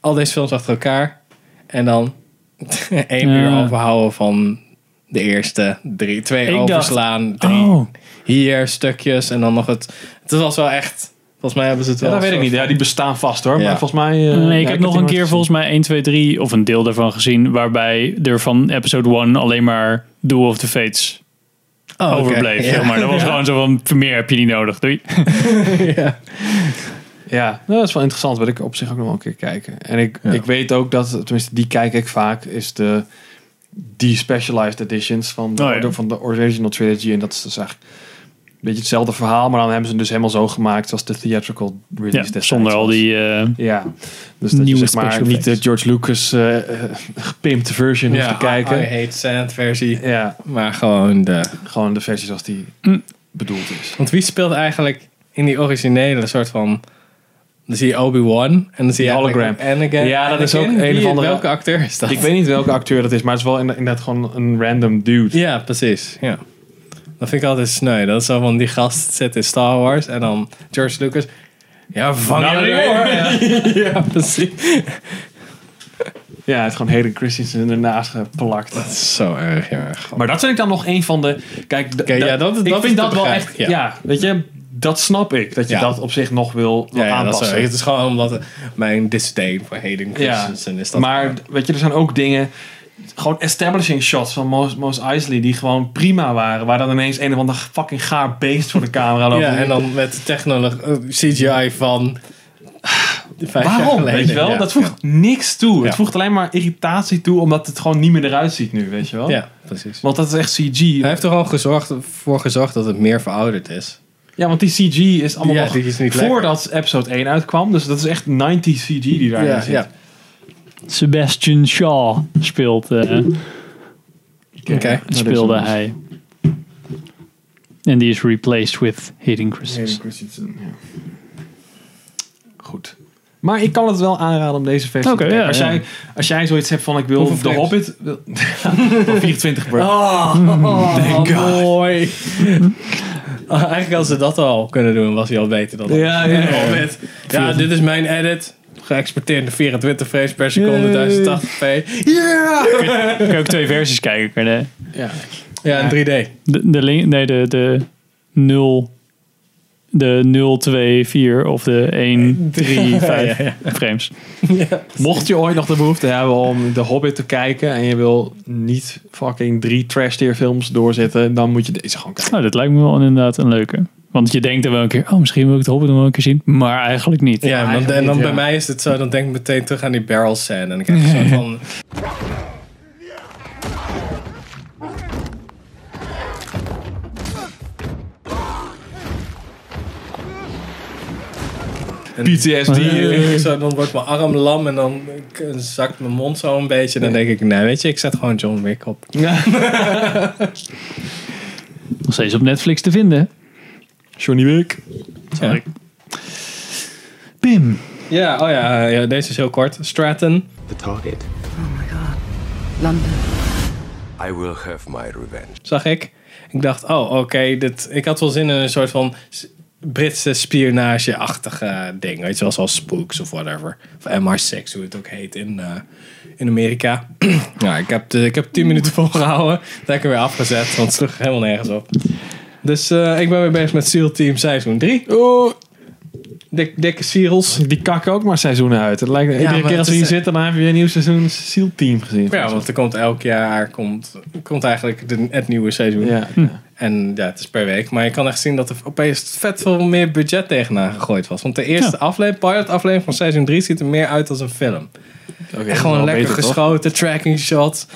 al deze films achter elkaar. En dan [laughs] één
Ja.
uur overhouden van de eerste drie. Twee
Ik dacht-
overslaan, drie
Oh,
hier stukjes en dan nog het... Het was wel echt... Volgens mij hebben ze het
Ja,
wel...
dat weet ik
een
niet. Ja, die bestaan vast hoor.
Ja.
Maar volgens mij... eh, ja,
nee, ik
heb
heb
die
nog een
nooit
keer
gezien.
volgens mij 1, 2, 3 of een deel daarvan gezien. Waarbij er van episode 1 alleen maar Duel of the Fates
soort- Oh, oké.
overbleef.
[laughs] Ja.
zeg maar dat was gewoon zo van, meer heb je niet nodig. Doei.
[laughs]
Ja, nou, dat is wel interessant. Wil ik op zich ook nog wel een keer kijken. En ik, ik weet ook dat, tenminste, die kijk ik vaak, is de die specialized editions van de,
Oh, ja.
van de original trilogy. En dat is dus eigenlijk een beetje hetzelfde verhaal, maar dan hebben ze hem dus helemaal zo gemaakt zoals de theatrical release.
Ja,
destijds
zonder al
was.
die... eh,
Ja, dus dat je
nieuwe
zeg maar
special
niet de
effects.
George Lucas eh eh, gepimpte version hoeft
Ja, ah,
te kijken.
I hate sand versie.
Ja,
Maar gewoon de...
gewoon de versie zoals die
Mm.
bedoeld is.
Want wie speelt eigenlijk in die originele soort van... Dan zie je Obi-Wan en dan zie je
Die
eigenlijk Anakin.
Ja, dat is ook
Anakin.
een of
Wie-
andere-
Welke acteur is dat?
Ik weet niet welke acteur dat is, maar het is wel inderdaad inderdaad gewoon een random dude.
Ja, precies. Ja. Dat vind ik altijd sneu. Dat is zo van die gast zit in Star Wars en dan George Lucas. Ja, vang
Nou,
hem
nee,
door.
hoor.
Ja, precies.
Ja, het is gewoon Hayden Christensen ernaast geplakt.
Dat is [laughs] zo erg, ja.
Maar dat vind ik dan nog een van de. Kijk, d-
Oké,
dat-
ja, dat-
ik
dat is
vind
te
dat wel
begrijpen,
echt. Ja.
ja.
weet je, dat snap ik. Dat je
Ja.
dat op zich nog wil, wil
Ja, ja, dat is,
aanpassen.
zo. het is gewoon omdat het- mijn disdain voor Hayden Christensen is dat.
maar weet je, er zijn ook dingen. Gewoon establishing shots van Mos, Mos Eisley die gewoon prima waren. Waar dan ineens een of ander fucking gaar beest voor de camera loopt.
ja, en dan met de technologie eh, CGI van de vijf jaar
Waarom?
geleden.
Weet je wel?
Ja.
Dat voegt niks toe. Het
Ja.
voegt alleen maar irritatie toe, omdat het gewoon niet meer eruit ziet nu, weet je wel?
Ja, precies.
Want dat is echt CG.
Hij heeft er al gezorgd, voor gezorgd dat het meer verouderd is.
Ja, want die CG is allemaal
Ja,
nog
die is niet
voordat episode 1 uitkwam. Dus dat is echt 90 CG die daarin zit.
Sebastian Shaw speelt, eh,
Oké.
speelde hij. En die is replaced with Hayden Christensen.
Goed. Maar ik kan het wel aanraden om deze versie
Oké,
te kijken.
ja,
als,
ja.
Jij, als jij zoiets hebt van ik wil
Hoeveel
de
frames? Oh.
Hobbit... wil- [laughs] van 24 per.
mooi. [laughs] Eigenlijk als ze dat al kunnen doen, was hij al beter dan
Ja, ja, ja.
Hobbit. Ja, dit is mijn edit. Geëxporteerd in 24 frames per seconde, 1080p.
Kun je ook twee versies kijken. Kun je
Ja.
Ja, in 3D.
de, de, de, link- nee, de, de 0 de 024 of de 135
[laughs] Ja, ja,
frames.
[laughs]
Mocht je ooit nog de behoefte hebben om The Hobbit te kijken en je wil niet fucking drie trash tier films doorzetten, dan moet je deze gewoon kijken.
Nou, dat lijkt me wel inderdaad een leuke. Want je denkt dan wel een keer, oh, misschien wil ik het Hobbit nog wel een keer zien. Maar eigenlijk niet.
Ja, want, en dan bij mij is het zo, dan denk ik meteen terug aan die barrel scène. En ik heb een soort van...
PTSD.
Ik Zo, dan wordt mijn arm lam en dan k- zakt mijn mond zo een beetje. En dan denk ik, nee, weet je, ik zet gewoon John Wick op.
Nog steeds op Netflix te vinden.
Johnny Wick.
Sorry. Pim.
Ja, oh ja, ja, deze is heel kort. Stratton.
The target.
London.
I will have my revenge.
zag ik. Ik dacht, oh, oké, dit- ik had wel zin in een soort van s- Britse spionage-achtige ding. Weet je wel, zoals Spooks of whatever. Of MR6, hoe het ook heet in, eh, in Amerika. [clears throat] nou, ik heb, de, ik heb tien minuten volgehouden. Dat heb ik er weer afgezet, want het sloeg helemaal nergens op. Dus eh, ik ben weer bezig met SEAL Team seizoen 3.
Oeh,
Dik, dikke SEALs.
die kakken ook maar seizoenen uit. Het lijkt, iedere
maar
keer als
het
we hier
is- eh,
zitten, dan heb je weer een nieuw seizoen SEAL Team gezien.
Ja, want er komt elk jaar komt, komt eigenlijk de, het nieuwe seizoen.
ja.
En ja, het is per week. Maar je kan echt zien dat er opeens vet veel meer budget tegenaan gegooid was. Want de eerste aflevering, pilot aflevering van seizoen 3 ziet er meer uit als een film.
Oké,
Echt gewoon
wel
lekker
beter, toch?
geschoten, tracking shot,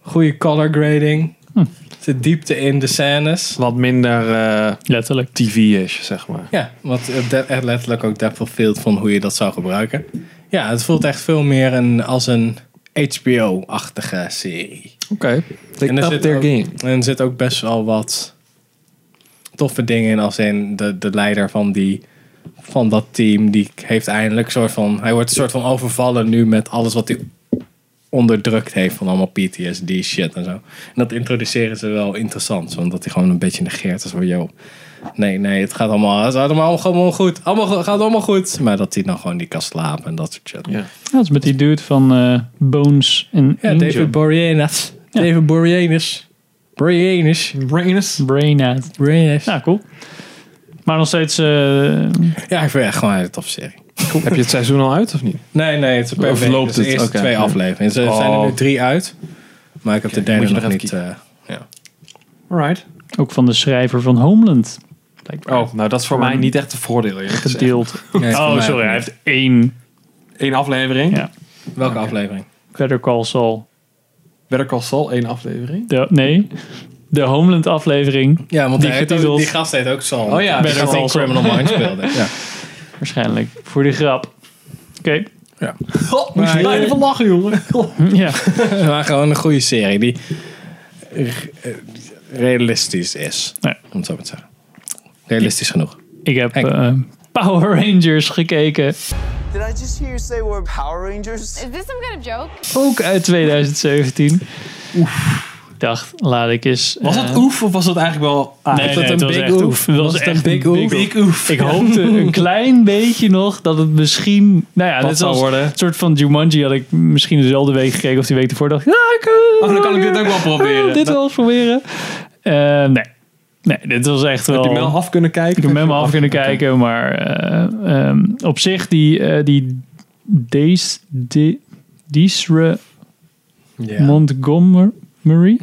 goede color grading.
Hm.
Er Zit diepte in de scènes.
Wat minder eh,
Letterlijk.
TV-ish, zeg maar.
Ja, want eh, de- echt letterlijk ook depth of field van hoe je dat zou gebruiken. Ja, het voelt echt veel meer een, als een HBO-achtige serie.
Oké.
En
Take
er,
up
zit
their
ook,
game.
en er zit ook best wel wat toffe dingen in. Als in de, de leider van, die, van dat team, die heeft eindelijk soort van. Hij wordt een soort van overvallen nu met alles wat hij onderdrukt heeft van allemaal PTSD shit en zo. En dat introduceren ze wel interessant, want dat hij gewoon een beetje negeert. Als van, joh, nee, nee, het gaat allemaal, het gaat allemaal gewoon goed. Allemaal go- gaat allemaal goed. Maar dat hij dan gewoon niet kan slapen en dat soort shit.
Ja.
Ja, dat is met die dude van eh, Bones en
Ja,
Angel.
David Boreanaz. David Boreanaz. Boreanaz.
Brainus.
Brainhead.
Boreanaz.
Ja, cool. Maar nog steeds... eh,
Ja, ik vind het echt gewoon een hele toffe serie.
Heb je het seizoen al uit of niet?
Nee, nee, het is per
Of
week.
loopt
Dus de
het?
eerste
Oké.
twee
Ja.
afleveringen. Er zijn er
Oh.
nu drie uit. Maar ik heb de
moet
derde
je
nog
nog even
niet... eh, ja.
Alright.
ook van de schrijver van Homeland. Blijkbaar.
Oh, nou dat is voor
Ehm,
mij niet echt een voordeel. eerlijk
[laughs]
gezegd.
Gedeeld.
Nee, het is voor
Oh,
mij
sorry.
ook
Hij
niet.
heeft één
Eén aflevering.
Ja.
Welke aflevering?
Better Call Saul.
Better Call Saul, één [laughs] aflevering.
De, nee, de Homeland aflevering
Ja, want
Die
die, hij heeft ook-
getiteld-
die gast heet ook Saul.
Oh ja,
die
Better
gaat in
Call Saul.
Criminal [laughs] Minds speelde. Ja.
waarschijnlijk. Voor de grap. Oké. [laughs]
God,
moest je bijna van
lachen, [laughs] jongen.
Ja.
Maar gewoon een goede serie die re- eh, realistisch is.
Ja.
Om het zo maar te zeggen. Realistisch genoeg.
Ik heb
Henk.
eh, Power Rangers gekeken.
Did I just hear you say we're Power Rangers?
Is this some kind of joke?
Ook uit 2017. Oef. Ik dacht, laat ik eens...
Was
eh,
dat oef of was dat eigenlijk wel... Ah,
Nee,
Is
nee,
dat
het
een
was
big
echt
oef?
oef. Het was
Was het
echt
een big oef?
Big oef.
Ik [laughs] hoopte een klein beetje nog dat het misschien... Nou ja, net
zou
zoals
worden.
een soort van Jumanji had ik misschien dezelfde week gekeken of die week ervoor dacht ik... Ah, ik, eh,
Oh, dan kan ik dit ook wel
[laughs]
proberen.
eh, dit
Dat-
wel eens proberen. Eh, nee. Nee, dit was echt wel...
Heb je hem af kunnen kijken?
Ik heb hem helemaal af
[laughs]
kunnen kijken, maar eh, ehm, op zich die, eh die Dace, de, Desre Montgomery,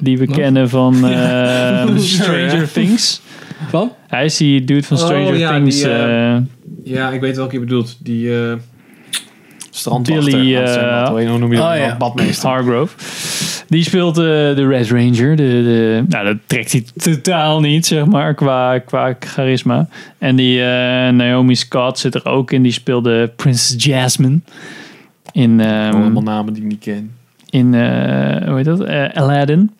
die we kennen van eh, Stranger
ja.
Things.
Van?
Hij is die dude van
Oh,
Stranger
ja,
Things,
die, eh,
eh,
Ja, ik weet welke je bedoelt. Die eh, strandwachter.
Billy
Dat zijn dat.
eh
Hoe heet- hoe noem je dat?
oh ja.
Badmeester.
Hargrove. Die speelt eh, de Red Ranger. De, de, nou, dat trekt hij totaal niet, zeg maar, qua, qua charisma. En die eh, Naomi Scott zit er ook in. Die speelde Princess Jasmine. In, ehm,
Allemaal namen die ik niet ken.
in eh, hoe heet dat? Eh, Aladdin.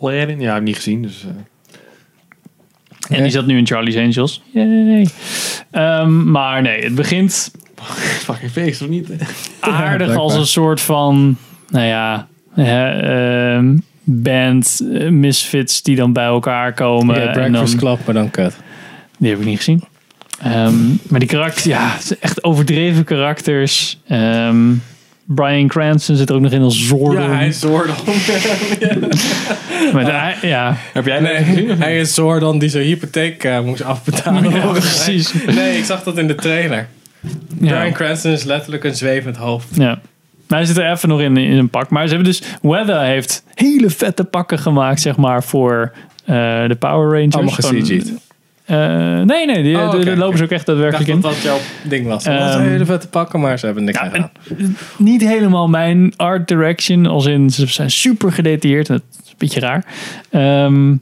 Aladdin? Ja, heb ik niet gezien. Dus, eh. [laughs]
En die zat nu in Charlie's Angels. Yay. Ehm, maar nee, het begint
fucking feest of niet?
aardig
blijkbaar.
als een soort van, nou ja, hè, ehm, band eh, misfits die dan bij elkaar komen.
Ja,
eh, en dan,
Breakfast Club, maar dan kut.
die heb ik niet gezien. Ehm, maar die karakter, ja, het is echt overdreven karakters. Ehm, Brian Cranston zit er ook nog in als Zordon.
Ja, hij is Zordon.
Met, hij- ja.
Heb jij
Nee, hij is Zordon die zijn hypotheek eh, moest afbetalen.
Ja, precies.
Nee, ik zag dat in de trailer.
Ja.
Brian Cranston is letterlijk een zwevend hoofd.
Ja. Maar hij zit er even nog in, in een pak. Maar ze hebben dus... Weather heeft hele vette pakken gemaakt, zeg maar, voor eh, de Power Rangers.
Allemaal
Gewoon-
ge-CG'd. Ik
Eh, nee, nee, die,
Oh,
die-
oké,
die lopen ze ook echt daadwerkelijk
dacht
in.
dat dat jouw ding was.
Ehm,
Dat is een hele vette pakken, maar ze hebben niks aan gedaan.
Niet helemaal mijn art direction, als in ze zijn super gedetailleerd. en Dat is een beetje raar. Ehm,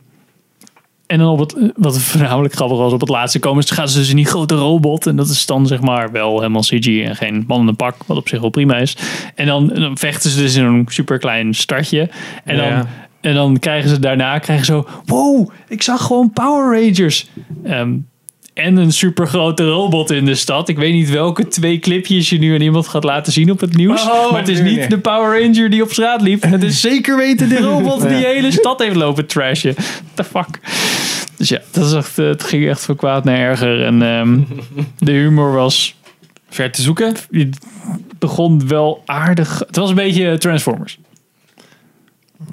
en dan op het, wat voornamelijk grappig was, op het laatste komen ze, gaan ze dus in die grote robot. En dat is dan zeg maar wel helemaal CG en geen mannende pak, wat op zich wel prima is. En dan, dan vechten ze dus in een super klein startje. En dan...
Ja.
En dan krijgen ze daarna krijgen ze zo... Wow, ik zag gewoon Power Rangers. Ehm, en een supergrote robot in de stad. Ik weet niet welke twee clipjes je nu aan iemand gaat laten zien op het nieuws.
Oh,
maar het is
nee,
niet
nee.
de Power Ranger die op straat liep. Het is zeker weten de
[laughs]
robot die de hele stad heeft lopen trashen. What the fuck? Dus ja, dat is echt, eh, het ging echt van kwaad naar erger. En ehm,
[laughs]
de humor was...
ver te zoeken?
Het begon wel aardig... Het was een beetje Transformers.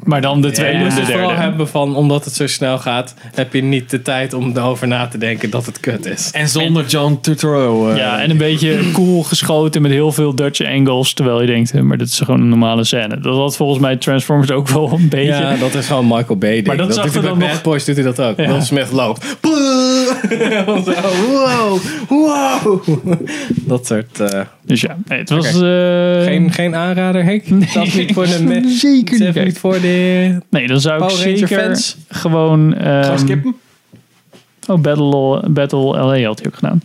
Maar dan de tweede
Je
en
moet
de
het vooral
derde.
hebben van, omdat het zo snel gaat, heb je niet de tijd om erover na te denken dat het kut is.
En zonder John Turturro. eh,
Ja, en een beetje cool geschoten met heel veel Dutch angles. Terwijl je denkt, hè, maar dit is gewoon een normale scène. Dat had volgens mij Transformers ook wel een beetje.
Ja, dat is gewoon Michael Bay. ding.
Maar dat zag
doet hij
er
bij
dan nog-
Bad Boys doet hij dat ook.
Ja.
Will Smith loopt. [laughs] Zo, wow, wow. Dat soort... eh,
Dus ja, nee, het was...
Oké.
eh,
geen, geen aanrader, Henk? Zelfs niet voor de... me-
Zeker niet,
zelfs
Henk.
niet voor de...
Nee, dan zou ik
Power Ranger
zeker
fans?
gewoon... ehm,
Gaan we skippen?
Oh, Battle, Battle LA had hij ook gedaan.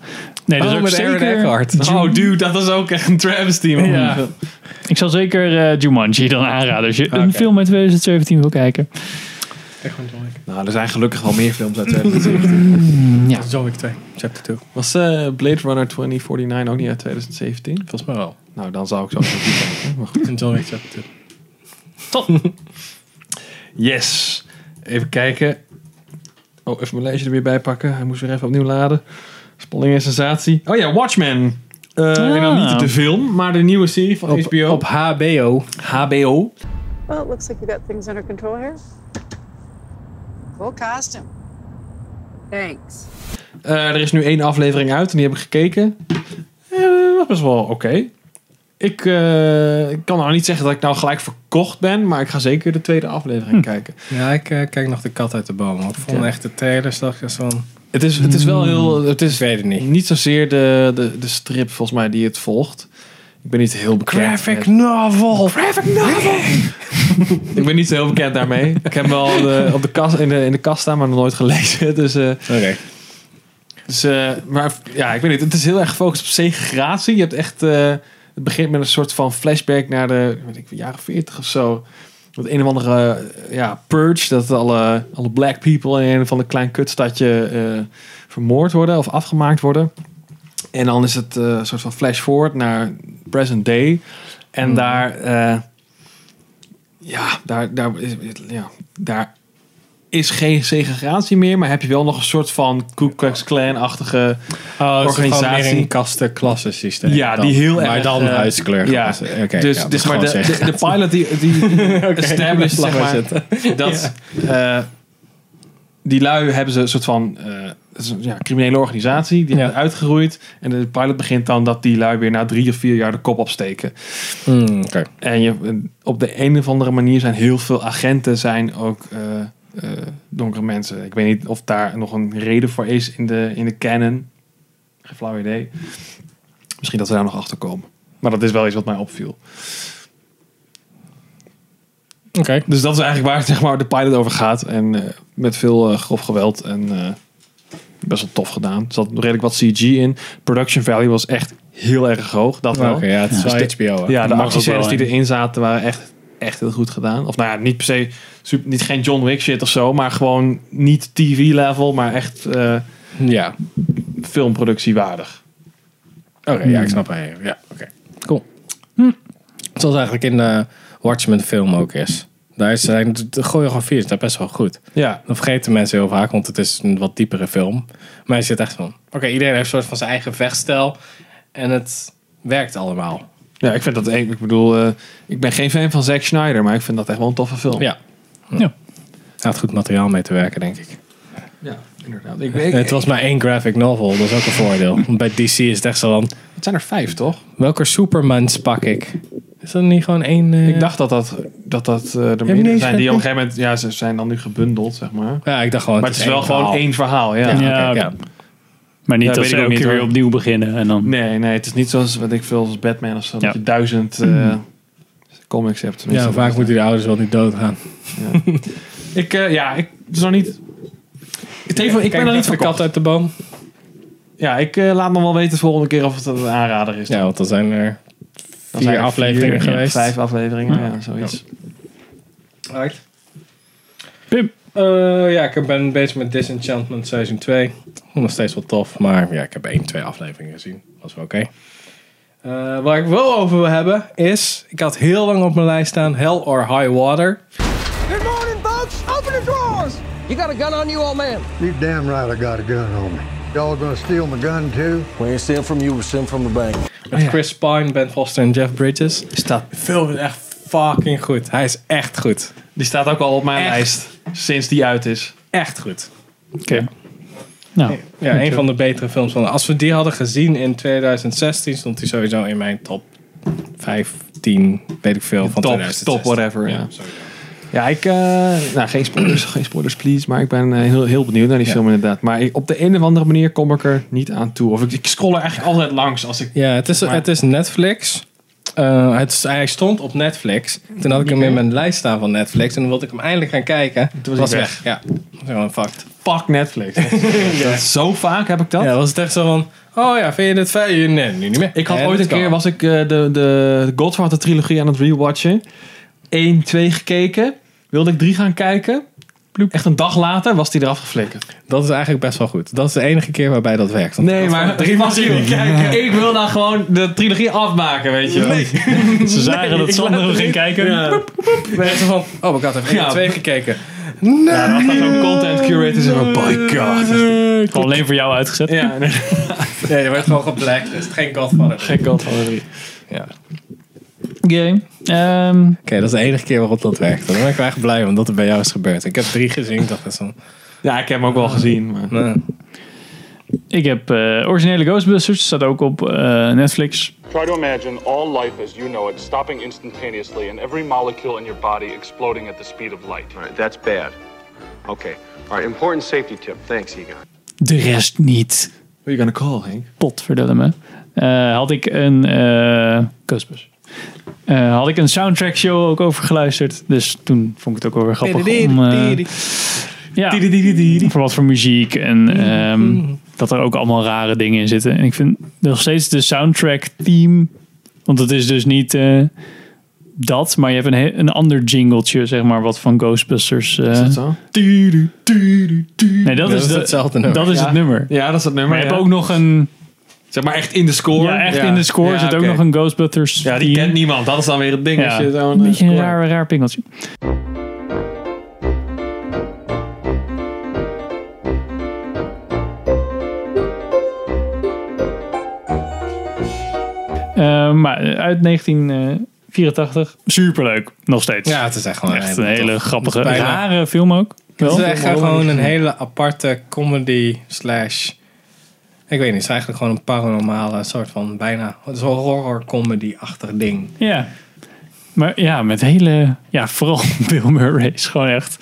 Nee, dat
Oh,
is ook
met Aaron
zeker...
Eckhart.
Oh, dude, dat was ook echt een travesty, man.
Ja. Ik zal zeker eh, Jumanji dan aanraden. Als je een
Oké.
film uit 2017 wil kijken.
Nou, er zijn gelukkig wel meer
[laughs]
films uit 2017.
John Wick 2, chapter 2.
Was eh, Blade Runner 2049 ook niet uit 2017?
Volgens mij wel.
Nou, dan zou ik zo
[laughs]
even die kijken. Maar goed.
En John Wick chapter 2.
Yes. Even kijken. Oh, even mijn lijstje er weer bij pakken. Hij moest weer even opnieuw laden. Spanning en sensatie. Oh ja, Watchmen. Eh, En dan niet de film, maar de nieuwe serie van HBO.
Op HBO.
HBO.
Well, it looks like you got things under control here. Cool costume. Thanks.
Eh, er is nu één aflevering uit en die heb ik gekeken. Eh, dat was best wel oké. Ik, eh, ik kan nou niet zeggen dat ik nou gelijk verkocht ben, maar ik ga zeker de tweede aflevering kijken.
Ja, ik eh, kijk nog de kat uit de boom. Ik vond echt de trailers, dacht ik, van...
Het is, het is wel heel. Het
Ik
is
weet het niet.
niet zozeer de, de, de strip volgens mij die het volgt. Ik ben niet heel bekend. met-
novel. Graphic novel.
Ik ben niet zo heel bekend daarmee. ik heb hem wel de, op de kast, in, de, in de kast staan, maar nog nooit gelezen. [laughs] Dus, eh,
Oké.
dus, eh, maar ja, ik weet niet. Het is heel erg gefocust op segregatie. Je hebt echt. eh, het begint met een soort van flashback naar de weet ik, jaren 40 of zo. Dat een of andere eh, ja, purge, dat alle, alle black people in een of ander klein kutstadje eh, vermoord worden of afgemaakt worden. En dan is het eh, een soort van flash forward naar present day. En daar, eh, ja, daar, daar, is, ja, daar is geen segregatie meer, maar heb je wel nog een soort van Ku Klux Klan-achtige
Oh,
organisatie.
Organisatie. kasten klassensysteem.
Ja,
Dan.
die heel erg.
Maar dan
eh,
huidskleur.
Ja,
gebaseerd. Oké,
dus,
ja,
dus
dat
maar
gewoon
de,
zeggen.
de, de pilot die,
[laughs]
die established,
laat
zeg
maar
maar, dat eh, die lui hebben ze een soort van eh, het is een, ja, criminele organisatie, die
Ja.
hebben uitgeroeid. En de pilot begint dan dat die lui weer na drie of vier jaar de kop opsteken.
Hmm, Oké.
En je, op de een of andere manier zijn heel veel agenten zijn ook eh, eh, donkere mensen. Ik weet niet of daar nog een reden voor is in de, in de canon. Geen flauw idee. Misschien dat ze daar nog achter komen. Maar dat is wel iets wat mij opviel.
Oké.
Dus dat is eigenlijk waar [laughs] zeg maar, de pilot over gaat. En eh, met veel eh, grof geweld. En eh, best wel tof gedaan. Er zat redelijk wat CG in. Production value was echt heel erg hoog. Dat wel.
Oké, ja, het is wel HBO. hè.
Ja, de
Mag ook
actiescènes
wel,
die erin zaten waren echt, echt heel goed gedaan. Of nou ja, niet per se, super, niet geen John Wick shit of zo, maar gewoon niet TV-level, maar echt eh
Ja.
filmproductiewaardig.
Oké, ja,
Hmm.
ik snap het. Ja, oké. Cool. Zoals eigenlijk in de Watchmen film ook is. Daar zijn de choreografie is daar best wel goed.
Ja,
Dat vergeten mensen heel vaak, want het is een wat diepere film. Maar je zit echt van, oké, iedereen heeft een soort van zijn eigen vechtstijl. En het werkt allemaal.
Ja, ik vind dat een- Ik bedoel, eh, ik ben geen fan van Zack Snyder, maar ik vind dat echt wel een toffe film.
Ja.
Ja.
Hij had goed materiaal mee te werken, denk ik.
Ja, inderdaad. Ik, ik,
het was maar één graphic novel, dat is ook een voordeel.
[laughs]
Want bij DC is het echt zo van,
het zijn er vijf, toch?
welke Supermans pak ik? Is dat niet gewoon één... eh,
Ik dacht dat dat, dat, dat eh er meerdere
nee,
zijn die
zeg-
op een gegeven moment... Ja, ze zijn dan nu gebundeld, zeg maar.
Ja, ik dacht gewoon...
Maar het is wel
één
gewoon
verhaal.
één verhaal, ja.
Ja.
Ja, oké, ja.
Maar niet
Ja,
dat
weet
ze
ik ook
elke
niet,
keer weer
hoor.
opnieuw beginnen en dan...
Nee, nee, het is niet zoals, wat ik veel, als Batman of zo.
Ja.
Dat je duizend eh, comics hebt.
Ja,
tenminste.
vaak moeten die ouders wel niet doodgaan.
Ik, eh, ja, ik, het is nog niet... Het heeft, ik ben er niet
de
voor
kat uit de boom.
Ja, ik eh, laat nog wel weten de volgende keer of het een aanrader is.
Ja, want dan zijn er
Dan
vier
zijn er
afleveringen
vier, ja,
geweest.
Vijf afleveringen, ja, zoiets.
Pim.
Eh, ja, ik ben bezig met Disenchantment seizoen 2. Nog steeds wel tof, maar ja, ik heb één, twee afleveringen gezien. Was wel oké. Eh, waar ik wel over wil hebben is... Ik had heel lang op mijn lijst staan Hell or High Water.
Good morning, folks. Open the drawers. You got a gun on you, old man?
You damn right I got a gun on me. Y'all gonna steal my gun too?
We ain't stealing from you, we're stealing from the bank.
Oh
Met Chris Pine, Ben Foster en Jeff Bridges.
Staat,
De film is echt fucking goed. Hij is echt goed.
die staat ook al op mijn
Echt?
lijst, sinds die uit is.
Echt goed.
Oké. Nou,
Ja, een van de betere films. Van, als we die hadden gezien in 2016, stond hij sowieso in mijn top 5, 10, weet ik veel. Van
Top,
2016.
top, whatever. Ja,
sowieso.
ja ik... eh, nou, geen spoilers, geen spoilers, please. Maar ik ben eh, heel, heel benieuwd naar die film inderdaad. Maar ik- op de een of andere manier kom ik er niet aan toe. Of ik, ik scroll er eigenlijk altijd langs als ik...
Ja, het is,
Maar-
het is Netflix. Eh, het, is- hij stond op Netflix. Toen had ik hem in mijn lijst staan van Netflix. En toen wilde ik hem eindelijk gaan kijken. Toen
was
was
hij
weg. Ja, dat is gewoon een fact.
Fuck [laughs] Netflix. Dat, dat- zo vaak heb ik dat.
Ja, dat was het echt zo van... Oh ja, vind je dit fijn? Nee, nu niet meer.
Ik had
En
ooit een
dat
keer,
kan.
was ik eh, de, de Godfather trilogie aan het rewatchen. 1, 2 gekeken. Wilde ik 3 gaan kijken. Ploep. Echt een dag later was die eraf geflikkerd.
Dat is eigenlijk best wel goed. Dat is de enige keer waarbij dat werkt. Want
Nee, maar [laughs] drie
[laughs]
was niet. Ik wil nou gewoon de trilogie afmaken, weet je wel.
ze zagen dat Sander hem ging kijken.
ik ben echt zo van... Oh my god, heb ik
Ja.
ja. twee gekeken?
Ja, dat was zo'n content curator zo van, by Oh god.
Gewoon alleen voor jou uitgezet.
Ja, nee, [laughs]
Nee, er werd gewoon geblacklist. Geen Godfather. Oké,
geen Godfather 3.
Game. Ehm,
dat is de enige keer waarop dat werkt. Dan ben ik wel echt blij, want dat er bij jou is gebeurd. Ik heb drie gezien. Ik dacht, dat is dan...
Ja, ik heb hem ook wel gezien. Maar.
eh.
ik heb eh, originele Ghostbusters. Staat ook op eh, Netflix.
Try to imagine all life as you know it stopping instantaneously and every molecule in your body exploding at the speed of light.
All right, that's bad. Okay. All right, important safety tip. Thanks, Egon.
De rest niet.
Who you gonna call, Henk?
Potverdullen me. Eh, had ik een... eh Ghostbusters. Eh, had ik een soundtrack show ook over geluisterd. Dus toen vond ik het ook wel weer grappig om... eh, ja, voor wat voor muziek. En ehm, dat er ook allemaal rare dingen in zitten. En ik vind nog steeds de soundtrack theme. Want het is dus niet eh, dat. Maar je hebt een, he- een ander jingletje, zeg maar. Wat van Ghostbusters. eh,
Is dat zo?
Nee, dat,
Dat
is,
is
de-
hetzelfde nummer.
Dat is
Ja.
het nummer.
Ja, dat is het nummer.
Maar je
ja.
hebt ook nog een...
Zeg maar echt in de score.
Ja, echt in de score
Ja,
zit ook
oké.
nog een Ghostbusters
Ja, die
theme.
kent niemand. Dat is dan weer het ding.
Ja,
Als je zo'n,
een
eh,
beetje een
score-
raar, raar pingeltje. Eh, maar uit 1984. Superleuk, nog steeds.
Ja, het is echt gewoon
Echt een
tof.
hele grappige,
Het is bijna-
rare film ook.
Het
Wel.
is echt gewoon een hele aparte comedy slash... Ik weet niet, het is eigenlijk gewoon een paranormale soort van bijna... Het is wel horror comedy-achtig ding.
Ja. Maar ja, met hele... Ja, vooral [laughs] Bill Murray is gewoon echt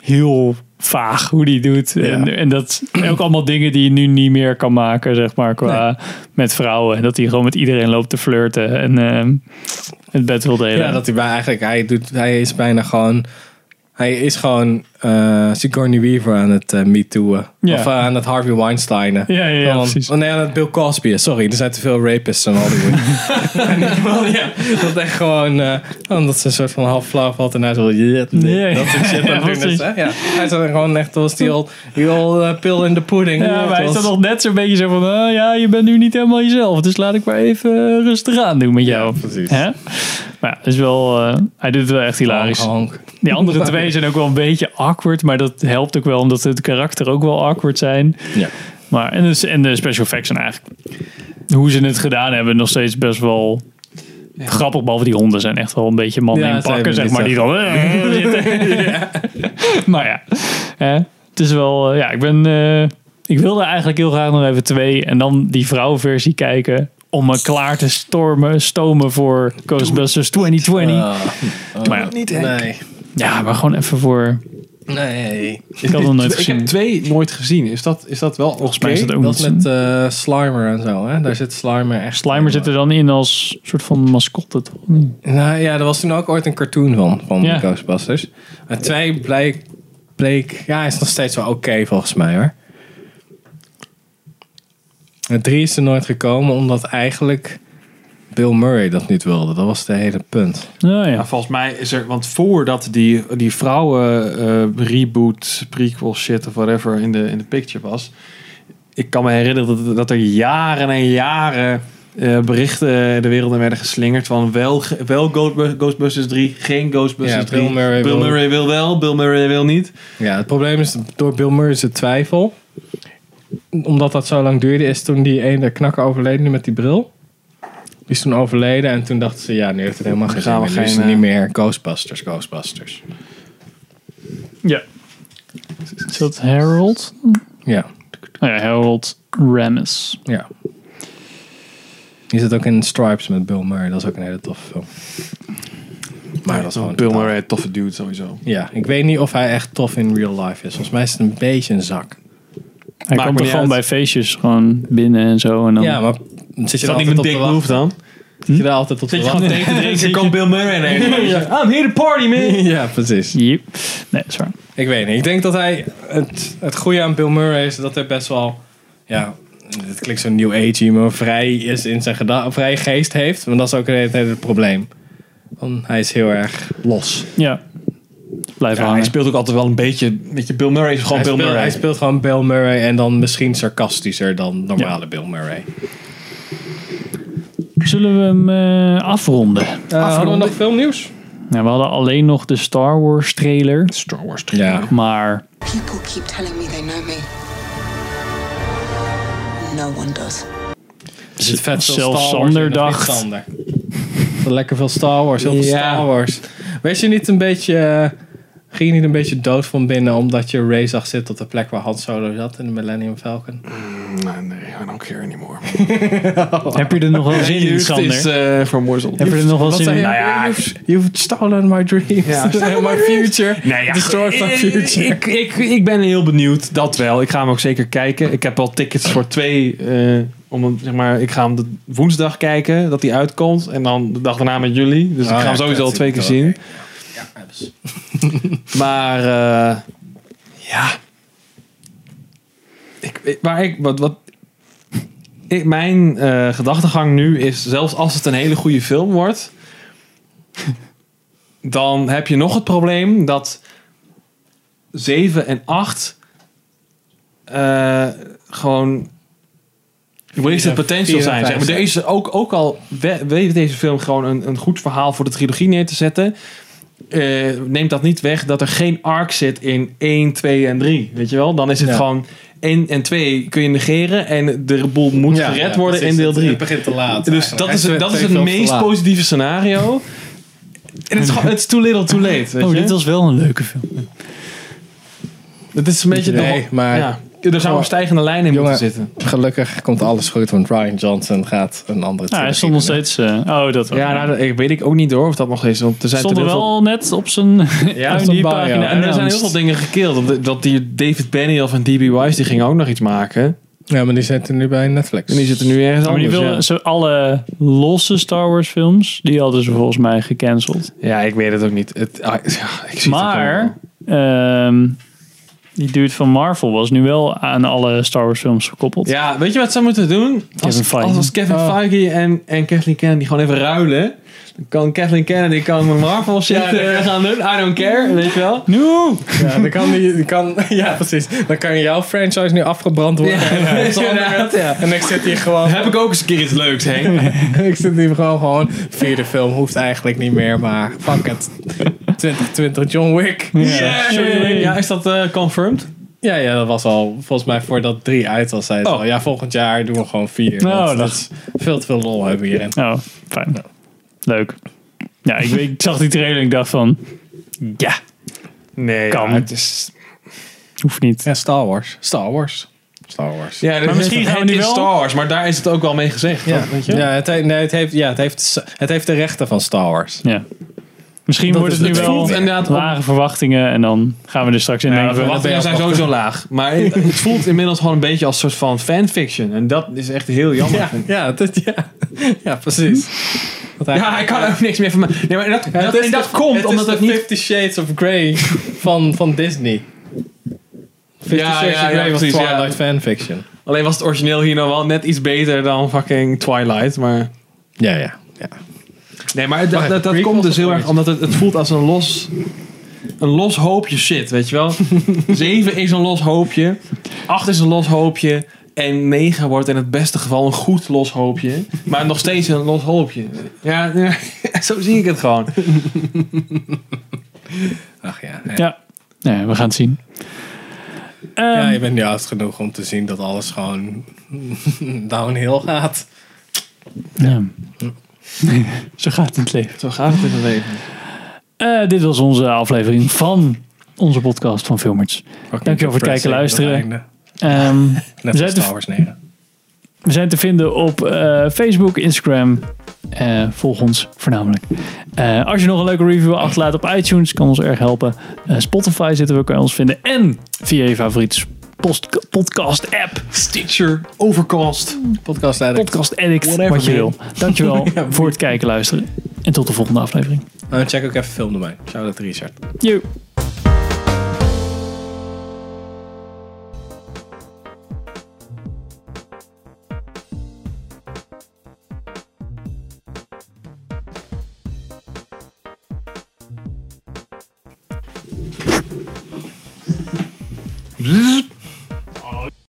heel vaag hoe die doet. En, en dat en ook allemaal dingen die je nu niet meer kan maken, zeg maar, qua met vrouwen. Dat hij gewoon met iedereen loopt te flirten en ehm, het bed wil delen.
Ja, dat hij bij, eigenlijk... Hij, doet, hij is bijna gewoon... Hij is gewoon eh Sigourney Weaver aan het eh, Me Too'en.
Ja.
Of eh, aan het Harvey Weinsteinen.
Ja, ja, ja,
Van-
precies.
Oh nee, aan het Bill Cosby. Sorry, er zijn te veel rapists in
[laughs]
Hollywood. En die man, ja, dat echt gewoon... eh, omdat ze een soort van half flauw valt en hij zo... Yeah,
Ja, ja.
Dat soort shit aan
Ja,
het doen is,
precies.
hè? Ja. Hij zat er gewoon echt als die old, die old eh, pill in the pudding.
Ja, maar hij
Het
is
was-
dan nog net zo'n beetje zo van, "Ah, ja, je bent nu niet helemaal jezelf, dus laat ik maar even eh, rustig aan doen met jou.
precies.
Hè? Maar ja, het is wel, eh, hij doet het wel echt hilarisch.
Honk, honk.
Die andere twee zijn ook wel een beetje awkward, maar dat helpt ook wel omdat het karakter ook wel awkward zijn. dus-
Ja.
Maar, en, de, en de special effects zijn eigenlijk, hoe ze het gedaan hebben, nog steeds best wel Grappig, behalve die honden zijn echt wel een beetje mannen
Ja,
in
ze
pakken,
hebben
zeg
dit
maar. Die
zelf.
dan... Ja. [laughs] maar ja, hè, het is wel... eh, Ja, ik ben... eh, ik wilde eigenlijk heel graag nog even twee en dan die vrouwversie kijken om me klaar te stormen, stomen voor Ghostbusters 2020. maar ja.
niet, hè? Nee.
Ja, maar gewoon even voor...
Nee.
Ik
[laughs]
had hem nooit gezien.
Ik heb twee nooit gezien. Is dat, is dat wel Volgens
mij is dat ook
dat
niet
met eh, Slimer en zo, hè? Daar zit Slimer echt.
Slimer zit er dan in als soort van mascotte, toch?
Nou ja, er was toen ook ooit een cartoon van, van
Ja.
Ghostbusters. Maar twee bleek, bleek... Ja, is nog steeds wel oké volgens mij hoor. En drie is er nooit gekomen omdat eigenlijk Bill Murray dat niet wilde. Dat was de hele punt.
Nou ja.
volgens mij is er, want voordat die, die vrouwen eh, reboot, prequel shit of whatever in de, in de picture was. Ik kan me herinneren dat, dat er jaren en jaren eh, berichten de wereld in werden geslingerd van wel, ge- wel Ghostbu- Ghostbusters 3, geen Ghostbusters
Ja,
3.
Bill Murray wil-
wil wel, Bill Murray wil niet.
Ja, het probleem is door Bill Murray's twijfel. Omdat dat zo lang duurde, is toen die ene knakker overleden met die bril. Die is toen overleden en toen dachten ze, ja, nu heeft het helemaal geen zin
Gaan we
meer. Nu is
geen,
het
eh,
niet meer Ghostbusters, Ghostbusters.
Ja. Is dat Harold?
Ja.
Oh ja, Harold Ramis.
Ja. Die zit ook in Stripes met Bill Murray. Dat is ook een hele toffe film. Maar dat is gewoon...
Bill Murray, toffe dude sowieso.
Ja, ik weet niet of hij echt tof in real life is. Volgens mij is het een beetje een zak.
Hij kwam er gewoon bij feestjes gewoon binnen en zo. En
Um,
dan...
Ja, maar zit je
dat
er
niet een
altijd op
dick
te wachten?
move
dan?
Zit je daar altijd op te
Zit je
wachten?
gewoon thee
[laughs]
te drinken, komt Bill Murray ineens. I'm here to party, man.
Ja, precies.
Yep. Nee, dat is waar.
Ik weet niet. Ik denk dat hij... Het, het goede aan Bill Murray is dat hij best wel... Ja, het klinkt zo new age maar vrij is in zijn geda- vrij geest heeft. Want dat is ook het hele het probleem. Want hij is heel erg los.
Ja. Blijf
Ja, hij speelt ook altijd wel een beetje, weet je, Bill Murray is gewoon
hij
Bill
speelt,
Murray.
Hij speelt gewoon Bill Murray en dan misschien sarcastischer dan normale Bill Murray.
Zullen we hem eh, afronden?
Ah,
hadden we nog filmnieuws?
Ja, we hadden alleen nog de Star Wars trailer.
Star Wars
trailer. Ja.
Maar
People keep telling me they know me. No one does.
Er zit vet veel
zelfs
Star Wars
Sander
in, of niet,
dacht-
Sander? Lekker veel Star Wars, heel veel
Ja.
Star Wars. Weet je niet een beetje... eh, Ging je niet een beetje dood van binnen omdat je Ray zag zitten op de plek waar Han Solo zat in de Millennium Falcon?
Nee, nee, I don't care anymore.
heb je er nog wel zin in,
Het is
Sander?
eh vermorzeld.
Heb je er nog wel
Wat
zin
zei
in?
je?
Nou ja,
You've, you've stolen my dreams. [laughs]
Ja.
my future.
Nee, ja,
Destroyed my
ik-
future.
Ik, ik, ik ben heel benieuwd, dat wel. Ik ga hem ook zeker kijken. Ik heb al tickets voor twee. eh, om hem, zeg maar, ik ga hem de woensdag kijken, dat hij uitkomt. En dan de dag daarna met jullie. Dus
Oh
ik ga
ja,
hem sowieso al
dat
twee keer
zie
zien.
ik Ja, dus-
[laughs] Maar eh, ja. Ik, ik- maar ik, wat, wat, ik, mijn eh, gedachtegang nu is, zelfs als het een hele goede film wordt, dan heb je nog het probleem dat 7 en 8 eh, gewoon wasted potential
vier en
zijn.
vijf
Zeg maar.
zijn.
Er is ook, ook al we- weet deze film gewoon een, een goed verhaal voor de trilogie neer te zetten. eh, neemt dat niet weg dat er geen arc zit in 1, 2 en 3. Weet je wel? Dan is het
Ja.
gewoon 1 en 2 kun je negeren en de boel moet
Ja,
gered
ja,
worden
precies.
in deel
Het-
3.
Het begint te laat.
Dus
eigenlijk.
dat is,
Hij
dat is
twee
het
films te
meest
laat.
positieve scenario. En het is gewoon, it's too little too late. Weet
Oh,
je?
dit was wel een leuke film.
Het is een beetje...
Nee,
nog-
maar-
Ja, er zou een stijgende lijn in
Jongen,
moeten zitten.
Gelukkig komt alles goed, want Ryan Johnson gaat een andere
Ja, hij
trilogie
stond nog
doen.
steeds... eh, oh, dat wel.
Ja, nou, dat- ik weet ik ook niet hoor of dat nog is. Want er zijn
stond
te
er
heel
wel net op zijn
veel...
die pagina.
En er zijn heel veel dingen gekild. Dat, dat die David Benioff en D.B. Wise die gingen ook nog iets maken.
Ja, maar die zitten nu bij Netflix.
En die zitten nu ergens
Maar die
anders.
wilden
ja.
ze alle losse Star Wars films, die hadden ze volgens mij gecanceld.
Ja, ik weet het ook niet. Het, ah, ja, ik zie het ook
Maar ehm, die dude van Marvel was nu wel aan alle Star Wars films gekoppeld.
allemaal. ja, weet je wat ze moeten doen?
Kevin
Als,
Feige.
als, als Kevin Feige en, en Kathleen Kennedy gewoon even ruilen. Dan kan Kathleen Kennedy kan met Marvel shit eh, gaan doen. I don't care, weet je wel.
No!
Ja, dan kan die, die kan, [laughs] ja, precies. Dan kan jouw franchise nu afgebrand worden.
[laughs] Ja,
en, eh, zonder-
inderdaad, ja.
en ik zit hier
[laughs]
gewoon...
Heb ik ook eens een keer iets leuks, Henk.
[laughs] ik zit hier gewoon gewoon... Vierde film hoeft eigenlijk niet meer, maar fuck it. 2020 John Wick.
Yeah. Ja, is dat eh, confirmed?
Ja, ja, dat was al volgens mij voordat drie uit was.
Oh.
Zei het al, ja, volgend jaar doen we gewoon vier.
Nou, dat-
want dat is veel te veel lol hebben we hierin.
Oh, fijn. Leuk. Ja, ik, weet- ik zag die trailer en ik dacht van... Ja.
Nee,
kan.
ja, het is...
Hoeft niet.
Ja, Star Wars. Star Wars. Star Wars.
Ja, maar misschien gaan we nu wel... Star Wars, maar daar is het ook wel mee gezegd.
Ja,
van, weet je?
ja, het, he- nee, het, heeft, ja het, heeft, het heeft de rechten van Star Wars.
Ja. Misschien
Dat
wordt
is
het nu
het.
wel
Het voelt inderdaad op-
lage verwachtingen en dan gaan we er straks in
Ja,
denken.
de verwachtingen zijn sowieso laag. Maar het het voelt inmiddels gewoon een beetje als een soort van fanfiction. En dat is echt heel jammer.
Ja,
vind ik. Hm.
ja, dat, ja. ja precies. Want hij-
Ja, ik kan ook niks meer van mij. Nee, maar dat,
Ja,
dat,
het is
en dat
de-
komt
het is
omdat
de
het niet...
Fifty Shades of Grey [laughs] van, van Disney. Fifty
Ja,
Shades
ja,
of
ja,
Grey was
precies, ja.
Twilight fanfiction.
Alleen was het origineel hier nou wel net iets beter dan fucking Twilight, maar...
Ja, ja. ja.
Nee, maar dat, dat, dat
prequels
komt dus
of
heel erg
zoiets?
omdat het, het voelt als een los... Een los hoopje shit,
[laughs]
weet je wel? Zeven is een los hoopje. Acht is een los hoopje. En negen wordt in het beste geval een goed los hoopje. Maar nog steeds een los hoopje. Ja, ja, [laughs] zo zie ik het gewoon.
Ach ja.
Ja. Nee, we gaan het zien.
ja, je bent nu oud genoeg om te zien dat alles gewoon [laughs] downhill gaat.
Ja. [laughs] Zo gaat het leven.
Zo gaat het in het leven.
Eh, dit was onze aflevering van onze podcast van Filmers. Dankjewel voor het kijken en
Depressing,
luisteren. Ehm, we,
Net als
zijn
Star
te,
Wars 9.
we zijn te vinden op eh, Facebook, Instagram. Eh, volg ons voornamelijk. Eh, als je nog een leuke review wil achterlaten op iTunes, kan ons erg helpen. Eh, Spotify zitten we, kan je ons vinden. En via je favoriete post- podcast app.
Stitcher, Overcast.
Podcast Addict.
Podcast Addict,
Whatever,
wat je
man.
wil.
[laughs]
Dankjewel voor het kijken, luisteren. En tot de volgende aflevering.
En Nou, check ook even filmdomein. Shout out Richard.
Yo.